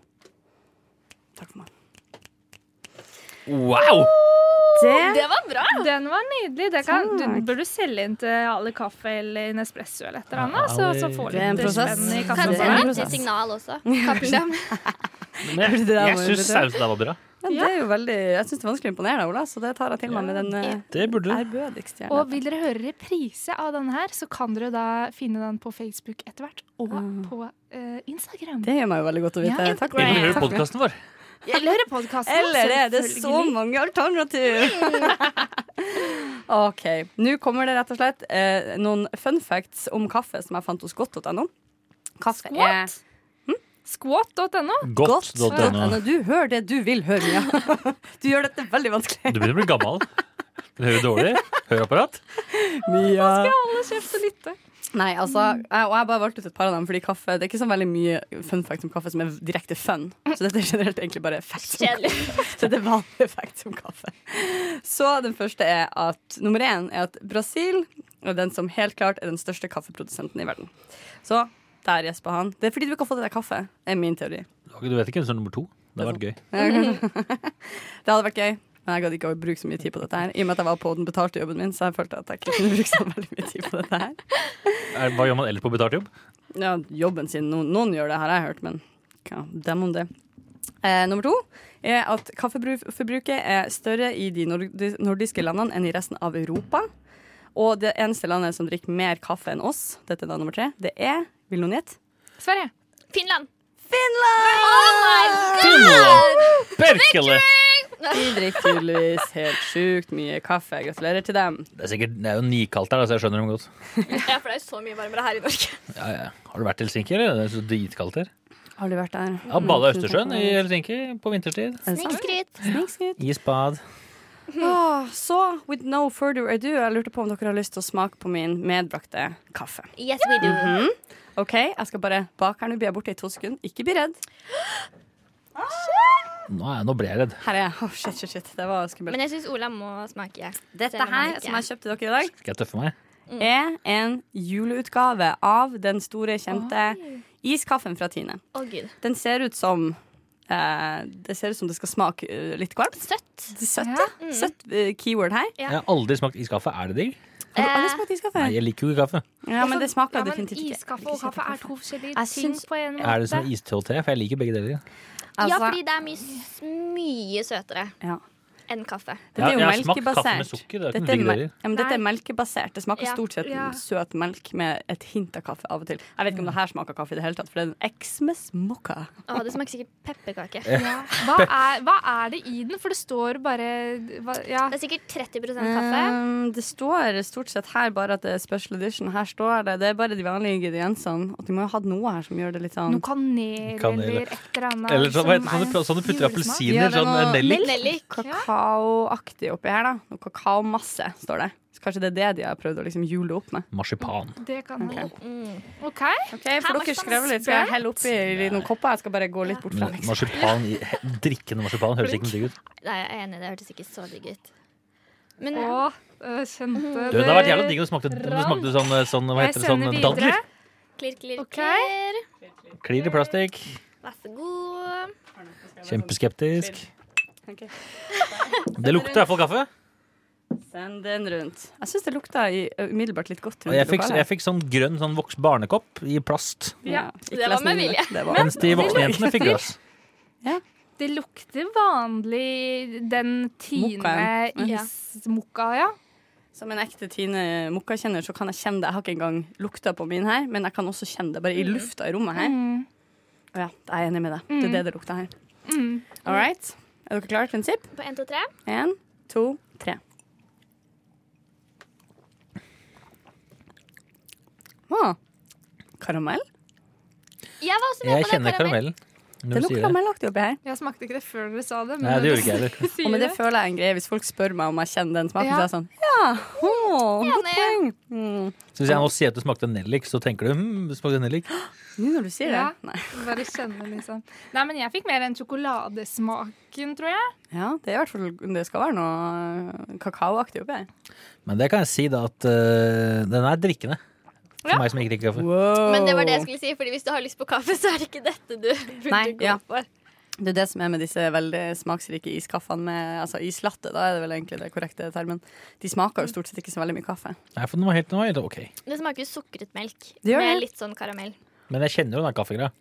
[SPEAKER 2] Takk for meg.
[SPEAKER 4] Wow!
[SPEAKER 2] Det
[SPEAKER 3] Det var bra!
[SPEAKER 1] Den var nydelig. Det kan, du,
[SPEAKER 2] Ah! Takk.
[SPEAKER 1] burde du selge inn til Ali Kaffe eller Nespresso eller et eller annet. Så, så får du
[SPEAKER 2] Det er en
[SPEAKER 1] litt
[SPEAKER 2] prosess.
[SPEAKER 1] spenn i
[SPEAKER 3] Kanskje
[SPEAKER 2] Det
[SPEAKER 3] det
[SPEAKER 2] er en
[SPEAKER 3] er
[SPEAKER 1] kassen.
[SPEAKER 3] litt
[SPEAKER 2] prosess.
[SPEAKER 3] signal også. Kaffedam.
[SPEAKER 4] Men jeg
[SPEAKER 2] Det der
[SPEAKER 4] jeg
[SPEAKER 2] var jo
[SPEAKER 4] syns
[SPEAKER 2] bedre.
[SPEAKER 4] sausen der var bra.
[SPEAKER 2] Ja, det er jo veldig, jeg syns det er vanskelig å imponere deg, Ola, så det tar jeg til meg med den eh,
[SPEAKER 4] Det burde du.
[SPEAKER 2] ærbødigst gjerne.
[SPEAKER 1] Og vil dere høre reprise av denne her, så kan dere da finne den på Facebook etter hvert, og på eh, Instagram.
[SPEAKER 2] Ah. Det gjør meg jo veldig godt å vite.
[SPEAKER 1] Ja,
[SPEAKER 2] Takk.
[SPEAKER 4] Vi
[SPEAKER 2] [LAUGHS] Takk
[SPEAKER 4] må høre
[SPEAKER 2] for det.
[SPEAKER 4] podkasten vår.
[SPEAKER 1] Eller høre podkasten.
[SPEAKER 2] Eller er det så mange alternativ? Mm. [LAUGHS] OK. Nå kommer det rett og slett eh, noen fun facts om kaffe som jeg fant hos godt.no. Kaffe er
[SPEAKER 1] Squat.no.
[SPEAKER 4] Godt.no.
[SPEAKER 2] godt.no. Du hører det du vil høre, ja. [LAUGHS] Du gjør dette veldig vanskelig.
[SPEAKER 8] Du begynner å bli gammel. Du hører dårlig. Høreapparat.
[SPEAKER 2] [LAUGHS] Mia.
[SPEAKER 1] Alle kjeft og lytte.
[SPEAKER 2] Nei, altså, jeg, og jeg bare valgte ut et par av dem, fordi kaffe, det er ikke så veldig mye fun facts om kaffe som er direkte fun. Så dette er generelt egentlig bare facts om
[SPEAKER 3] Kjedelig.
[SPEAKER 2] [LAUGHS] Så det er vanlige facts om kaffe. Så den første er at nummer én er at Brasil er den som helt klart er den største kaffeprodusenten i verden. Så der gjespa han. Det er fordi du ikke har fått i deg kaffe, er min teori. [LAUGHS]
[SPEAKER 4] Du vet ikke hvem som er nummer to? Det hadde vært gøy.
[SPEAKER 2] Det hadde vært gøy. Men jeg gadd ikke å bruke så mye tid på dette her. I og med at jeg var på den betalte jobben min, så jeg følte at jeg ikke kunne bruke så veldig mye tid på dette her.
[SPEAKER 4] Er- Hva gjør man ellers på betalt jobb?
[SPEAKER 2] Ja, jobben sin. Noen, noen gjør det, har jeg hørt, men ja, dem om det. Eh, nummer to er at kaffeforbruket er større i de nord- de nordiske landene enn i resten av Europa. Og det eneste landet som drikker mer kaffe enn oss, dette er da nummer tre, det er Vil noen gjette?
[SPEAKER 1] Sverige.
[SPEAKER 3] Finland. Oh
[SPEAKER 4] Finland! Berkele!
[SPEAKER 2] De drikker tydeligvis helt sjukt mye kaffe. Gratulerer til dem.
[SPEAKER 4] Det er sikkert, det er jo nikaldt her, da, så jeg skjønner dem godt.
[SPEAKER 3] Ja, for det er jo så mye varmere her i Norge.
[SPEAKER 4] Ja, ja. Har du vært i Helsinki, eller? Det er så dritkaldt her.
[SPEAKER 2] Har du vært der?
[SPEAKER 4] Ja, Bada i Østersjøen i Helsinki på vinterstid.
[SPEAKER 2] Er det sant?
[SPEAKER 3] Snikskryt.
[SPEAKER 2] Snikskritt.
[SPEAKER 4] Isbad.
[SPEAKER 2] Åh, Ah, Så, with no further ado, jeg lurte på om dere har lyst til å smake på min medbrakte kaffe.
[SPEAKER 3] Yes, we do.
[SPEAKER 2] OK, jeg skal bare bak her nå. Blir jeg borte i to sekunder? Ikke bli redd.
[SPEAKER 4] Nå, er jeg, nå ble jeg redd.
[SPEAKER 2] Her er jeg. Åh, shit, shit, shit. Det var skummelt.
[SPEAKER 3] Men jeg syns Ola må smake.
[SPEAKER 2] Dette her som jeg kjøpte dere i dag,
[SPEAKER 4] Skal jeg tøffe meg?
[SPEAKER 1] Mm.
[SPEAKER 2] er en juleutgave av den store, kjente iskaffen fra Tine.
[SPEAKER 3] Å, gud.
[SPEAKER 2] Den ser ut som eh, Det ser ut som det skal smake eh, litt kvalmt.
[SPEAKER 3] Søtt.
[SPEAKER 2] Det søtte.
[SPEAKER 1] Mm.
[SPEAKER 2] Søtt eh, keyword her.
[SPEAKER 3] Ja.
[SPEAKER 4] Jeg har aldri smakt iskaffe. Er det digg?
[SPEAKER 2] Har du aldri
[SPEAKER 3] Eh,
[SPEAKER 2] smakt iskaffe?
[SPEAKER 4] Nei, jeg liker jo ikke kaffe.
[SPEAKER 2] Ja, men det smaker
[SPEAKER 1] Ja, men
[SPEAKER 2] definitivt ikke.
[SPEAKER 1] Iskaffe og kaffe er to forskjellige
[SPEAKER 2] Jeg
[SPEAKER 1] ting
[SPEAKER 2] syns-
[SPEAKER 1] på en måte.
[SPEAKER 2] [LAUGHS]
[SPEAKER 4] Er det som is-te, for jeg liker begge deler.
[SPEAKER 3] Ja,
[SPEAKER 2] Altså,
[SPEAKER 3] fordi det er mye, s- mye søtere.
[SPEAKER 2] ja.
[SPEAKER 3] enn kaffe.
[SPEAKER 2] Dette er jo
[SPEAKER 4] jeg har smakt kaffe med
[SPEAKER 2] melkebasert.
[SPEAKER 4] sukker. Det er ikke
[SPEAKER 2] Dette er,
[SPEAKER 4] noe digg
[SPEAKER 2] mel
[SPEAKER 4] der i.
[SPEAKER 2] ja, men dette er
[SPEAKER 1] Nei.
[SPEAKER 2] melkebasert. Det smaker
[SPEAKER 3] Ja.
[SPEAKER 2] stort sett
[SPEAKER 1] Ja.
[SPEAKER 2] søt melk med et hint av kaffe av og til. Jeg vet ikke om det her smaker kaffe i det hele tatt, for det er en Xmas mocha.
[SPEAKER 3] Å, det smaker sikkert pepperkake.
[SPEAKER 1] Ja. Hva, er, hva er det i den? For det står bare hva, ja.
[SPEAKER 3] Det er sikkert 30 kaffe.
[SPEAKER 2] Um, det står stort sett her bare at det er special edition. Her står det. Det er bare de vanlige ingrediensene. Og de må jo ha hatt noe her som gjør det litt sånn
[SPEAKER 1] Noe kanel,
[SPEAKER 4] Kanel.
[SPEAKER 1] eller et eller annet.
[SPEAKER 4] Eller sånn,
[SPEAKER 1] som
[SPEAKER 4] hva heter det,
[SPEAKER 1] er
[SPEAKER 4] sånn, sånn du putter
[SPEAKER 1] julesmak.
[SPEAKER 4] appelsiner,
[SPEAKER 2] Ja, det
[SPEAKER 4] sånn
[SPEAKER 2] må-
[SPEAKER 4] nellik.
[SPEAKER 3] Nellik.
[SPEAKER 2] kakaoaktig oppi her, da. Noe kakaomasse, står det. Så kanskje det er det de har prøvd å liksom jule opp med.
[SPEAKER 4] Marsipan.
[SPEAKER 1] Det kan
[SPEAKER 2] Ok.
[SPEAKER 3] Mm.
[SPEAKER 1] OK.
[SPEAKER 2] Ok, For
[SPEAKER 3] sånn
[SPEAKER 2] dere skrev litt. Skal
[SPEAKER 1] Skal jeg
[SPEAKER 2] jeg helle oppi noen kopper? Jeg skal bare gå litt bort fra
[SPEAKER 4] Men Marsipan, i- he- [LAUGHS] drikkende marsipan høres ikke noe digg ut.
[SPEAKER 3] Nei, jeg er enig, det hørtes ikke så digg ut. Men
[SPEAKER 1] Og øh,
[SPEAKER 2] Mm.
[SPEAKER 1] kjente
[SPEAKER 4] Du, det hadde vært jævla digg om det smakte, om det smakte sånn, sånn hva
[SPEAKER 1] Jeg
[SPEAKER 4] heter det, sånn
[SPEAKER 1] sender videre.
[SPEAKER 4] dadler.
[SPEAKER 3] klirr, klirr,
[SPEAKER 1] Ok.
[SPEAKER 3] klirr.
[SPEAKER 4] Klirr i plastikk.
[SPEAKER 3] Vær så god.
[SPEAKER 4] Kjempeskeptisk.
[SPEAKER 2] Ok.
[SPEAKER 4] Det lukter i hvert fall kaffe.
[SPEAKER 2] Send den rundt. Jeg syns det lukta i- umiddelbart litt godt.
[SPEAKER 4] Og
[SPEAKER 2] rundt
[SPEAKER 4] jeg
[SPEAKER 2] i
[SPEAKER 4] fikk,
[SPEAKER 2] lokalet.
[SPEAKER 4] jeg fikk sånn grønn sånn voks barnekopp i plast.
[SPEAKER 2] Ja,
[SPEAKER 3] Det var med vilje.
[SPEAKER 4] Mens de voksne jentene fikk glass.
[SPEAKER 1] Det lukter vanlig den Tine
[SPEAKER 2] Mokkaen.
[SPEAKER 3] Ja.
[SPEAKER 1] ismokka, ja.
[SPEAKER 2] Som en ekte Tine Mokka-kjenner, så kan jeg kjenne det. Jeg har ikke engang lukta på min her, men jeg kan også kjenne det bare i lufta i rommet her.
[SPEAKER 1] Mm.
[SPEAKER 2] Og ja, jeg er enig med deg. Det er det det lukter her.
[SPEAKER 1] Mm.
[SPEAKER 2] All right. Er dere klare? Prinsipp?
[SPEAKER 3] På 1, 2, 3.
[SPEAKER 2] Én, to, tre. Å, karamell?
[SPEAKER 3] Jeg var også med
[SPEAKER 4] Jeg
[SPEAKER 3] på det.
[SPEAKER 4] kjenner karamellen.
[SPEAKER 2] Det
[SPEAKER 4] Når
[SPEAKER 2] er
[SPEAKER 4] du
[SPEAKER 2] noe
[SPEAKER 4] sier det.
[SPEAKER 2] karamellaktig oppi her.
[SPEAKER 1] Jeg smakte ikke det før dere sa det.
[SPEAKER 4] Nei, det gjorde ikke jeg heller.
[SPEAKER 2] Og
[SPEAKER 1] heller.
[SPEAKER 2] men det føler jeg er en greie. Hvis folk spør meg om jeg kjenner den smaken,
[SPEAKER 1] Ja.
[SPEAKER 2] så er jeg sånn Ja, å, godt poeng.
[SPEAKER 3] Enig.
[SPEAKER 2] Mm.
[SPEAKER 4] Så hvis jeg nå sier at det smakte nellik, så tenker du hm, det smakte nellik.
[SPEAKER 2] Nå når du sier det.
[SPEAKER 1] Ja.
[SPEAKER 2] Nei.
[SPEAKER 1] Bare kjenne, liksom. Nei, men jeg fikk mer enn sjokoladesmaken, tror jeg.
[SPEAKER 2] Ja, det er i hvert fall Det skal være noe øh, kakaoaktig oppi her.
[SPEAKER 4] Men det kan jeg si da at øh, den er drikkende. For
[SPEAKER 1] Ja.
[SPEAKER 4] meg som ikke drikker kaffe.
[SPEAKER 3] Men det var det jeg skulle si, Fordi hvis du har lyst på kaffe, så er det ikke dette du burde
[SPEAKER 2] Nei,
[SPEAKER 3] gå
[SPEAKER 2] ja.
[SPEAKER 3] for.
[SPEAKER 2] Det er det som er med disse veldig smaksrike iskaffene med altså islatte, da er det vel egentlig det korrekte termen. De smaker jo stort sett ikke så veldig mye kaffe.
[SPEAKER 4] Nei, for den var helt, den var helt ok.
[SPEAKER 3] Det smaker jo sukret melk
[SPEAKER 2] Det gjør
[SPEAKER 3] med
[SPEAKER 2] det.
[SPEAKER 3] litt sånn karamell.
[SPEAKER 4] Men jeg kjenner jo den kaffegreia.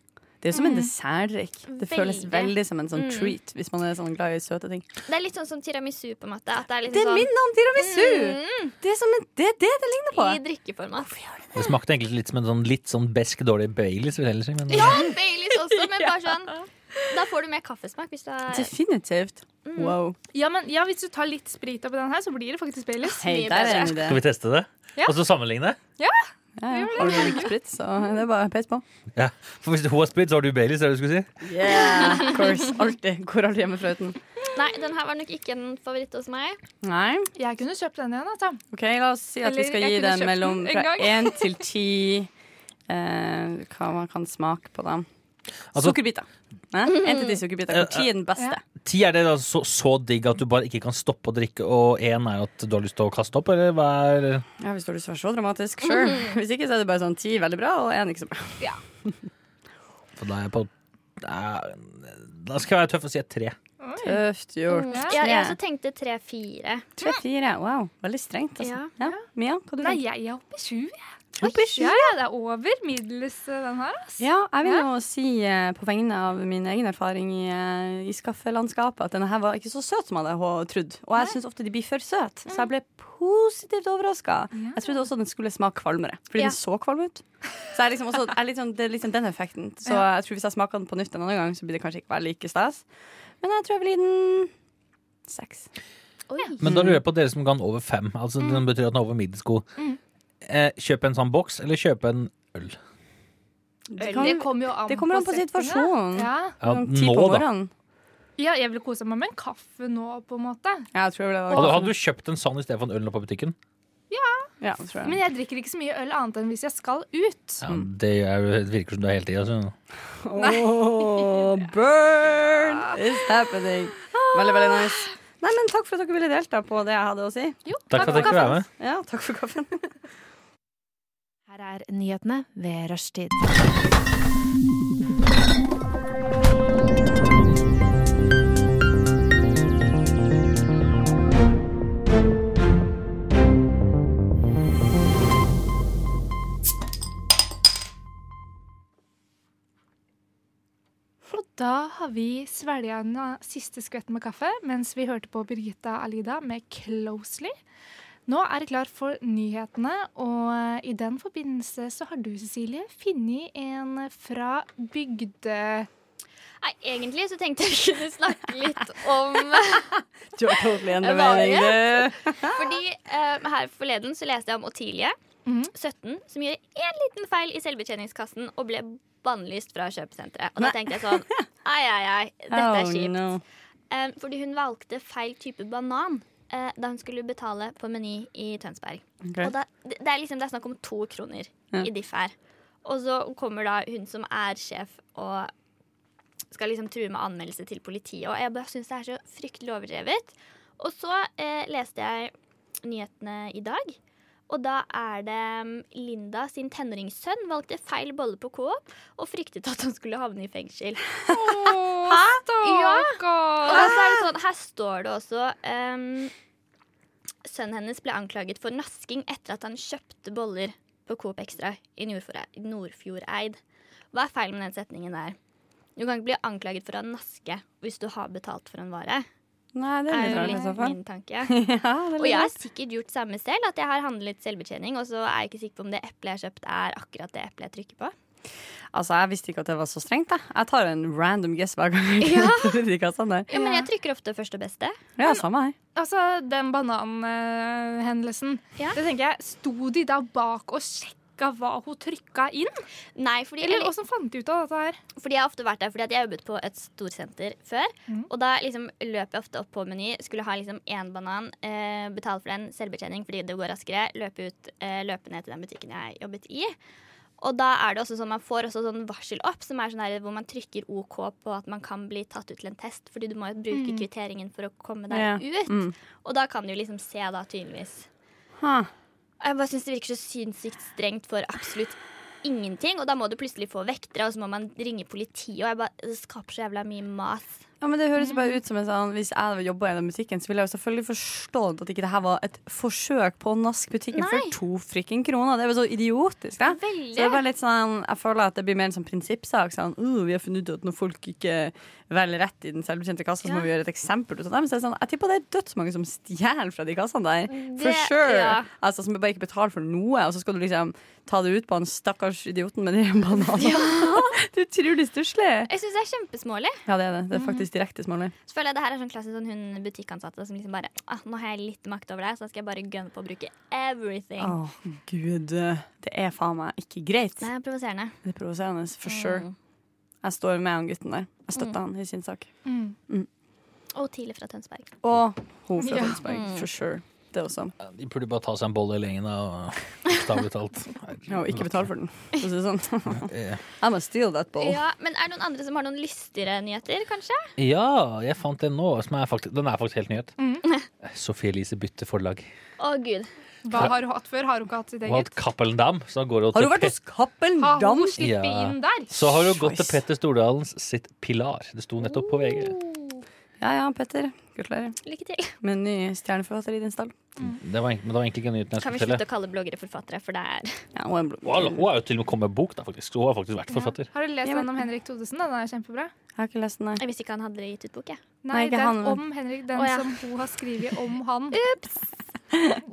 [SPEAKER 2] Det er jo som en dessertdrikk. Det føles
[SPEAKER 3] Mm. Veldig.
[SPEAKER 2] veldig som en sånn
[SPEAKER 3] Mm.
[SPEAKER 2] treat hvis man er sånn glad i søte ting.
[SPEAKER 3] Det er litt sånn som tiramisu, på en måte. At det er liksom
[SPEAKER 2] Det minner om tiramisu!
[SPEAKER 3] sånn,
[SPEAKER 2] Det er som en, det, er det det ligner på.
[SPEAKER 3] mm, I drikkeformat.
[SPEAKER 4] Det smakte egentlig litt som en sånn, litt sånn besk, dårlig Baileys. vil jeg heller si, Men eh,
[SPEAKER 3] Ja, Baileys også, [LAUGHS] men bare sånn Da får du mer kaffesmak hvis du har
[SPEAKER 2] Definitivt.
[SPEAKER 3] Mm.
[SPEAKER 2] Wow.
[SPEAKER 1] Ja, men ja, Hvis du tar litt sprit oppi den her, så blir det faktisk Baileys.
[SPEAKER 3] mye
[SPEAKER 2] Hei, der er
[SPEAKER 3] bedre.
[SPEAKER 2] en idé.
[SPEAKER 4] skal vi teste det?
[SPEAKER 1] Ja.
[SPEAKER 4] Og så sammenligne?
[SPEAKER 2] Ja, ja.
[SPEAKER 3] Mm.
[SPEAKER 2] Har du litt sprit, så det er bare
[SPEAKER 3] [LAUGHS]
[SPEAKER 2] peis på.
[SPEAKER 4] Ja. For hvis hun har sprit, så har du Baileys, er det du skulle si?
[SPEAKER 2] Yeah, of course. Alltid. Går aldri hjemmefra uten.
[SPEAKER 3] Nei, den her var nok ikke en favoritt hos meg.
[SPEAKER 2] Nei.
[SPEAKER 1] Jeg kunne kjøpt den igjen. Altså.
[SPEAKER 2] Ok, La oss si at
[SPEAKER 1] Eller,
[SPEAKER 2] vi skal
[SPEAKER 1] jeg
[SPEAKER 2] gi
[SPEAKER 1] kunne
[SPEAKER 2] den
[SPEAKER 1] kjøpt
[SPEAKER 2] mellom
[SPEAKER 1] den en
[SPEAKER 2] fra
[SPEAKER 1] gang. [LAUGHS]
[SPEAKER 2] én til ti eh, hva man kan smake på dem.
[SPEAKER 4] Altså-
[SPEAKER 2] sukkerbiter.
[SPEAKER 1] [LAUGHS]
[SPEAKER 2] Én til ti sukkerbiter. Hvor ti er den beste?
[SPEAKER 4] Ti er det da så, så digg at du bare ikke kan stoppe å drikke, og én er at du har lyst til å kaste opp, eller hva er
[SPEAKER 2] Ja, Hvis du har lyst til å være så dramatisk,
[SPEAKER 1] [LAUGHS]
[SPEAKER 2] sure. Hvis ikke, så er det bare sånn ti veldig bra og én ikke så bra.
[SPEAKER 4] For da er jeg på Nei, Da skal jeg være tøff og si et tre.
[SPEAKER 2] Tøft gjort.
[SPEAKER 3] Ja, jeg også tenkte tre-fire.
[SPEAKER 2] Tre-fire. Wow, veldig strengt. Altså.
[SPEAKER 3] Ja.
[SPEAKER 2] Ja. Mia, hva du
[SPEAKER 1] Nei,
[SPEAKER 2] tenker?
[SPEAKER 1] jeg er oppe i sju.
[SPEAKER 2] Opp i sju.
[SPEAKER 1] Ja, ja, det er over middels, eh, den her. ass.
[SPEAKER 2] Ja, jeg vil jo si eh, på vegne av min egen erfaring i eh, iskaffelandskapet at denne her var ikke så søt som jeg hadde hå- trodd. Og jeg syns ofte de blir for søte, så jeg ble positivt overraska. Jeg trodde også den skulle smake kvalmere, fordi
[SPEAKER 3] Ja.
[SPEAKER 2] den så kvalm ut. Så jeg er liksom også, jeg er litt sånn- det er liksom den effekten. Så jeg tror hvis jeg smaker den på nytt en annen gang, så blir det kanskje ikke være like stas. Men jeg tror jeg vil gi den seks.
[SPEAKER 3] Oi.
[SPEAKER 4] Men da lurer jeg på dere som ga den over fem. Altså Den betyr at den er over middels god. Eh, kjøp en sånn boks, eller kjøp en øl.
[SPEAKER 2] Det,
[SPEAKER 1] Det
[SPEAKER 2] kan,
[SPEAKER 1] kommer jo an
[SPEAKER 2] det kommer an på
[SPEAKER 1] settingen.
[SPEAKER 2] situasjonen.
[SPEAKER 1] Ja.
[SPEAKER 4] Ja,
[SPEAKER 2] Sånn ti
[SPEAKER 4] nå,
[SPEAKER 2] på
[SPEAKER 4] da.
[SPEAKER 2] morgenen.
[SPEAKER 1] ja, jeg ville kose meg med en kaffe nå, på en måte.
[SPEAKER 2] Ja, jeg tror det var
[SPEAKER 4] Hadde, hadde du kjøpt en sånn istedenfor en øl nå på butikken?
[SPEAKER 2] Ja, det tror jeg.
[SPEAKER 1] Men jeg drikker ikke så mye øl annet enn hvis jeg skal ut.
[SPEAKER 4] Ja,
[SPEAKER 2] Mm.
[SPEAKER 4] det er, jo- det virker som du er hele tida. Altså.
[SPEAKER 2] Oh, burn is happening. Veldig, veldig nice. Nei, men Takk for at dere ville delta på det jeg hadde å si.
[SPEAKER 4] Takk for at jeg fikk være med.
[SPEAKER 2] Ja, takk for kaffen. [LAUGHS]
[SPEAKER 9] Her er nyhetene ved rushtid.
[SPEAKER 3] Og
[SPEAKER 1] Da har vi svelga den siste skvetten med kaffe mens vi hørte på Birgitta Alida med 'Closely'. Nå er det klart for nyhetene, og eh, i den forbindelse så har du, Cecilie, funnet en fra bygde...
[SPEAKER 3] Nei, egentlig så tenkte jeg vi kunne snakke litt om [LAUGHS]
[SPEAKER 2] Du har totally endret mening,
[SPEAKER 3] Varighet.
[SPEAKER 2] du.
[SPEAKER 3] Fordi eh, her forleden så leste jeg om Otilie, 17, som gjorde én liten feil i selvbetjeningskassen og ble bannlyst fra kjøpesenteret. Og da tenkte jeg sånn Ai, ai, ai, dette [LAUGHS] er
[SPEAKER 2] Oh,
[SPEAKER 3] kjipt.
[SPEAKER 2] no.
[SPEAKER 3] Eh, fordi hun valgte feil type banan eh, da hun skulle betale på Meny i Tønsberg.
[SPEAKER 2] Ok.
[SPEAKER 3] Og da, det, det er liksom, det er snakk om to kroner
[SPEAKER 2] Ja.
[SPEAKER 3] i diff her. Og så kommer da hun som er sjef og skal liksom true med anmeldelse til politiet. Og jeg bare syns det er så fryktelig overdrevet. Og så eh, leste jeg nyhetene i dag. Og da er det mm, Linda sin tenåringssønn valgte feil bolle på Coop og fryktet at han skulle havne i fengsel.
[SPEAKER 1] Hæ?
[SPEAKER 3] Og så er det sånn, her står det også ehm, Sønnen hennes ble anklaget for nasking etter at han kjøpte boller på Coop Extra i Nordfjordeid. Nordfjordeid. Hva er feil med den setningen der? Du kan ikke bli anklaget for å naske hvis du har betalt for en vare.
[SPEAKER 2] Nei, det
[SPEAKER 3] Det
[SPEAKER 2] er
[SPEAKER 3] er
[SPEAKER 2] litt
[SPEAKER 3] jo
[SPEAKER 2] rart i så
[SPEAKER 3] litt
[SPEAKER 2] fall.
[SPEAKER 3] min tanke.
[SPEAKER 2] [LAUGHS] Ja, det er
[SPEAKER 3] Og jeg har
[SPEAKER 2] litt
[SPEAKER 3] sikkert gjort samme selv, at jeg har handlet selvbetjening, og så er jeg ikke sikker på om det eplet jeg har kjøpt, er akkurat det eplet jeg trykker på.
[SPEAKER 2] Altså, jeg visste ikke at det var så strengt. Da. Jeg tar en random guess hver gang. jeg [LAUGHS]
[SPEAKER 3] Ja.
[SPEAKER 2] går til de kassene der.
[SPEAKER 3] Ja, men jeg trykker ofte først og beste.
[SPEAKER 2] Ja, samme her.
[SPEAKER 1] Altså, den bananhendelsen.
[SPEAKER 3] Ja.
[SPEAKER 1] Det tenker jeg, Sto de da bak og sjekka hva hun trykka inn?
[SPEAKER 3] Nei, fordi,
[SPEAKER 1] Eller åssen fant de ut av dette her?
[SPEAKER 3] fordi jeg har ofte vært der fordi at jeg jobbet på et storsenter før. Og da liksom løp jeg ofte opp på Meny, skulle ha liksom én banan, eh, betale for den, selvbetjening fordi det går raskere, løpe, ut, eh, løpe ned til den butikken jeg jobbet i. Og da er det også sånn man får også sånn varsel opp, som er sånn her hvor man trykker OK på at man kan bli tatt ut til en test, fordi du må jo bruke kvitteringen for å komme deg
[SPEAKER 2] Ja.
[SPEAKER 3] ut. Og da kan du jo liksom se, da, tydeligvis.
[SPEAKER 2] Mm. Ha.
[SPEAKER 3] Og Jeg bare synes Det virker så sinnssykt strengt for absolutt ingenting. Og da må du plutselig få vektere, og så må man ringe politiet. Og jeg bare, Det skaper så jævla mye mas.
[SPEAKER 2] Ja, men det høres jo
[SPEAKER 3] Mm.
[SPEAKER 2] bare ut som en sånn Hvis jeg jobba i den butikken, så ville jeg jo selvfølgelig forstått at ikke det her var et forsøk på å naske butikken for
[SPEAKER 3] Nei.
[SPEAKER 2] to frikken kroner. Det er jo så idiotisk, da.
[SPEAKER 3] Veldig.
[SPEAKER 2] Så det er bare litt sånn Jeg føler at det blir mer en sånn prinsippsak. Sånn uh, vi har funnet ut at når folk ikke velger rett i den selvbetjente kassa, så må vi gjøre et eksempel ut av dem. Så det er sånn, jeg tipper det er dødsmange som stjeler fra de kassene der. For
[SPEAKER 3] Mm, Det-
[SPEAKER 2] sure.
[SPEAKER 3] ja.
[SPEAKER 2] Altså Som bare ikke betaler for noe, og så skal du liksom ta det ut på han stakkars idioten med de
[SPEAKER 3] [LAUGHS]
[SPEAKER 2] bananene. du tror [LAUGHS] det er stusslig.
[SPEAKER 3] Jeg syns det er kjempesmålig.
[SPEAKER 2] Ja, det er det. Det er faktisk direkte smålig.
[SPEAKER 3] Så føler jeg det her er sånn klassisk sånn hun butikkansatte som liksom bare ah, 'Nå har jeg litt makt over deg, så da skal jeg bare gønne på å bruke everything'.
[SPEAKER 2] Å, gud. Det er faen meg ikke greit.
[SPEAKER 3] Det er provoserende.
[SPEAKER 2] Det er provoserende, for sure. Jeg står med han gutten der. Jeg støtter han i sin sak.
[SPEAKER 3] Og tidlig fra Tønsberg.
[SPEAKER 2] Og hun fra Tønsberg, for sure. Det også.
[SPEAKER 4] De burde bare ta seg en bolle i lengen, da. og
[SPEAKER 2] [LAUGHS]
[SPEAKER 4] Stavlig talt.
[SPEAKER 2] Ja, og ikke betale for den. For å si det sånn. [LAUGHS]
[SPEAKER 4] Eh,
[SPEAKER 2] I'm gonna steal that ball.
[SPEAKER 3] Ja, Men er det noen andre som har noen lystigere nyheter, kanskje?
[SPEAKER 4] Ja, jeg fant en nå. Som er faktisk, den er faktisk helt nyhet.
[SPEAKER 2] Mm. [LAUGHS]
[SPEAKER 4] Sophie Elise bytter forlag.
[SPEAKER 3] Å gud.
[SPEAKER 1] Hva har hun hatt før? Har hun ikke hatt sitt
[SPEAKER 4] Hun har
[SPEAKER 1] eget?
[SPEAKER 4] hatt Cappelen Dam. Så, da går hun
[SPEAKER 2] Har
[SPEAKER 4] til
[SPEAKER 2] du vært
[SPEAKER 4] Pet-
[SPEAKER 2] hos Cappelen
[SPEAKER 1] Har
[SPEAKER 2] Dam?
[SPEAKER 1] hun sluppet
[SPEAKER 4] Ja.
[SPEAKER 1] inn der?
[SPEAKER 4] så har hun gått til
[SPEAKER 2] Choice.
[SPEAKER 4] Petter Stordalens sitt Pilar. Det sto nettopp på VG.
[SPEAKER 2] Ja ja, Petter. Gratulerer
[SPEAKER 3] Lykke til.
[SPEAKER 2] med en ny stjerneforfatter i din stall.
[SPEAKER 4] Det var, egentlig- men det var egentlig ikke nyheten jeg
[SPEAKER 3] Kan
[SPEAKER 4] skulle
[SPEAKER 3] vi
[SPEAKER 4] fortelle.
[SPEAKER 3] slutte å kalle bloggere forfattere, for det er
[SPEAKER 2] Ja, hun er en bl-
[SPEAKER 4] Wow, Hun har jo til og med kommet med bok, da, faktisk. Så hun har faktisk vært forfatter.
[SPEAKER 1] Har du lest
[SPEAKER 2] Ja, men-
[SPEAKER 1] den om Henrik Thodesen? da? Den er kjempebra.
[SPEAKER 2] Jeg har ikke lest den, nei.
[SPEAKER 3] Jeg visste ikke han hadde gitt ut bok, [LAUGHS] jeg.
[SPEAKER 1] Nei,
[SPEAKER 2] ikke
[SPEAKER 1] den
[SPEAKER 2] han, men-
[SPEAKER 1] om Henrik, den
[SPEAKER 3] Å, ja.
[SPEAKER 1] som hun har skrevet om han.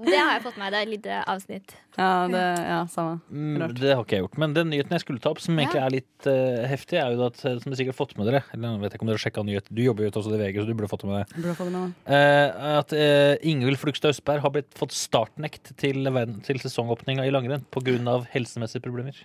[SPEAKER 3] Det har jeg fått med meg. Det er et lite avsnitt.
[SPEAKER 2] Ja, det, ja samme.
[SPEAKER 4] Mm, det har ikke jeg gjort. Men den nyheten jeg skulle ta opp, som egentlig er litt eh, heftig, er jo at, eh, som dere sikkert har fått med dere Eller jeg vet ikke om dere har sjekket nyhet. Du jobber jo også i VG, så du burde fått det med deg.
[SPEAKER 2] Burde få det med meg.
[SPEAKER 4] Eh, at uh, Ingvild Flugstad Østberg har blitt fått startnekt til, verden- til sesongåpninga i langrenn pga. helsemessige problemer.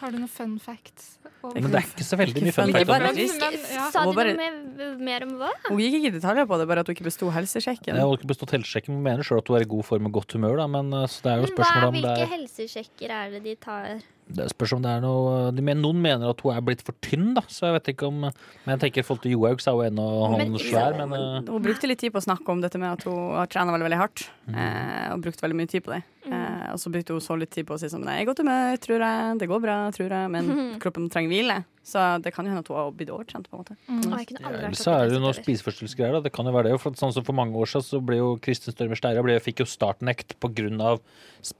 [SPEAKER 1] Har du noen fun facts? om-
[SPEAKER 4] Men det er ikke så veldig mye fun
[SPEAKER 2] Ikke
[SPEAKER 4] fact. om
[SPEAKER 2] bare
[SPEAKER 4] det.
[SPEAKER 2] trist.
[SPEAKER 1] Men, ja.
[SPEAKER 3] Sa
[SPEAKER 2] Må
[SPEAKER 3] de
[SPEAKER 2] bare-
[SPEAKER 3] noe mer, mer om hva?
[SPEAKER 2] Hun gikk ikke i detaljer på det, bare at hun ikke besto helsesjekken.
[SPEAKER 4] Jeg har ikke bestått helsesjekken, men mener selv at hun er i god form og godt humør, da, men eh, så det er jo
[SPEAKER 3] Men hva,
[SPEAKER 4] spørsmål om det
[SPEAKER 3] hvilke
[SPEAKER 4] er,
[SPEAKER 3] helsesjekker er det de tar?
[SPEAKER 4] det er, spørsmål om det er noe de men- Noen mener at hun er blitt for tynn, da, så jeg vet ikke om Men jeg tenker i forhold til Johaug, så er hun ennå
[SPEAKER 3] Men
[SPEAKER 4] han
[SPEAKER 3] ikke
[SPEAKER 4] svær,
[SPEAKER 3] sant?
[SPEAKER 4] men eh,
[SPEAKER 2] Hun brukte litt tid på å snakke om dette med at hun har trena veldig, veldig hardt. Eh, og brukt veldig mye tid på det. Eh, og så brukte hun så litt tid på å si sånn Nei, jeg er i godt humør, tror jeg. Det går bra, tror jeg. Men kroppen trenger hvile. Så det kan jo hende at hun har blitt overtrent, på en måte.
[SPEAKER 3] Å, jeg kunne aldri
[SPEAKER 4] Eller
[SPEAKER 3] vært
[SPEAKER 4] så er det jo noe
[SPEAKER 3] opptatt av
[SPEAKER 4] spiseforstyrrelsesgreier. da. Det kan jo være det. For, at sånn som for mange år siden så ble jo Kristin Størmer Steira ble- fikk jo startnekt pga.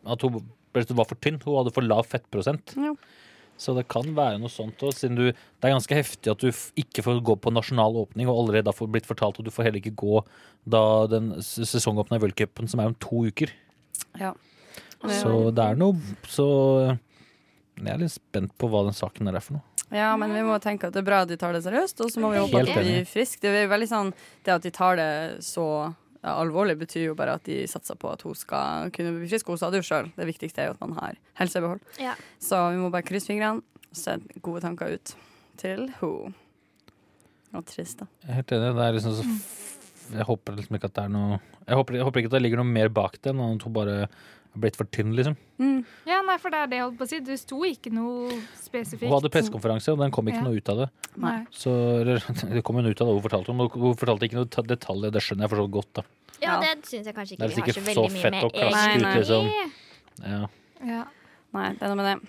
[SPEAKER 4] at hun ble- hun var for tynn. Hun hadde for lav fettprosent.
[SPEAKER 2] Ja.
[SPEAKER 4] Så det kan være noe sånt også, siden du, Det er ganske heftig at du f- ikke får gå på nasjonal åpning, og allerede har fått- blitt fortalt at du får heller ikke gå da den s- sesongåpne v-cupen, som er om to uker.
[SPEAKER 2] Ja.
[SPEAKER 4] Så det er noe Så eh, jeg er litt spent på hva den saken der er for noe.
[SPEAKER 2] Ja, men vi må tenke at det er bra at de tar det seriøst, og så må vi håpe
[SPEAKER 4] Helt
[SPEAKER 2] at de
[SPEAKER 4] enig.
[SPEAKER 2] blir friske. Det, er veldig sånn, det at de tar det så ja, alvorlig, betyr jo bare at de satser på at hun skal kunne bli frisk. Hun sa det jo sjøl, det viktigste er jo at man har helsebehold.
[SPEAKER 3] Ja.
[SPEAKER 2] Så vi må bare krysse fingrene og sende gode tanker ut til hun. Og trist, da.
[SPEAKER 4] Jeg er helt enig. Det er liksom så f- Jeg håper liksom ikke at det er noe Jeg håper, jeg håper ikke at det ligger noe mer bak det, enn at hun bare er blitt for tynn, liksom.
[SPEAKER 2] Mm.
[SPEAKER 1] Ja, nei, for det er det jeg holdt på å si. Det sto ikke noe spesifikt.
[SPEAKER 4] Hun hadde pressekonferanse, og den kom ikke
[SPEAKER 1] Ja.
[SPEAKER 4] noe ut av det.
[SPEAKER 1] Nei.
[SPEAKER 4] Så eller, [LAUGHS] Det kom hun ut av det hun fortalte om. og Hun fortalte ikke noe ta- detaljer, det skjønner jeg for så vidt godt. da
[SPEAKER 3] Ja, det syns jeg kanskje
[SPEAKER 4] Det
[SPEAKER 3] ikke
[SPEAKER 4] er
[SPEAKER 3] vi har
[SPEAKER 4] sikkert
[SPEAKER 3] så
[SPEAKER 4] så
[SPEAKER 3] veldig mye
[SPEAKER 4] fett
[SPEAKER 3] med
[SPEAKER 4] å klaske
[SPEAKER 2] Nei,
[SPEAKER 4] ut,
[SPEAKER 2] nei.
[SPEAKER 4] liksom. Ja.
[SPEAKER 1] Ja.
[SPEAKER 2] Nei, det er noe med det.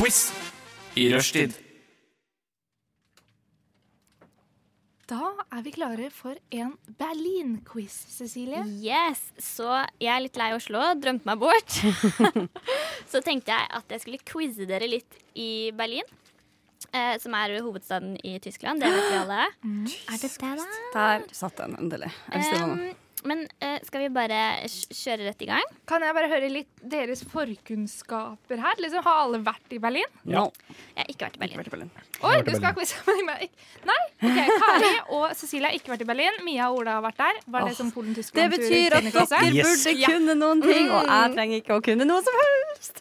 [SPEAKER 10] Quiz i rushtid.
[SPEAKER 1] Da er vi klare for en Berlin-quiz, Cecilie.
[SPEAKER 3] Yes, Så jeg er litt lei Oslo, drømte meg [LAUGHS] bort. så tenkte jeg at jeg skulle quize dere litt i Berlin. Eh, som er hovedstaden i Tyskland. Det vet vi alle. Mm. Er det det, da?
[SPEAKER 2] Der satt den endelig. Jeg visste det var noe.
[SPEAKER 3] Em, men eh, skal vi bare kj- kjøre rett i gang?
[SPEAKER 1] Kan jeg bare høre litt deres forkunnskaper her? Liksom, Har alle vært i Berlin?
[SPEAKER 2] No.
[SPEAKER 3] Jeg har ikke vært i Berlin.
[SPEAKER 2] Vært i Berlin.
[SPEAKER 1] Oi,
[SPEAKER 4] vært i
[SPEAKER 1] du skal
[SPEAKER 4] Berlin.
[SPEAKER 1] quize med meg? Nei? ok, Kari og Cecilie har ikke vært i Berlin. Mia og Ola har vært der. Var det
[SPEAKER 2] Åh,
[SPEAKER 1] som Polen-Tyskland?
[SPEAKER 2] Det betyr at dere burde kunne noen ting, og jeg trenger ikke å kunne noe som helst.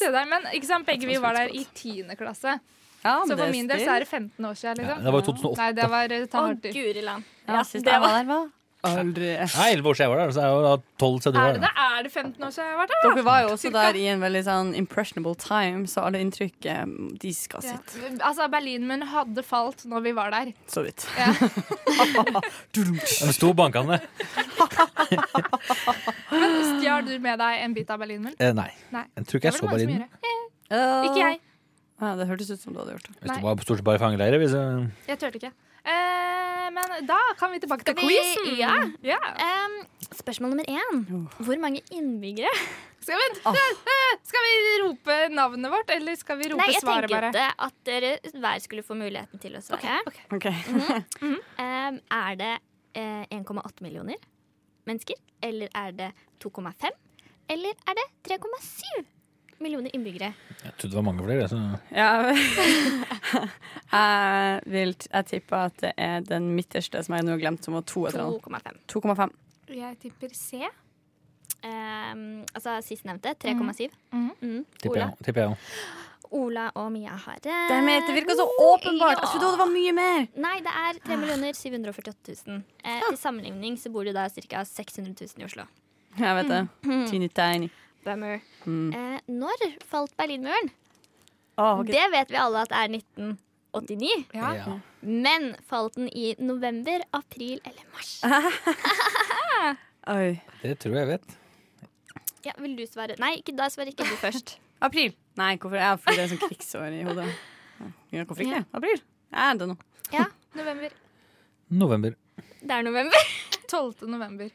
[SPEAKER 1] Se der, men ikke sant, Begge vi var der i 10. klasse.
[SPEAKER 2] Ja, men
[SPEAKER 1] Så
[SPEAKER 2] det
[SPEAKER 1] for min del
[SPEAKER 2] still.
[SPEAKER 1] så er det 15 år siden.
[SPEAKER 4] Ja,
[SPEAKER 1] Liksom.
[SPEAKER 4] det var i oh- 2008.
[SPEAKER 1] Nei, det var eh, ta
[SPEAKER 3] Å,
[SPEAKER 1] hardt i.
[SPEAKER 3] guri land.
[SPEAKER 2] Ja, sist jeg var der, hva? Aldri.
[SPEAKER 4] Nei, elleve år siden jeg var der, så er jeg jo da tolv
[SPEAKER 1] Er
[SPEAKER 4] siden du
[SPEAKER 1] det,
[SPEAKER 4] var
[SPEAKER 1] det?
[SPEAKER 4] der.
[SPEAKER 1] Er det 15 år siden jeg har vært der? da?
[SPEAKER 2] Dere var jo også
[SPEAKER 1] Cirka.
[SPEAKER 2] der i en veldig sånn impressionable time, så alle inntrykk eh, de skal
[SPEAKER 1] Ja.
[SPEAKER 2] sitte
[SPEAKER 1] Altså, Berlinmuren hadde falt når vi var der.
[SPEAKER 2] så vidt.
[SPEAKER 1] Ja.
[SPEAKER 4] De sto bankene.
[SPEAKER 1] Men Stjal du med deg en bit av Berlinmuren?
[SPEAKER 4] [LAUGHS] Eh, nei.
[SPEAKER 1] Nei.
[SPEAKER 4] Jeg tror ikke jeg
[SPEAKER 1] Det
[SPEAKER 4] så
[SPEAKER 1] var det mange som
[SPEAKER 4] Berlin.
[SPEAKER 1] gjorde. Ikke jeg.
[SPEAKER 2] Ja, det hørtes ut som du hadde gjort det.
[SPEAKER 4] Hvis det var stort sett bare fangeleire. Hvis jeg...
[SPEAKER 1] Jeg turte ikke. Eh, men da kan vi tilbake til
[SPEAKER 3] Skal vi-
[SPEAKER 1] quizen.
[SPEAKER 3] ja.
[SPEAKER 1] Ja.
[SPEAKER 3] Em, spørsmål nummer én. Hvor mange innbyggere?
[SPEAKER 1] Skal, vi, [LAUGHS] skal vi rope navnet vårt, eller skal vi rope
[SPEAKER 3] Nei, jeg
[SPEAKER 1] svaret bare?
[SPEAKER 3] tenkte at dere hver skulle få muligheten til å svare.
[SPEAKER 2] Ok.
[SPEAKER 3] Em, er det eh, 1,8 millioner mennesker? Eller er det 2,5? Eller er det 3,7 millioner innbyggere?
[SPEAKER 4] jeg trodde det var mange flere. Så...
[SPEAKER 2] [LAUGHS] Ja. [LAUGHS] jeg vil Jeg tipper at det er den midterste som jeg nå har glemt, som var to et eller annet.
[SPEAKER 3] 2,5.
[SPEAKER 2] 2,5.
[SPEAKER 1] Jeg tipper C.
[SPEAKER 3] Em, altså sistnevnte 3,7.
[SPEAKER 1] Mhm.
[SPEAKER 3] Mm.
[SPEAKER 4] Tipper
[SPEAKER 3] Ola.
[SPEAKER 4] jeg, tipper jeg.
[SPEAKER 3] Ola og Mia har rett.
[SPEAKER 2] Dermed, det virka så åpenbart! Jeg trodde det var mye mer.
[SPEAKER 3] Nei, det er 3 748 000. Eh, til sammenligning så bor det da ca. 600 000 i Oslo.
[SPEAKER 2] Jeg vet det. Tiny tiny.
[SPEAKER 3] Bummer. Eh, når falt Berlinmuren?
[SPEAKER 2] Å, ok.
[SPEAKER 3] Det vet vi alle at er 1989.
[SPEAKER 1] Ja.
[SPEAKER 4] Ja.
[SPEAKER 3] Men falt den i november, april eller mars?
[SPEAKER 2] Oi.
[SPEAKER 4] Det tror jeg jeg vet.
[SPEAKER 3] Ja, Vil du svare? Nei, ikke, da svarer [LAUGHS] ikke du først.
[SPEAKER 2] April. Nei, hvorfor? Jeg får det er sånn krigsår i hodet. Ja, hvorfor ikke? April. Jeg er det nå.
[SPEAKER 3] Ja,
[SPEAKER 1] November.
[SPEAKER 4] November.
[SPEAKER 3] det er november.
[SPEAKER 1] 12. november.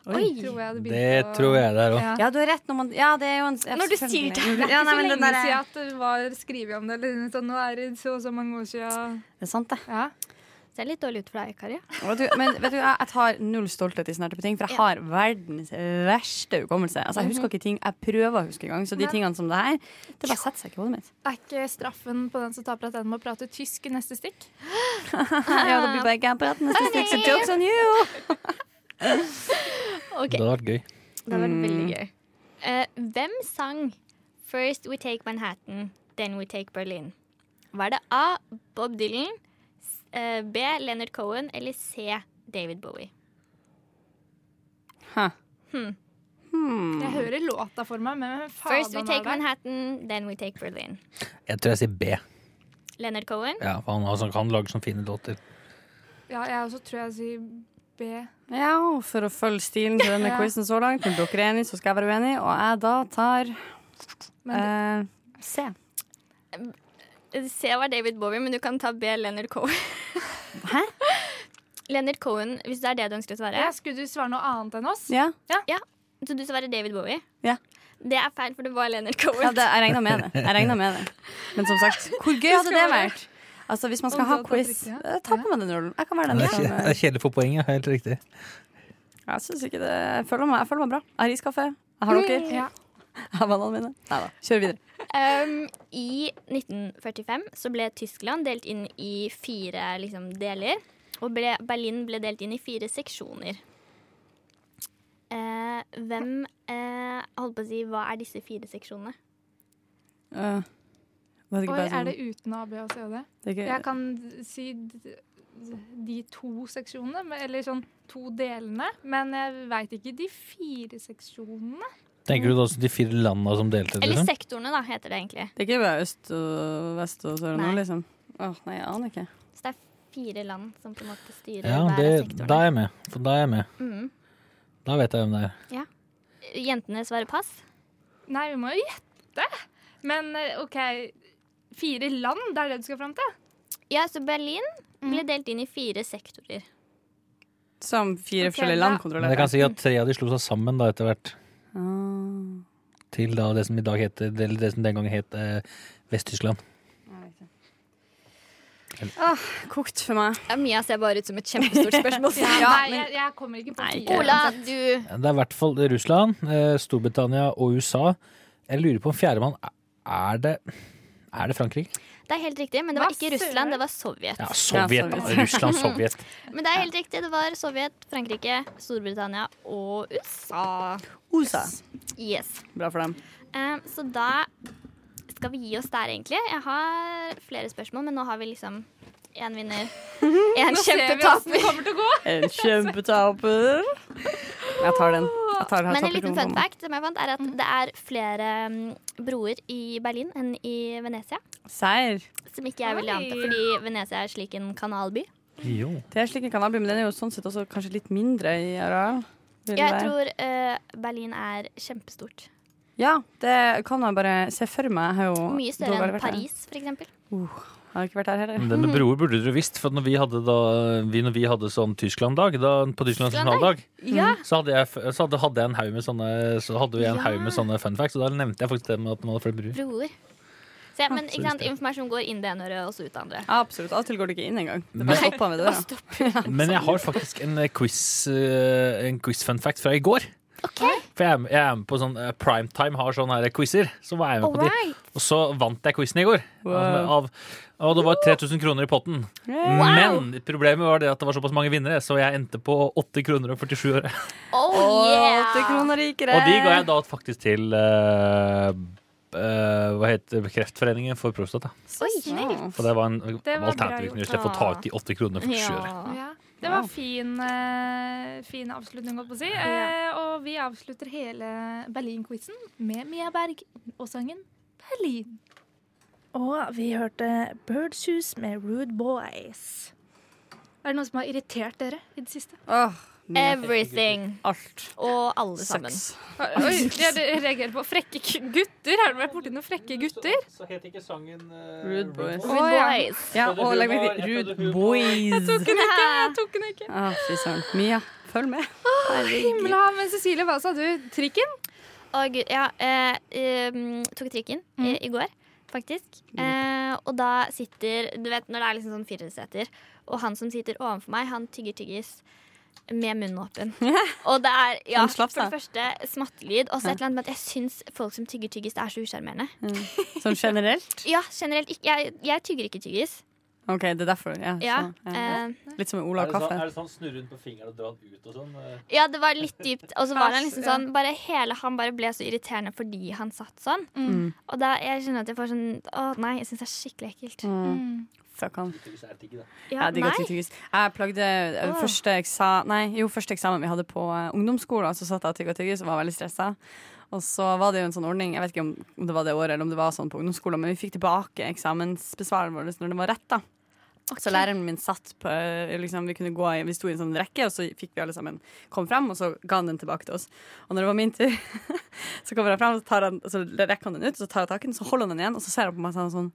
[SPEAKER 3] Oi.
[SPEAKER 1] Tror jeg det begynte
[SPEAKER 4] Det
[SPEAKER 1] å-
[SPEAKER 4] tror jeg det er òg.
[SPEAKER 1] Ja.
[SPEAKER 2] Ja, du har rett når man Ja, det er jo en
[SPEAKER 3] Når du sier det.
[SPEAKER 2] selvfølgelig.
[SPEAKER 1] Det er
[SPEAKER 2] Ja,
[SPEAKER 1] ikke
[SPEAKER 2] nei,
[SPEAKER 1] så
[SPEAKER 2] men
[SPEAKER 1] lenge
[SPEAKER 2] den der-
[SPEAKER 1] siden at det var skrevet om det. Eller, sånn, nå er det så og så mange år siden.
[SPEAKER 2] Det er sant, det.
[SPEAKER 1] Ja.
[SPEAKER 3] [LAUGHS] Ser litt dårlig ut for deg, Kari.
[SPEAKER 2] Og du, men vet du, jeg, jeg tar null stolthet i sånne type ting, for jeg har verdens verste hukommelse. Altså, Jeg husker ikke ting jeg prøver å huske engang, så de
[SPEAKER 1] Nei.
[SPEAKER 2] tingene som det her, det bare setter seg ikke i hodet mitt.
[SPEAKER 1] Er ikke straffen på den som taper at den må prate tysk i neste stikk?
[SPEAKER 2] Ja, det blir bare ikke apparat neste [LAUGHS] stikk, så jokes on you!
[SPEAKER 3] Ok,
[SPEAKER 4] Det hadde vært gøy.
[SPEAKER 3] Det var veldig gøy. Mm. Eh, hvem sang 'First We Take Manhattan, Then We Take Berlin'? Var det A. Bob Dylan, s- eh, B. Leonard Cohen eller C. David Bowie?
[SPEAKER 2] Hmm.
[SPEAKER 1] Jeg hører låta for meg, men hvem faen
[SPEAKER 3] First we take Manhattan, then we take Berlin.
[SPEAKER 4] Jeg tror jeg sier B.
[SPEAKER 3] Leonard Cohen.
[SPEAKER 4] Ja, for han, altså, han lager sånne fine låter.
[SPEAKER 1] Ja, jeg også tror jeg sier B.
[SPEAKER 2] Ja, og for å følge stilen til denne
[SPEAKER 1] Ja.
[SPEAKER 2] quizen så langt, når dere er enige, så skal jeg være uenig, og jeg da tar
[SPEAKER 3] Men
[SPEAKER 2] eh, C.
[SPEAKER 3] C var David Bowie, men du kan ta B. Leonard Cohen. [LAUGHS] Hæ? Leonard Cohen, hvis det er det du ønsker å svare.
[SPEAKER 1] Ja, skulle du svare noe annet enn oss?
[SPEAKER 2] Ja.
[SPEAKER 3] Ja. Så du svarer David Bowie?
[SPEAKER 2] Ja.
[SPEAKER 3] Det er feil, for det var Leonard Cohen.
[SPEAKER 2] Ja, det, jeg regna med det. Jeg regnet med det. Men som sagt, hvor gøy hadde det vært? Altså, Hvis man skal
[SPEAKER 1] Om
[SPEAKER 2] ha
[SPEAKER 1] du hadde tatt
[SPEAKER 2] quiz,
[SPEAKER 1] riktig,
[SPEAKER 2] eh, ta på meg den rollen. Jeg kan være
[SPEAKER 4] Men
[SPEAKER 2] den
[SPEAKER 4] Det er,
[SPEAKER 2] som
[SPEAKER 4] kje- det
[SPEAKER 2] eh,
[SPEAKER 4] er kjedelig for poenget. Helt riktig.
[SPEAKER 2] Jeg synes ikke det Jeg føler meg, jeg føler meg bra. Jeg har iskaffe. Jeg har dere.
[SPEAKER 3] Mm, Ja.
[SPEAKER 2] [LAUGHS] Jeg har vennene mine. Nei da. Kjør videre.
[SPEAKER 3] [LAUGHS] Um, I 1945 så ble Tyskland delt inn i fire liksom, deler. Og ble, Berlin ble delt inn i fire seksjoner. Eh, hvem eh, Holdt på å si Hva er disse fire seksjonene?
[SPEAKER 2] Eh, var det ikke
[SPEAKER 1] Oi,
[SPEAKER 2] bare
[SPEAKER 1] er
[SPEAKER 2] sånn
[SPEAKER 1] det uten A, B og C og D?
[SPEAKER 2] Det er ikke-
[SPEAKER 1] Jeg kan si d- de to seksjonene, men- eller sånn to delene, men jeg veit ikke de fire seksjonene.
[SPEAKER 4] Tenker du da også de fire landene som delte?
[SPEAKER 3] Eller
[SPEAKER 4] Liksom?
[SPEAKER 3] sektorene, da, heter det egentlig.
[SPEAKER 2] Det er ikke bare øst og vest og sør og nord,
[SPEAKER 3] Nei.
[SPEAKER 2] liksom? Åh, nei, jeg aner ikke.
[SPEAKER 3] Så det er fire land som på en måte styrer
[SPEAKER 4] Ja,
[SPEAKER 3] hver av
[SPEAKER 4] det,
[SPEAKER 3] sektorene.
[SPEAKER 4] da er jeg med. For da er jeg med.
[SPEAKER 3] Mm,
[SPEAKER 4] Da vet jeg hvem det er.
[SPEAKER 3] ja. Jentene svarer pass.
[SPEAKER 1] Nei, vi må jo gjette. Men eh, OK, fire land, det er det du skal fram til?
[SPEAKER 3] Ja, så Berlin ble delt inn i fire sektorer.
[SPEAKER 2] Som fire
[SPEAKER 3] Ok,
[SPEAKER 2] forskjellige
[SPEAKER 3] da-
[SPEAKER 2] land
[SPEAKER 4] Men
[SPEAKER 2] kontrollerer.
[SPEAKER 4] jeg kan si at tre av de slo seg sammen da etter hvert. Ah. Til da det som i dag heter Eller det som den gang het eh, Vest-Tyskland.
[SPEAKER 2] Åh, kokt for meg.
[SPEAKER 3] Ja, Mia ser bare ut som et kjempestort spørsmål. [LAUGHS]
[SPEAKER 1] Ja,
[SPEAKER 2] Ja,
[SPEAKER 1] nei, jeg, jeg kommer ikke på
[SPEAKER 2] Nei,
[SPEAKER 1] fire.
[SPEAKER 3] Ola, du
[SPEAKER 4] Det er i hvert fall Russland, eh, Storbritannia og USA. Jeg lurer på om fjerdemann Er det Er det Frankrike?
[SPEAKER 3] Det er helt riktig, men det
[SPEAKER 1] Hva
[SPEAKER 3] var ikke Russland, det var Sovjet.
[SPEAKER 4] Ja, Sovjet.
[SPEAKER 2] Ja, Sovjet.
[SPEAKER 4] Russland, Sovjet.
[SPEAKER 3] Men det er helt riktig, det var Sovjet, Frankrike, Storbritannia og USA.
[SPEAKER 2] Osa.
[SPEAKER 3] Yes.
[SPEAKER 2] Bra for dem.
[SPEAKER 3] Em, så da skal vi gi oss der, egentlig. Jeg har flere spørsmål, men nå har vi liksom én [LAUGHS] vinner, én
[SPEAKER 1] Nå ser vi åssen
[SPEAKER 3] kjempetaper.
[SPEAKER 1] det kommer til å gå.
[SPEAKER 3] [LAUGHS]
[SPEAKER 2] En kjempetaper. Jeg tar den. Jeg tar den.
[SPEAKER 3] Men en liten fun fact som jeg fant, er at det er flere mm, broer i Berlin enn i Venezia.
[SPEAKER 2] Seier.
[SPEAKER 3] Som ikke jeg ville
[SPEAKER 1] Oi.
[SPEAKER 3] anta, fordi Venezia er slik en kanalby.
[SPEAKER 4] [LAUGHS] Jo.
[SPEAKER 2] Det er slik en kanal, men den er jo sånn sett også kanskje litt mindre i areal. vil det
[SPEAKER 3] Jeg
[SPEAKER 2] være.
[SPEAKER 3] tror eh, Berlin er kjempestort.
[SPEAKER 2] Ja, det kan jeg bare se for meg. Jeg har jo
[SPEAKER 3] Mye
[SPEAKER 2] dog
[SPEAKER 3] større
[SPEAKER 2] aldri
[SPEAKER 3] enn
[SPEAKER 2] vært der.
[SPEAKER 3] Paris, for eksempel.
[SPEAKER 2] Uh, jeg har ikke vært der heller.
[SPEAKER 4] Men Det med broer burde dere visst, for når vi hadde, da, vi, når vi hadde sånn Tyskland-dag, da, på Tysklands nasjonaldag,
[SPEAKER 3] Ja.
[SPEAKER 4] så hadde, jeg, f- så hadde, hadde jeg en haug med sånne Så hadde vi en haug med sånne fun facts, og da nevnte jeg faktisk det med at man hadde flere broer.
[SPEAKER 3] Broer. Så, ja, men ikke sant, informasjon går inn det ene øret og så ut det andre.
[SPEAKER 2] Absolutt. Av og til går du ikke inn engang. Det
[SPEAKER 4] Men-
[SPEAKER 2] bare stopper med døra.
[SPEAKER 4] Men jeg har faktisk en eh, quiz eh, En quiz fun fact fra i går. For jeg, er med- jeg er med på sånn eh, Primetime har sånne her quizer. Så var jeg med på de.
[SPEAKER 3] Alright.
[SPEAKER 4] Og så vant jeg quizen i går. Altså,
[SPEAKER 2] Wow.
[SPEAKER 4] Av, og det var 3000 kroner i potten. Men problemet var det at det var såpass mange vinnere, så jeg endte på 8 kroner og 47 øre.
[SPEAKER 3] Oh,
[SPEAKER 2] Åtte
[SPEAKER 3] yeah!
[SPEAKER 2] kroner rikere.
[SPEAKER 4] Og de ga jeg da faktisk til eh, eh, hva heter det? Kreftforeningen for prostata.
[SPEAKER 3] Så snilt.
[SPEAKER 4] For det var en
[SPEAKER 1] Det var
[SPEAKER 4] alternativ
[SPEAKER 1] bra
[SPEAKER 4] knus.
[SPEAKER 1] gjort.
[SPEAKER 4] Jeg får ta ut de åtte kronene for sju øre.
[SPEAKER 3] Ja.
[SPEAKER 1] Ja, det var fin, eh, fin avslutning, holdt på å si. Eh, og vi avslutter hele Berlin-quizen med Mia Berg og sangen 'Berlin'. Og vi hørte 'Birdshus' med Rude Boys. Er det noen som har irritert dere i det siste?
[SPEAKER 2] Åh, med
[SPEAKER 3] Everything.
[SPEAKER 2] alt.
[SPEAKER 3] Og alle sammen.
[SPEAKER 2] Sex.
[SPEAKER 1] Ah, Oi, jeg reagerer på frekke k- gutter. Har dere vært borti noen frekke gutter?
[SPEAKER 4] Så het ikke sangen
[SPEAKER 2] Rude Boys.
[SPEAKER 3] Good boys.
[SPEAKER 2] Ja, og legg meg til Rude Boys.
[SPEAKER 1] Jeg tok den ikke.
[SPEAKER 2] Å, fy søren. Mia, følg med. Herregud.
[SPEAKER 1] Himla, men Cecilie, hva sa du? Trikken?
[SPEAKER 3] Og gud, ja, eh, em, tok trikken
[SPEAKER 2] Mm.
[SPEAKER 3] i, i går, faktisk. Eh, og da sitter Du vet når det er liksom sånn fireseter, og han som sitter ovenfor meg, han tygger tyggis. Med munnen
[SPEAKER 2] [LAUGHS]
[SPEAKER 3] åpen. Og det er ja,
[SPEAKER 2] Han
[SPEAKER 3] for
[SPEAKER 2] slapp
[SPEAKER 3] det
[SPEAKER 2] seg.
[SPEAKER 3] første smattelyd. Og så et eller annet med at jeg syns folk som tygger tyggis, det er så usjarmerende.
[SPEAKER 2] Sånn generelt?
[SPEAKER 3] Ja, generelt. ikke- Jeg, jeg tygger ikke tyggis.
[SPEAKER 2] OK, det er derfor. Ja,
[SPEAKER 3] Ja,
[SPEAKER 2] sånn, ja.
[SPEAKER 3] eh,
[SPEAKER 2] Litt som med Ola og kaffe.
[SPEAKER 4] det sånn snurre rundt på fingeren og dra den ut og sånn?
[SPEAKER 3] ja, det var litt dypt.
[SPEAKER 2] [LAUGHS]
[SPEAKER 3] Og så var han liksom
[SPEAKER 1] Ja.
[SPEAKER 3] sånn bare hele, Han bare ble så irriterende fordi han satt sånn.
[SPEAKER 1] Mm.
[SPEAKER 3] Og da jeg kjenner at jeg får sånn Å nei, jeg syns det er skikkelig ekkelt.
[SPEAKER 2] Mm. Stakk han.
[SPEAKER 3] Ja,
[SPEAKER 2] jeg digga
[SPEAKER 3] nei.
[SPEAKER 2] tyggis. Jeg plagde eh,
[SPEAKER 3] Åh.
[SPEAKER 2] første, eksa nei, jo, første eksamen vi hadde på eh, ungdomsskolen, så satt jeg og tygga tyggis og var veldig stressa. Og så var det jo en sånn ordning, jeg vet ikke om, om det var det året eller om det var sånn på ungdomsskolen, men vi fikk tilbake eksamensbesvaret vårt når det var rett, da. Så læreren min satt på eh, liksom, Vi kunne gå i, vi sto i en sånn rekke, og så fikk vi alle sammen kom frem, og så ga han den tilbake til oss. Og når det var min tur, [LAUGHS] så kommer han frem, og så, tar han, så rekker han den ut, og så tar jeg tak i den, så holder han den igjen, og så ser han på meg og sånn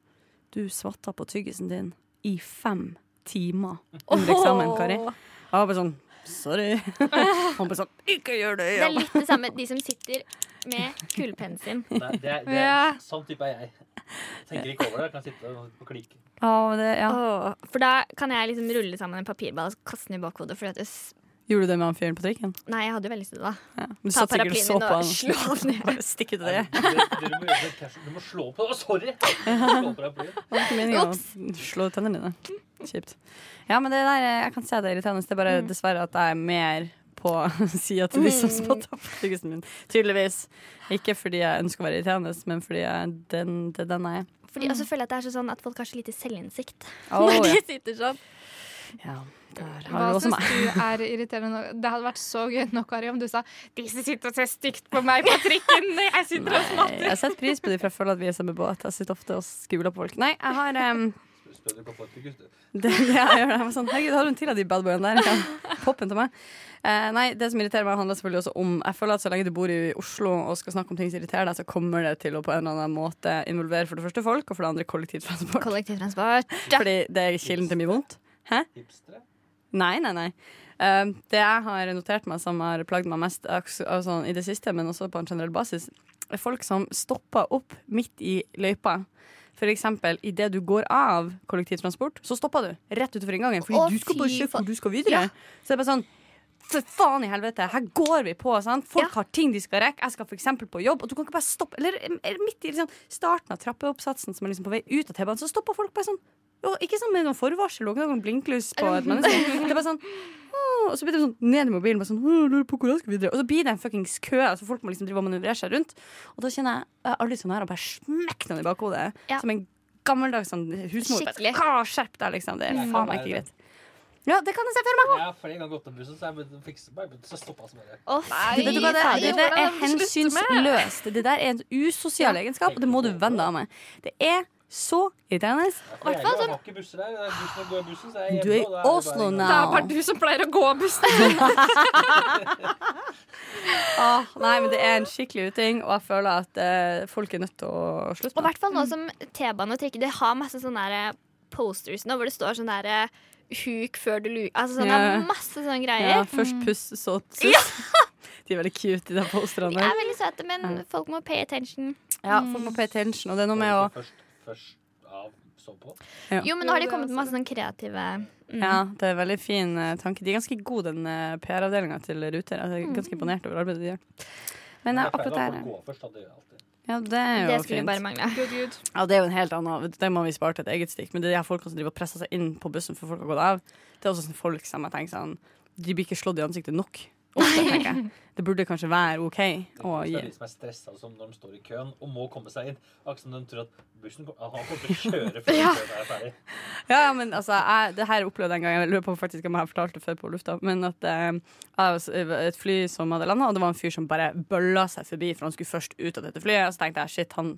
[SPEAKER 2] Du svatta på tyggisen din i fem timer under eksamen, Kari. Jeg var bare sånn [LAUGHS] Sorry. Han bare sånn Ikke gjør det!
[SPEAKER 3] Det er litt det samme de som sitter med kulepennen
[SPEAKER 2] [LAUGHS]
[SPEAKER 3] sin.
[SPEAKER 4] Det, det, det,
[SPEAKER 3] Ja.
[SPEAKER 4] Sånn type er jeg. Tenker ikke over det. Kan sitte og klikke.
[SPEAKER 3] Åh, for da kan jeg liksom rulle sammen en papirball og kaste den i bakhodet. Fordi at det s
[SPEAKER 2] Gjorde du det med han fyren på trikken?
[SPEAKER 3] Nei, jeg hadde jo veldig lyst til det, da.
[SPEAKER 2] Du
[SPEAKER 3] Ta
[SPEAKER 2] satt sikkert og
[SPEAKER 3] paraplyen
[SPEAKER 2] så
[SPEAKER 3] min
[SPEAKER 2] på
[SPEAKER 3] og
[SPEAKER 2] [LAUGHS] han.
[SPEAKER 3] slå han ned.
[SPEAKER 2] Bare stikke til det.
[SPEAKER 4] Dere må gjøre det casual. Du må slå på det. Sorry!
[SPEAKER 2] [LAUGHS]
[SPEAKER 4] Slå på deg på det.
[SPEAKER 2] Det var ikke meningen å slå ut tennene dine. Kjipt. Ja, men det der, eh, jeg kan se det er irriterende. Det er bare dessverre at jeg er mer på [LAUGHS] sida til de som
[SPEAKER 11] Mm.
[SPEAKER 2] spotta på tyggisen min. Tydeligvis. Ikke fordi jeg ønsker å være irriterende, men fordi jeg, den, det er den [LAUGHS] jeg er.
[SPEAKER 3] Fordi jeg føler jeg at det er sånn at folk har så lite selvinnsikt.
[SPEAKER 2] Åh,
[SPEAKER 3] Når de
[SPEAKER 2] ja.
[SPEAKER 3] sitter sånn.
[SPEAKER 2] Ja, der har
[SPEAKER 1] Hva
[SPEAKER 2] du også
[SPEAKER 1] syns
[SPEAKER 2] meg.
[SPEAKER 1] du er irriterende? nå? Det hadde vært så gøy nå, Kari, om du sa De som sitter og ser stygt på meg på trikken, jeg sitter og
[SPEAKER 2] Nei, altså,
[SPEAKER 1] smatter.
[SPEAKER 2] jeg setter pris på det, for jeg føler at vi er i samme båt. Jeg sitter ofte og skuler på folk. Nei, jeg har em,
[SPEAKER 4] Spør du hva folk tykker, gutter?
[SPEAKER 2] Det, det [LAUGHS] jeg gjør, jeg var sånn, Herregud, har du en til av de badboyene der? Kan jeg poppe en til meg? Eh, nei, det som irriterer meg, handler selvfølgelig også om Jeg føler at så lenge du bor i Oslo og skal snakke om ting som irriterer deg, så kommer det til å på en eller annen måte involvere for det første folk, og for det andre kollektivtransport.
[SPEAKER 3] Kollektivtransport.
[SPEAKER 2] Fordi det er kilden til mye vondt. Hæ? Nei, nei, nei. Eh, det jeg har notert meg som har plagd meg mest aks- altså, i det siste, men også på en generell basis, er folk som stopper opp midt i løypa. For eksempel, idet du går av kollektivtransport, så stopper du rett utenfor inngangen. Fordi
[SPEAKER 11] Å,
[SPEAKER 2] du skal bare
[SPEAKER 11] fy
[SPEAKER 2] kjøpe hvor du skal videre. Så det er bare sånn for faen i helvete, her går vi på! Sant? Folk har ting de skal rekke. Jeg skal for eksempel på jobb, og du kan ikke bare stoppe Eller eller midt i liksom, starten av trappeoppsatsen, som er liksom på vei ut av T-banen, så stopper folk bare sånn. Og ikke sånn med noen forvarsel og ikke noen blinklys på et menneske.
[SPEAKER 3] [LAUGHS]
[SPEAKER 2] Det er bare sånn «Åh», og så blir det sånn ned i mobilen, bare sånn, «Åh, lurer på hvor jeg skal videre. Og så blir det en fuckings kø. Altså folk må liksom drive og manøvrere seg rundt. Og da kjenner jeg jeg har aldri sånn her og bare smekk noen i bakhodet.
[SPEAKER 3] Ja.
[SPEAKER 2] Som en gammeldags sånn husmor. Bare,
[SPEAKER 3] Skikkelig.
[SPEAKER 2] «Hva, Skjerp deg, liksom. Det er
[SPEAKER 4] Mm.
[SPEAKER 2] faen meg ikke greit. Ja, det kan jeg se for meg.
[SPEAKER 4] Jeg har flere ganger gått av bussen, så jeg begynte å fikse meg. men Så stoppa jeg bare.
[SPEAKER 3] [LAUGHS] Å,
[SPEAKER 2] Du vet du hva, det, det der er hensynsløst. Det der er en usosial egenskap, og det må du vende deg av med. Det er så irriterende.
[SPEAKER 4] Jeg har ikke busser der. Det er bussen som går av bussen, så jeg
[SPEAKER 2] Du er i
[SPEAKER 4] hjemme, og da det bare
[SPEAKER 2] Oslo
[SPEAKER 4] en
[SPEAKER 2] nå.
[SPEAKER 4] gang.
[SPEAKER 1] Det er bare du som pleier å gå av bussen.
[SPEAKER 2] Åh, nei, men det er en skikkelig uting, og jeg føler at eh, folk er nødt til å
[SPEAKER 3] Og
[SPEAKER 2] slutte
[SPEAKER 3] i
[SPEAKER 2] med det.
[SPEAKER 3] hvert fall nå som T-bane og trikke Det har masse sånne der eh, posters nå hvor det står sånn der eh, Huk før du luker Altså sånn, det
[SPEAKER 2] Ja.
[SPEAKER 3] er masse sånne greier.
[SPEAKER 2] Ja, først puss, så suss. [LAUGHS] De er veldig cute, de der
[SPEAKER 3] De
[SPEAKER 2] posterne.
[SPEAKER 3] er veldig søte, men
[SPEAKER 2] Ja.
[SPEAKER 3] folk må pay attention.
[SPEAKER 2] Ja, folk må pay attention, og det er noe med å
[SPEAKER 4] Først, først av, så på.
[SPEAKER 2] ja. altså.
[SPEAKER 3] Jo, men nå har de kommet med masse sånne kreative
[SPEAKER 2] Ja, det er en veldig fin eh, tanke. De er ganske gode, den eh, PR-avdelinga til Ruter. Jeg er ganske imponert over arbeidet de gjør. Men eh,
[SPEAKER 4] Jeg pleier
[SPEAKER 2] akkurat
[SPEAKER 4] å
[SPEAKER 2] der
[SPEAKER 4] gå først, da. Det gjør jeg alltid.
[SPEAKER 2] Ja, det er jo
[SPEAKER 3] Det skulle
[SPEAKER 2] fint.
[SPEAKER 3] bare mangle.
[SPEAKER 2] Ja, det er jo en helt annen Det må vi spare til et eget stikk. Men det er de her folkene som driver og presser seg inn på bussen for folk har gått av, det er også sånn folk som jeg tenker sånn De blir ikke slått i ansiktet nok. Ofte, tenker jeg. Det burde kanskje være OK å
[SPEAKER 4] Det
[SPEAKER 2] gi.
[SPEAKER 4] er de som er stressa som når de står i køen og må komme seg inn. Akkurat som de tror at bussen kom- han kommer til å kjøre
[SPEAKER 2] [LAUGHS]
[SPEAKER 4] før
[SPEAKER 2] Ja.
[SPEAKER 4] køen er ferdig.
[SPEAKER 2] Ja, ja, men altså, jeg, det her opplevde jeg en gang. Jeg lurer på faktisk om jeg har fortalt det før på lufta. Men at eh, jeg var s- et fly som hadde landa, og det var en fyr som bare bølla seg forbi, for han skulle først ut av dette flyet. Og så tenkte jeg shit, han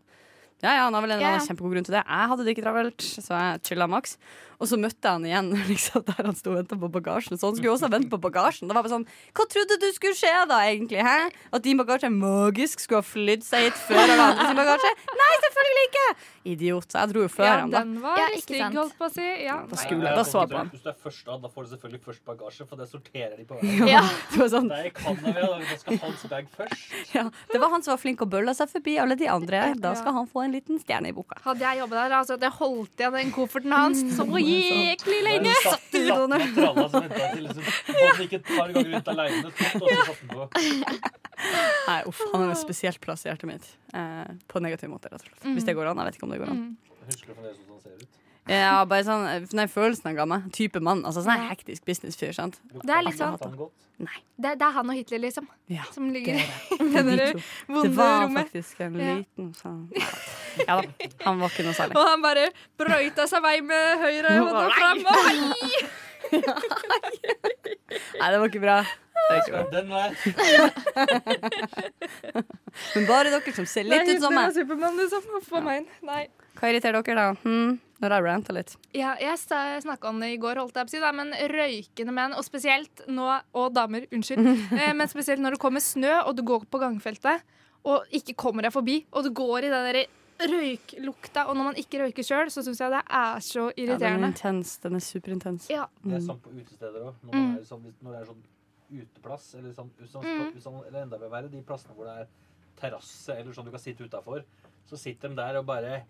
[SPEAKER 2] ja, ja, han har vel en
[SPEAKER 11] Ja, ja.
[SPEAKER 2] annen kjempegod grunn til det. Jeg hadde det ikke travelt, så jeg chilla maks. Og så møtte jeg han igjen [LAUGHS] liksom, der han sto og venta på bagasjen. Så han skulle også vente på bagasjen. Det var bare sånn Hva trodde du skulle skje da, egentlig? Hæ? At din bagasje magisk skulle ha flydd seg hit før alle andre sin bagasje? Nei, selvfølgelig ikke! Idiot. Så jeg dro jo før
[SPEAKER 1] Ja,
[SPEAKER 2] han, da.
[SPEAKER 1] den var
[SPEAKER 3] Ja, ikke
[SPEAKER 1] stygg,
[SPEAKER 3] sant.
[SPEAKER 1] holdt på å si. Ja.
[SPEAKER 2] Da skulle jeg, da så jeg på han.
[SPEAKER 4] Hvis du er først av, da får du selvfølgelig først bagasje, for det sorterer de på veien.
[SPEAKER 2] Ja. Det var sånn.
[SPEAKER 4] Der kan jeg vel, da skal hans bag først.
[SPEAKER 2] Ja, det var han som var flink og bølla seg forbi alle de andre. Da skal han få en liten stjerne i boka.
[SPEAKER 1] Hadde jeg jobba der, altså, det holdt igjen den kofferten hans
[SPEAKER 2] Mm,
[SPEAKER 1] så jæklig lenge.
[SPEAKER 4] Der satt- satt med tralla som ventet til
[SPEAKER 2] [LAUGHS]
[SPEAKER 4] liksom, Båten gikk et par ganger rundt alene, tok, og så satt den på.
[SPEAKER 2] Nei, uff, han har en spesielt plass i hjertet mitt. Eh, på en negativ måte, rett og slett. Hvis det går an. Jeg vet ikke om det går
[SPEAKER 1] Mm.
[SPEAKER 2] an.
[SPEAKER 4] Husker du fremdeles hvordan han ser ut?
[SPEAKER 2] Ja, bare sånn, nei, Følelsen han ga meg. Type mann. Altså sånn en hektisk businessfyr. sant?
[SPEAKER 1] Det er litt sånn
[SPEAKER 4] Lukter han godt?
[SPEAKER 1] det, det er han og Hitler, [LAUGHS] liksom.
[SPEAKER 2] Ja,
[SPEAKER 1] som ligger
[SPEAKER 2] det
[SPEAKER 1] i
[SPEAKER 2] De
[SPEAKER 1] det der
[SPEAKER 2] to.
[SPEAKER 1] vonde
[SPEAKER 2] Det var
[SPEAKER 1] rommet.
[SPEAKER 2] faktisk en
[SPEAKER 1] Ja.
[SPEAKER 2] liten sånn Ja da, han var ikke noe særlig.
[SPEAKER 1] Og han bare brøyta seg vei med høyre hånda fram. Og hei!
[SPEAKER 2] Nei, det var ikke bra. Det var ikke bra.
[SPEAKER 10] Den var
[SPEAKER 2] Men bare dere som ser litt ut som meg.
[SPEAKER 1] Supermann, liksom. Huff a meg. Nei.
[SPEAKER 2] Hva irriterer dere, da? Hm, når jeg ranta litt.
[SPEAKER 1] Ja, jeg snakka om det i går, holdt jeg på å si, da, men røykende menn, og spesielt nå Og damer, unnskyld. eh, men spesielt når det kommer snø, og du går på gangfeltet, og ikke kommer deg forbi, og du går i den der røyklukta, og når man ikke røyker sjøl, så syns jeg det er så
[SPEAKER 2] Ja, den er
[SPEAKER 1] irriterende.
[SPEAKER 2] intens. Den er superintens.
[SPEAKER 1] Ja.
[SPEAKER 10] Det er
[SPEAKER 2] Mm.
[SPEAKER 10] sånn på utesteder òg. Når,
[SPEAKER 1] Mm.
[SPEAKER 10] det er sånn, hvis- når det er sånn uteplass, eller, sånn, hvis sånn-
[SPEAKER 1] Mm.
[SPEAKER 10] hvis sånn- eller enda mer verre, de plassene hvor det er terrasse eller sånn du kan sitte utafor, så sitter de der og bare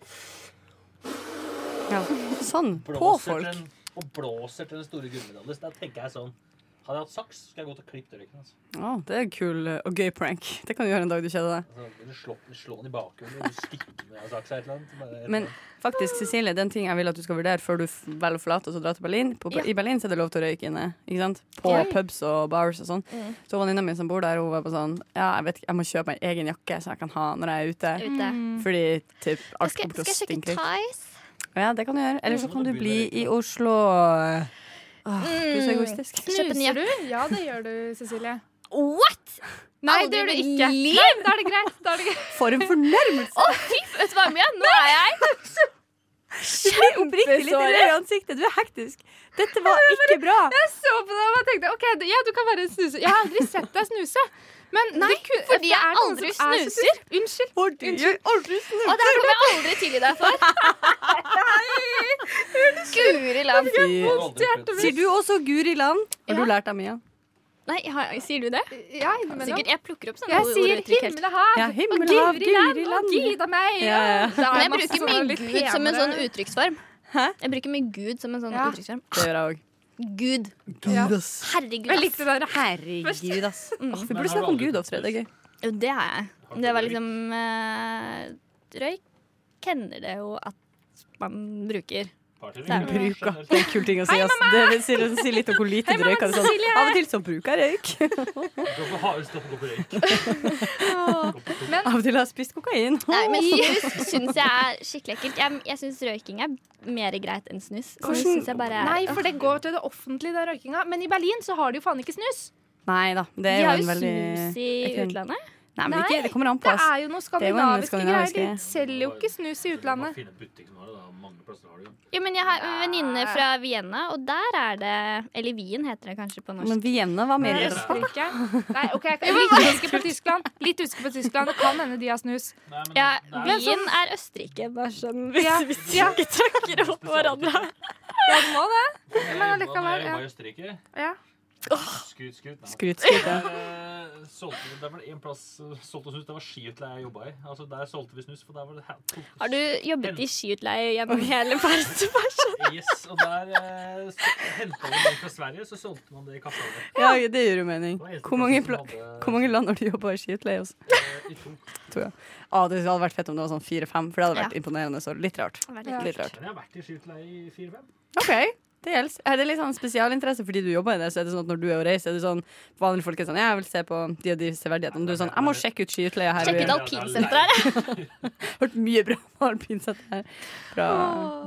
[SPEAKER 2] Ja. Sånn. På
[SPEAKER 10] blåser, til
[SPEAKER 2] folk.
[SPEAKER 10] den, og blåser til den store gullmedaljen. Da tenker jeg sånn Hadde jeg hatt saks, skulle jeg gått og klippet øyeblikkene. Altså.
[SPEAKER 2] Å, det er en kul eh, og gøy prank. [LAUGHS] Det kan du gjøre en dag du kjeder deg.
[SPEAKER 10] Altså, vil du slå, slå den i bakhjulet, eller stikke med en saks eller et eller annet. Bare,
[SPEAKER 2] Men faktisk, Cecilie, den ting jeg vil at du skal vurdere før du f- velger å forlate oss og dra til Berlin På,
[SPEAKER 3] Ja.
[SPEAKER 2] I Berlin så er det lov til å røyke inne. Ikke sant? På
[SPEAKER 3] Ja.
[SPEAKER 2] pubs og bars og sånn.
[SPEAKER 3] Mm.
[SPEAKER 2] Så venninna mi som bor der, hun var på sånn Ja, jeg vet ikke, jeg må kjøpe meg egen jakke så jeg kan ha når jeg er ute.
[SPEAKER 3] Ute.
[SPEAKER 2] Fordi typ, alt
[SPEAKER 3] Mm. Skal, skal
[SPEAKER 2] kommer til å
[SPEAKER 3] jeg sjekke
[SPEAKER 2] stinke. litt.
[SPEAKER 3] Thais?
[SPEAKER 2] Ja, det kan du gjøre. Eller så
[SPEAKER 10] må
[SPEAKER 2] kan
[SPEAKER 10] du
[SPEAKER 2] du
[SPEAKER 10] begynne
[SPEAKER 2] bli
[SPEAKER 10] Mm. å røyke,
[SPEAKER 2] i
[SPEAKER 10] da.
[SPEAKER 2] Oslo. Åh, du er
[SPEAKER 3] Mm.
[SPEAKER 2] så egoistisk.
[SPEAKER 3] Kjøpe en
[SPEAKER 1] Knuser
[SPEAKER 3] jakke.
[SPEAKER 1] du? Ja, det gjør du, Cecilie.
[SPEAKER 3] What?!
[SPEAKER 1] Nei,
[SPEAKER 3] Aldri
[SPEAKER 1] det gjør du
[SPEAKER 3] i mitt
[SPEAKER 1] ikke.
[SPEAKER 3] liv!
[SPEAKER 1] Nei, da er det greit. Da er det greit.
[SPEAKER 2] For en fornærmelse!
[SPEAKER 3] Vet du hva, Mia? Nå er jeg
[SPEAKER 2] Du blir oppriktig litt
[SPEAKER 3] Kjempesår.
[SPEAKER 2] rød i ansiktet. Du er hektisk. Dette var ikke bra.
[SPEAKER 1] Jeg så på deg og bare tenkte OK, du- ja, du kan være en snuser. Jeg har aldri sett deg snuse. Men det ku-
[SPEAKER 3] fordi
[SPEAKER 1] det
[SPEAKER 3] jeg
[SPEAKER 1] er noen
[SPEAKER 3] aldri
[SPEAKER 1] som er så
[SPEAKER 3] snuser.
[SPEAKER 1] snus. Unnskyld.
[SPEAKER 2] Fordi jeg aldri
[SPEAKER 3] Og
[SPEAKER 2] snur.
[SPEAKER 3] det her kommer jeg aldri tilgi deg [LAUGHS] for. Guri land.
[SPEAKER 10] Jeg har aldri prøvd.
[SPEAKER 2] Sier du også Guri land?
[SPEAKER 3] Ja.
[SPEAKER 2] Har du lært av Mia?
[SPEAKER 3] Nei, har- sier du det?
[SPEAKER 1] Ja, innimellom.
[SPEAKER 3] Sikkert, jeg plukker opp sånne
[SPEAKER 1] Jeg
[SPEAKER 3] ord og
[SPEAKER 1] sier
[SPEAKER 3] uttrykk hele tiden.
[SPEAKER 1] himmelhav
[SPEAKER 2] Ja,
[SPEAKER 1] og
[SPEAKER 2] himmel, hav,
[SPEAKER 1] guri land
[SPEAKER 2] Guri
[SPEAKER 1] og
[SPEAKER 2] land.
[SPEAKER 1] gida meg.
[SPEAKER 2] Ja, ja, ja.
[SPEAKER 1] og det er
[SPEAKER 3] Men jeg
[SPEAKER 1] masse
[SPEAKER 3] bruker
[SPEAKER 1] sånne
[SPEAKER 3] mye
[SPEAKER 1] litt
[SPEAKER 3] Gud som en sånn
[SPEAKER 1] penere-
[SPEAKER 3] uttrykksform. Jeg bruker mye Gud som en sånn
[SPEAKER 1] Ja.
[SPEAKER 3] uttrykksform.
[SPEAKER 2] Det gjør jeg òg.
[SPEAKER 3] Gud.
[SPEAKER 1] Ja.
[SPEAKER 3] Herregud.
[SPEAKER 1] Jeg likte det der.
[SPEAKER 2] Herregud, ass. Åh, vi
[SPEAKER 10] Men
[SPEAKER 2] burde
[SPEAKER 10] har
[SPEAKER 2] snakke om
[SPEAKER 10] du aldri
[SPEAKER 2] Gud oftere. Det er gøy.
[SPEAKER 3] Jo, det har jeg.
[SPEAKER 10] Har du
[SPEAKER 3] Det var
[SPEAKER 10] røyk?
[SPEAKER 3] liksom eh, Røyk kjenner det jo at man bruker.
[SPEAKER 10] Partyring.
[SPEAKER 2] Bruka. Det er en kul ting å si, ass. Det vil si, det sier litt om hvor lite du røyker. Sånn. Av og til så bruker jeg røyk.
[SPEAKER 10] Gå på hardest opp og gå på røyk.
[SPEAKER 2] Av og til har jeg spist kokain.
[SPEAKER 3] Nei, men snus syns jeg er skikkelig ekkelt. Jeg, jeg syns røyking er mer greit enn snus. Snus
[SPEAKER 2] Hvordan-
[SPEAKER 3] synes jeg bare er
[SPEAKER 1] Nei, for det går til det offentlige, den røykinga. Men i Berlin så har de jo faen ikke snus.
[SPEAKER 2] Nei da. Det
[SPEAKER 3] De
[SPEAKER 2] er jo
[SPEAKER 3] har
[SPEAKER 2] en
[SPEAKER 3] jo
[SPEAKER 2] veldig
[SPEAKER 3] snus i
[SPEAKER 2] jeg kan-
[SPEAKER 3] utlandet.
[SPEAKER 2] Nei, men
[SPEAKER 1] Nei,
[SPEAKER 2] ikke, det kommer an på.
[SPEAKER 1] Det
[SPEAKER 2] Ass.
[SPEAKER 1] er jo noen
[SPEAKER 2] er jo en
[SPEAKER 1] skandinaviske greier. De
[SPEAKER 2] skandinavisk greie.
[SPEAKER 1] selger jo ikke snus i
[SPEAKER 10] Du må
[SPEAKER 1] utlandet.
[SPEAKER 10] finne en butikk som har det, da. Mange plasser har det jo.
[SPEAKER 3] Jo, men jeg har en venninne fra Vienna, og der er det Eller Wien heter det kanskje på norsk.
[SPEAKER 2] Men Vienna var mer
[SPEAKER 1] Det er
[SPEAKER 2] irriterende.
[SPEAKER 1] Østerrike. Nei, OK, jeg kan litt usikker på Tyskland. Litt usikker på Tyskland. Det kan hende de har snus.
[SPEAKER 10] Nei, men
[SPEAKER 3] Ja,
[SPEAKER 10] det er-
[SPEAKER 1] Men
[SPEAKER 3] Wien er Østerrike, bare sånn hvis
[SPEAKER 1] Ja,
[SPEAKER 3] hvis vi
[SPEAKER 1] ja.
[SPEAKER 3] ikke tråkker opp på hverandre.
[SPEAKER 1] Ja, du må det.
[SPEAKER 10] Jeg
[SPEAKER 1] Men
[SPEAKER 10] jobba-
[SPEAKER 1] allikevel,
[SPEAKER 10] når jeg
[SPEAKER 1] ja.
[SPEAKER 10] jobba i Østerrike.
[SPEAKER 1] Ja.
[SPEAKER 10] Skryt, skryt. Nei.
[SPEAKER 2] Skryt, skryt. ja.
[SPEAKER 10] Der, eh, solgte, vi- der var det en plass eh, solgte snus. Det var skiutleie jeg jobba i. Altså, der solgte vi snus, for der var det
[SPEAKER 3] Har du jobbet i skiutleie gjennom hele
[SPEAKER 2] [LAUGHS]
[SPEAKER 3] verden?
[SPEAKER 10] Yes, og der eh, så- hentet vi noen fra Sverige, så solgte man det i kaffehavet.
[SPEAKER 2] Ja, det gir jo mening. Hvor mange, pla hvor mange land har du jobba i skiutleie hos?
[SPEAKER 10] eh, I to.
[SPEAKER 2] Ah, det hadde vært fett om det var sånn fire-fem, for det hadde vært imponerende. Så litt rart.
[SPEAKER 1] Ja.
[SPEAKER 2] Litt rart.
[SPEAKER 10] Men jeg har vært i skiutleie i fire-fem.
[SPEAKER 2] OK. Det gjelder. Er det litt sånn spesialinteresse fordi du jobber i det? Så er det sånn at når du er og reiser, er det sånn vanlige folk er sånn Jeg vil se på de og de severdighetene. Du er sånn Jeg må sjekke ut skiutleia her.
[SPEAKER 3] Sjekket
[SPEAKER 2] Det
[SPEAKER 3] alpinsenteret her.
[SPEAKER 2] har vært mye bra med alpinsett her. Bra,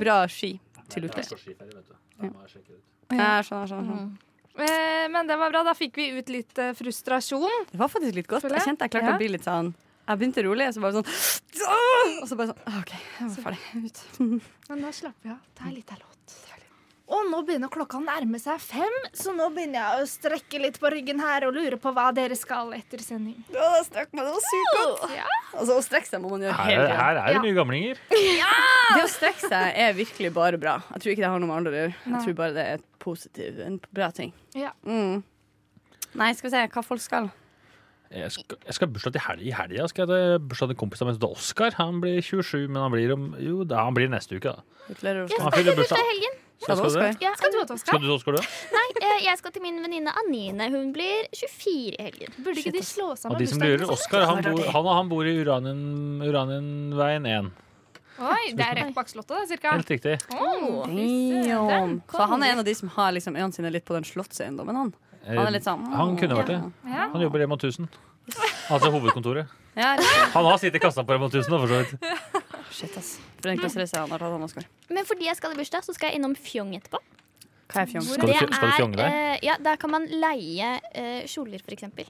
[SPEAKER 2] bra ski til
[SPEAKER 10] Nei, det
[SPEAKER 2] utleie.
[SPEAKER 10] er så skiferie, vet du. Da må jeg sjekke det ut.
[SPEAKER 2] Ja, Mm. skjønner, skjønner, skjønner.
[SPEAKER 1] Eh, Men det var bra. Da fikk vi ut litt eh, frustrasjon.
[SPEAKER 2] Det var faktisk litt godt.
[SPEAKER 1] Føler jeg.
[SPEAKER 2] Jeg kjente jeg klarte
[SPEAKER 1] Ja.
[SPEAKER 2] å bli litt sånn Jeg begynte rolig, og så bare sånn «Åh!» Og så bare sånn «Ah, OK, jeg var ferdig. Ut.
[SPEAKER 1] Men nå slapper vi av. Ta en liten låt. Og nå begynner klokka å nærme seg fem, så nå begynner jeg å strekke litt på ryggen her og lure på hva dere skal etter sending.
[SPEAKER 2] Ja, da strakk man. Det var sykt godt. Altså, å strekke seg må man gjøre hele
[SPEAKER 4] Her,
[SPEAKER 2] tiden.
[SPEAKER 4] her er det mye gamlinger.
[SPEAKER 2] Det å strekke seg er virkelig bare bra. Jeg tror ikke det har noe med alder å gjøre. Jeg tror bare det er et positiv, en bra ting.
[SPEAKER 1] Ja.
[SPEAKER 2] Mm. Nei, skal vi se hva folk skal.
[SPEAKER 4] Jeg skal, jeg skal ha bursdag til helg, i helga. Skal jeg til bursdag til kompisen min som heter Oskar. Han blir 27, men han blir om Jo, da, han blir neste uke, da.
[SPEAKER 3] Jeg
[SPEAKER 2] Gratulerer. Oskar.
[SPEAKER 4] Han
[SPEAKER 3] skal
[SPEAKER 4] fyller
[SPEAKER 3] til bursdag i
[SPEAKER 4] bursdag.
[SPEAKER 3] helgen.
[SPEAKER 4] Så skal du det?
[SPEAKER 2] Oskar.
[SPEAKER 3] Ja.
[SPEAKER 1] Skal du ha Oskar?
[SPEAKER 4] Skal du, skal du det?
[SPEAKER 3] Nei, eh, jeg skal til min venninne Anine. Hun blir 24 i helgen.
[SPEAKER 1] Burde ikke de slå sammen
[SPEAKER 4] Og de som lurer, Oskar han bor, han, han bor i Uranien, Uranienveien 1.
[SPEAKER 1] Oi, det er rett bak slottet, da, cirka.
[SPEAKER 4] Helt riktig.
[SPEAKER 1] Oh,
[SPEAKER 2] Damn. Så han er en av de som har liksom øynene sine litt på den slottseiendommen, han. Han er litt sånn mm.
[SPEAKER 4] Eh, Han kunne vært det.
[SPEAKER 1] Ja.
[SPEAKER 4] Han jobber i Rema 1000. Altså hovedkontoret.
[SPEAKER 2] Ja, riktig.
[SPEAKER 4] Han har sittet i kassa på Rema 1000, da, for så vidt.
[SPEAKER 2] Shit, ass. For en klasse han har tatt, han Oskar.
[SPEAKER 3] Men fordi jeg skal i bursdag, så skal jeg innom Fjong etterpå.
[SPEAKER 2] Hva er fjong?
[SPEAKER 3] Hvor
[SPEAKER 2] Skal du
[SPEAKER 3] det
[SPEAKER 2] fj- skal du
[SPEAKER 3] er,
[SPEAKER 2] fjonge der?
[SPEAKER 3] eh, ja, der kan man leie eh, kjoler, for eksempel.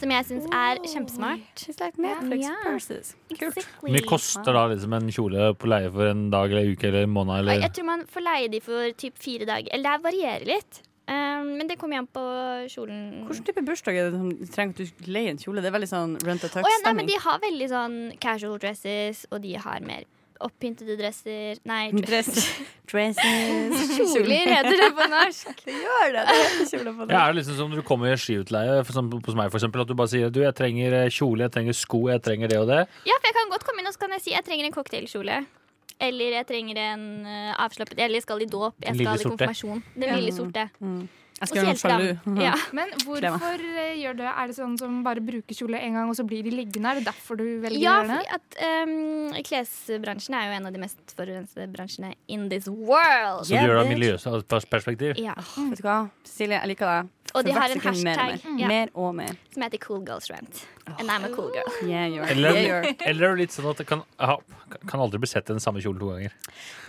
[SPEAKER 3] Som jeg syns er kjempesmart.
[SPEAKER 2] Netflix
[SPEAKER 3] Ja.
[SPEAKER 2] purses.
[SPEAKER 3] Exactly.
[SPEAKER 4] Hvor mye koster da liksom en kjole på leie for en dag eller en uke eller en måned?
[SPEAKER 3] Nei,
[SPEAKER 4] Eller?
[SPEAKER 3] Jeg tror man får leie de for typ fire dager. Eller det varierer litt. Eh, men det kommer igjen på kjolen.
[SPEAKER 2] Hvilken type bursdag er det som trenger at du leier en kjole? Det er veldig sånn rent a
[SPEAKER 3] Å ja, nei, men
[SPEAKER 2] tuck-stemning.
[SPEAKER 3] de har veldig sånn casual dresses, og de har mer oppyntede dresser Nei, dresser.
[SPEAKER 2] Dresses.
[SPEAKER 3] [LAUGHS] Kjoler heter det på
[SPEAKER 2] [LAUGHS]
[SPEAKER 3] norsk.
[SPEAKER 2] det gjør det. det heter kjoler på
[SPEAKER 4] Ja, er det liksom som når du kommer i skiutleie for eksempel, hos meg, for eksempel, at du bare sier du, jeg trenger eh, kjole, jeg trenger sko, jeg trenger det og det.
[SPEAKER 3] Ja, for jeg kan godt komme inn og så kan jeg si jeg trenger en cocktailkjole. Eller jeg trenger en eh, avslappet Eller jeg skal i dåp. Jeg
[SPEAKER 4] Den lille
[SPEAKER 3] skal i
[SPEAKER 4] sorte.
[SPEAKER 3] konfirmasjon. Den
[SPEAKER 1] Ja.
[SPEAKER 3] lille sorte. Og
[SPEAKER 2] Jeg
[SPEAKER 3] sjelfram. Ja.
[SPEAKER 1] Men hvorfor eh, gjør du det? Er det sånn som bare bruker kjole en gang, og så blir de liggende? Er det derfor du velger
[SPEAKER 3] Ja,
[SPEAKER 1] å gjøre
[SPEAKER 3] fordi
[SPEAKER 1] det?
[SPEAKER 3] at ehm, klesbransjen er jo en av de mest forurensede bransjene in this world.
[SPEAKER 4] Så du gjør altså, det av miljøperspektiv.
[SPEAKER 3] Ja.
[SPEAKER 2] Åh, Vet du hva, Cecilie, jeg liker deg.
[SPEAKER 3] Og de
[SPEAKER 2] For
[SPEAKER 3] har
[SPEAKER 2] hvert
[SPEAKER 3] en
[SPEAKER 2] sekund mer og
[SPEAKER 3] hashtag.
[SPEAKER 2] Mer, Mm.
[SPEAKER 3] Ja.
[SPEAKER 2] mer og mer.
[SPEAKER 3] Som heter Cool Girls Rant. And I'm a cool girl.
[SPEAKER 2] Yeah, you are.
[SPEAKER 4] Eller,
[SPEAKER 2] Yeah, you are.
[SPEAKER 4] eller er det litt sånn at det kan, aha, kan aldri bli sett i den samme kjolen to ganger.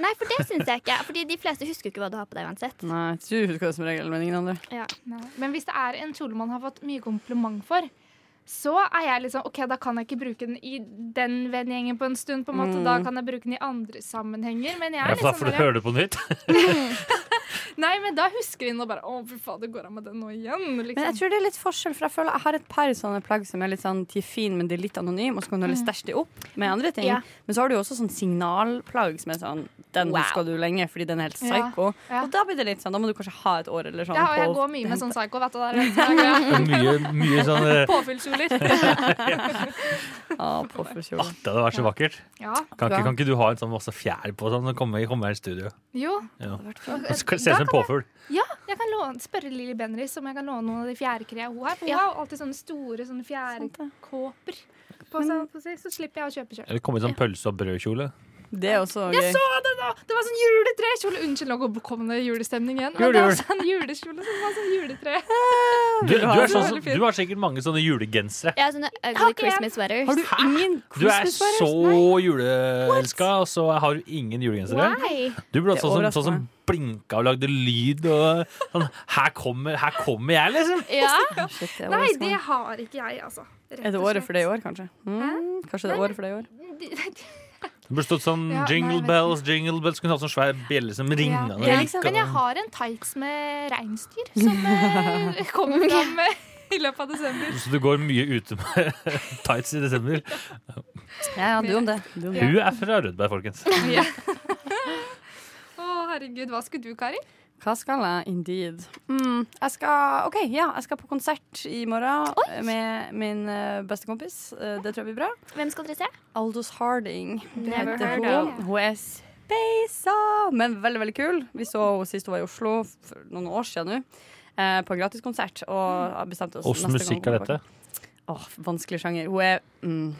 [SPEAKER 3] Nei, for det syns jeg ikke.
[SPEAKER 2] [LAUGHS]
[SPEAKER 3] Fordi de fleste husker jo ikke hva du har på deg uansett.
[SPEAKER 2] Nei, du husker det som regel, men ingen andre.
[SPEAKER 3] Ja.
[SPEAKER 1] Nei. Men hvis det er en kjole man har fått mye kompliment for, så er jeg liksom OK, da kan jeg ikke bruke den i den vennegjengen på en stund, på en måte.
[SPEAKER 4] Mm.
[SPEAKER 1] Da kan jeg bruke den i andre sammenhenger. Men jeg
[SPEAKER 4] Ja,
[SPEAKER 1] er
[SPEAKER 4] for da får
[SPEAKER 1] liksom
[SPEAKER 4] du høre det på nytt.
[SPEAKER 1] Nei, men da husker vi nå bare Å, fy faen, det går av med den nå igjen.
[SPEAKER 2] Men jeg
[SPEAKER 1] Liksom.
[SPEAKER 2] tror det er litt forskjell, for jeg føler jeg har et par sånne plagg som er litt sånn de er fine, men de er litt anonyme, og så kan du heller
[SPEAKER 1] Mm.
[SPEAKER 2] stæsje de opp med andre ting.
[SPEAKER 1] Ja.
[SPEAKER 2] Men så har du jo også sånn signalplagg som er sånn Den
[SPEAKER 1] Wow.
[SPEAKER 2] husker du lenge fordi den er helt
[SPEAKER 1] Ja,
[SPEAKER 2] psycho. Og da blir det litt sånn, da må du kanskje ha et år eller sånn
[SPEAKER 1] Ja, og jeg
[SPEAKER 2] på-
[SPEAKER 1] går mye med sånn psycho, vet du. Der,
[SPEAKER 4] [LAUGHS] mye, mye sånn eh,
[SPEAKER 1] Påfyllskjoler.
[SPEAKER 2] ah, påfølgelig.
[SPEAKER 4] Det hadde vært så vakkert.
[SPEAKER 1] Ja.
[SPEAKER 4] Kan ikke, kan ikke du ha en sånn masse fjær på sånn, og komme, komme her i studio?
[SPEAKER 1] Jo.
[SPEAKER 4] Ja.
[SPEAKER 1] fint.
[SPEAKER 4] Og så kan- Se ut som en
[SPEAKER 1] Eh, Da kan
[SPEAKER 4] påfugl.
[SPEAKER 1] Ja, jeg kan låne, spørre Lilly Bendriss om jeg kan låne noen av de fjærkrea hun har. For hun
[SPEAKER 3] Ja.
[SPEAKER 1] har jo alltid sånne store sånne fjærkåper. På seg, på seg, så slipper jeg å kjøpe sjøl.
[SPEAKER 4] Eller komme i sånn pølse- og brødkjole.
[SPEAKER 2] Det er også
[SPEAKER 1] Jeg så det nå! Det var sånn juletrekjole. Unnskyld, nå kom det julestemning igjen. Men
[SPEAKER 4] Jul,
[SPEAKER 1] det var
[SPEAKER 4] jul.
[SPEAKER 1] sånn julekjole som var sånn juletre.
[SPEAKER 4] Du, du, er
[SPEAKER 1] Det var
[SPEAKER 4] sånn, som-
[SPEAKER 1] veldig fint.
[SPEAKER 4] du har sikkert mange sånne julegensere.
[SPEAKER 3] Jeg har sånne
[SPEAKER 1] har
[SPEAKER 3] ugly
[SPEAKER 1] ikke en.
[SPEAKER 3] Christmas sweaters.
[SPEAKER 2] Har du ingen
[SPEAKER 4] Du er så juleelska, og så har du ingen julegensere.
[SPEAKER 2] [LAUGHS]
[SPEAKER 3] Why?
[SPEAKER 4] Du burde
[SPEAKER 2] Det
[SPEAKER 4] hatt sånn, som-
[SPEAKER 2] overrasker
[SPEAKER 4] sånn som blinka og lagde lyd og sånn Her kommer, her kommer jeg, liksom!
[SPEAKER 3] Ja.
[SPEAKER 2] Shit, det er
[SPEAKER 1] Nei,
[SPEAKER 2] årets
[SPEAKER 1] det
[SPEAKER 2] mann.
[SPEAKER 1] har ikke jeg, altså. Rett
[SPEAKER 2] Er det
[SPEAKER 1] og
[SPEAKER 2] året
[SPEAKER 1] slett.
[SPEAKER 2] for det i år, kanskje? Mm, kanskje det er året for det i år.
[SPEAKER 4] Det burde stått sånn
[SPEAKER 1] Ja, nei,
[SPEAKER 4] jingle
[SPEAKER 1] jeg vet
[SPEAKER 4] bells, jingle bells. Kunne hatt sånn svær bjelle som
[SPEAKER 1] Ja.
[SPEAKER 4] ringene.
[SPEAKER 1] Ja, Men jeg har en tights med reinsdyr som
[SPEAKER 2] [LAUGHS]
[SPEAKER 1] eh, kommer fram eh, i løpet av desember.
[SPEAKER 4] Så du går mye ute med [LAUGHS] tights i desember.
[SPEAKER 2] Ja, ja, du om det. Du om det.
[SPEAKER 4] Hun er fra Rødberg, folkens.
[SPEAKER 1] Ja. Å, herregud. Hva skulle du, Kari?
[SPEAKER 2] Hva skal jeg? Indeed. Mm, jeg skal OK, ja. Jeg skal på konsert i morgen med min eh, beste kompis. Eh, Det tror jeg blir bra.
[SPEAKER 3] Hvem skal dere se?
[SPEAKER 2] Aldous Harding.
[SPEAKER 3] Never
[SPEAKER 2] heter
[SPEAKER 3] heard
[SPEAKER 2] hun.
[SPEAKER 3] of.
[SPEAKER 2] Hun er speisa, men veldig, veldig kul. Vi så henne sist hun var i Oslo for noen år siden nå. eh, På gratiskonsert. Og har bestemt oss
[SPEAKER 4] Åssen musikk er dette?
[SPEAKER 2] Åh, vanskelig sjanger. Hun er mm,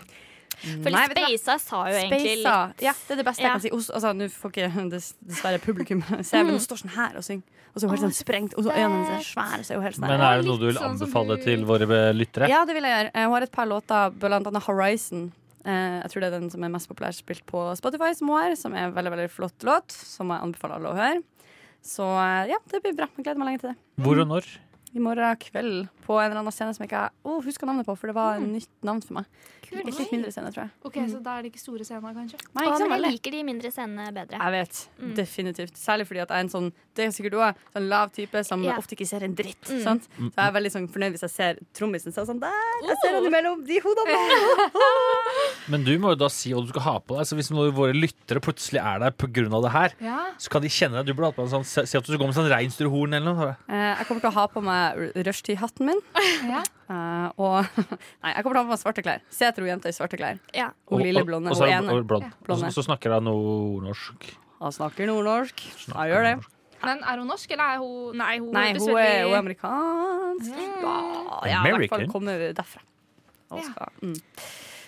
[SPEAKER 3] For
[SPEAKER 2] Nei, vet du hva?
[SPEAKER 3] Spasa sa jo egentlig
[SPEAKER 2] Space, da.
[SPEAKER 3] litt
[SPEAKER 2] Ja, det er det beste
[SPEAKER 3] Ja.
[SPEAKER 2] jeg kan si. Os- Altså, Nå får ikke [LAUGHS] dess- dessverre publikum se,
[SPEAKER 3] Mm.
[SPEAKER 2] men hun står sånn her og synger. Og så er hun helt sånn sprengt, og så øynene hennes er svære. Så er hun helt sånn
[SPEAKER 4] Men
[SPEAKER 2] her.
[SPEAKER 4] er det noe du vil
[SPEAKER 1] sånn som
[SPEAKER 4] anbefale
[SPEAKER 1] du-
[SPEAKER 4] til våre be- lyttere?
[SPEAKER 2] Ja, det vil jeg gjøre. Eh, Hun har et par låter, blant annet Horizon. Eh, jeg tror det er den som er mest populær spilt på Spotify, som hun har. Som er en veldig, veldig flott låt, som jeg anbefaler alle å høre. Så eh, ja, det blir bra. Jeg gleder meg lenge til det.
[SPEAKER 4] Hvor og når?
[SPEAKER 2] I morgen kveld på en eller annen scene som jeg ikke oh, husker navnet på, for det var et
[SPEAKER 3] Mm.
[SPEAKER 2] nytt navn for meg. Et litt mindre scene, tror jeg.
[SPEAKER 1] Ok, Så da er det ikke store scener, kanskje?
[SPEAKER 2] Nei,
[SPEAKER 3] Å,
[SPEAKER 2] ikke
[SPEAKER 3] men
[SPEAKER 2] så veldig.
[SPEAKER 3] jeg liker de mindre scenene bedre.
[SPEAKER 2] Jeg vet.
[SPEAKER 1] Mm.
[SPEAKER 2] Definitivt. Særlig fordi at jeg er en sånn Det er sikkert du også, sånn lav type som
[SPEAKER 3] Ja.
[SPEAKER 2] ofte ikke ser en dritt.
[SPEAKER 3] Mm.
[SPEAKER 2] Sant? Så jeg er veldig sånn fornøyd hvis jeg ser trommisen. Så er jeg sånn der! Jeg
[SPEAKER 1] Oh.
[SPEAKER 2] ser han imellom de
[SPEAKER 1] [LAUGHS]
[SPEAKER 2] hodene!
[SPEAKER 4] Men du må jo da si hva du skal ha på deg. Så hvis noen av våre lyttere plutselig er der pga. det her,
[SPEAKER 1] Ja.
[SPEAKER 4] så kan de kjenne deg. Du burde hatt på deg en sånn Se se at du går med sånn reinsdyrhorn eller noe.
[SPEAKER 2] Eh, jeg kommer til å ha på meg r- rushtid-hatten min.
[SPEAKER 1] ja.
[SPEAKER 2] Eh, og [LAUGHS] Nei, jeg kommer til å ha på meg svarte klær. Setro-jenter i svarte klær.
[SPEAKER 3] Ja.
[SPEAKER 2] Og lille blonde.
[SPEAKER 4] og
[SPEAKER 2] Og
[SPEAKER 4] så er det-
[SPEAKER 2] ene.
[SPEAKER 4] og blond. Og
[SPEAKER 2] Blonde.
[SPEAKER 4] så- så snakker hun nordnorsk.
[SPEAKER 2] Han snakker nordnorsk. Jeg gjør det.
[SPEAKER 1] Men er hun norsk, eller er hun Nei, hun,
[SPEAKER 2] Nei,
[SPEAKER 1] er
[SPEAKER 2] hun er, hun er
[SPEAKER 1] selvfølgelig-
[SPEAKER 2] amerikansk. Ja, jeg har i hvert fall
[SPEAKER 4] American?
[SPEAKER 2] kommet derfra. Og
[SPEAKER 1] Ja.
[SPEAKER 2] skal, mm.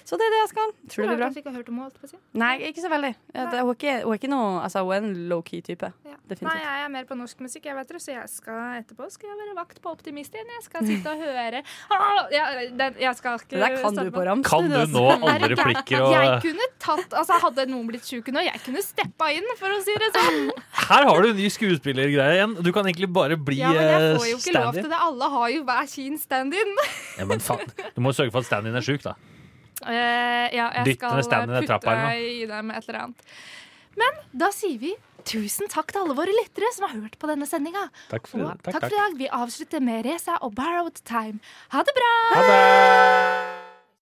[SPEAKER 2] Så det er det jeg skal. Tror det blir bra.
[SPEAKER 1] Rart at vi ikke har hørt om henne, holdt på å si.
[SPEAKER 2] Nei, ikke så veldig. Ja, det, hun, er ikke, hun er ikke noe Altså, hun er en low-key-type.
[SPEAKER 1] Ja. Nei,
[SPEAKER 2] Definitivt.
[SPEAKER 1] jeg er mer på norsk musikk, jeg vet det, så jeg skal etterpå skal jeg være vakt på Optimisten. Jeg skal sitte og høre ah, ja, den, Jeg skal ikke
[SPEAKER 2] Det der kan
[SPEAKER 1] starte
[SPEAKER 2] du på ramsen.
[SPEAKER 4] Kan du nå
[SPEAKER 1] Er
[SPEAKER 4] alle
[SPEAKER 1] det gærent?
[SPEAKER 4] replikker og
[SPEAKER 1] Jeg kunne tatt, altså Hadde noen blitt sjuke nå, jeg kunne steppa inn, for å si det sånn.
[SPEAKER 4] Her har du en ny skuespillergreie igjen. Du kan egentlig bare bli
[SPEAKER 1] Ja, men jeg
[SPEAKER 4] eh,
[SPEAKER 1] får jo ikke lov til
[SPEAKER 4] stand-in.
[SPEAKER 1] det. Alle har jo hver sin stand-in.
[SPEAKER 4] Ja, men faen. Du må sørge for at stand-in er sjuk, da.
[SPEAKER 1] Eh, ja, jeg
[SPEAKER 4] Dytt
[SPEAKER 1] skal
[SPEAKER 4] ned stand-in i
[SPEAKER 1] putte
[SPEAKER 4] trappa eller noe.
[SPEAKER 1] deg i det med et eller annet. Men da sier vi tusen takk til alle våre lyttere som har hørt på denne sendinga.
[SPEAKER 4] Takk
[SPEAKER 1] Og
[SPEAKER 4] for, takk,
[SPEAKER 1] takk for i
[SPEAKER 4] takk.
[SPEAKER 1] dag. Vi avslutter med Reza og Borrowed Time. Ha det bra!
[SPEAKER 4] Ha det!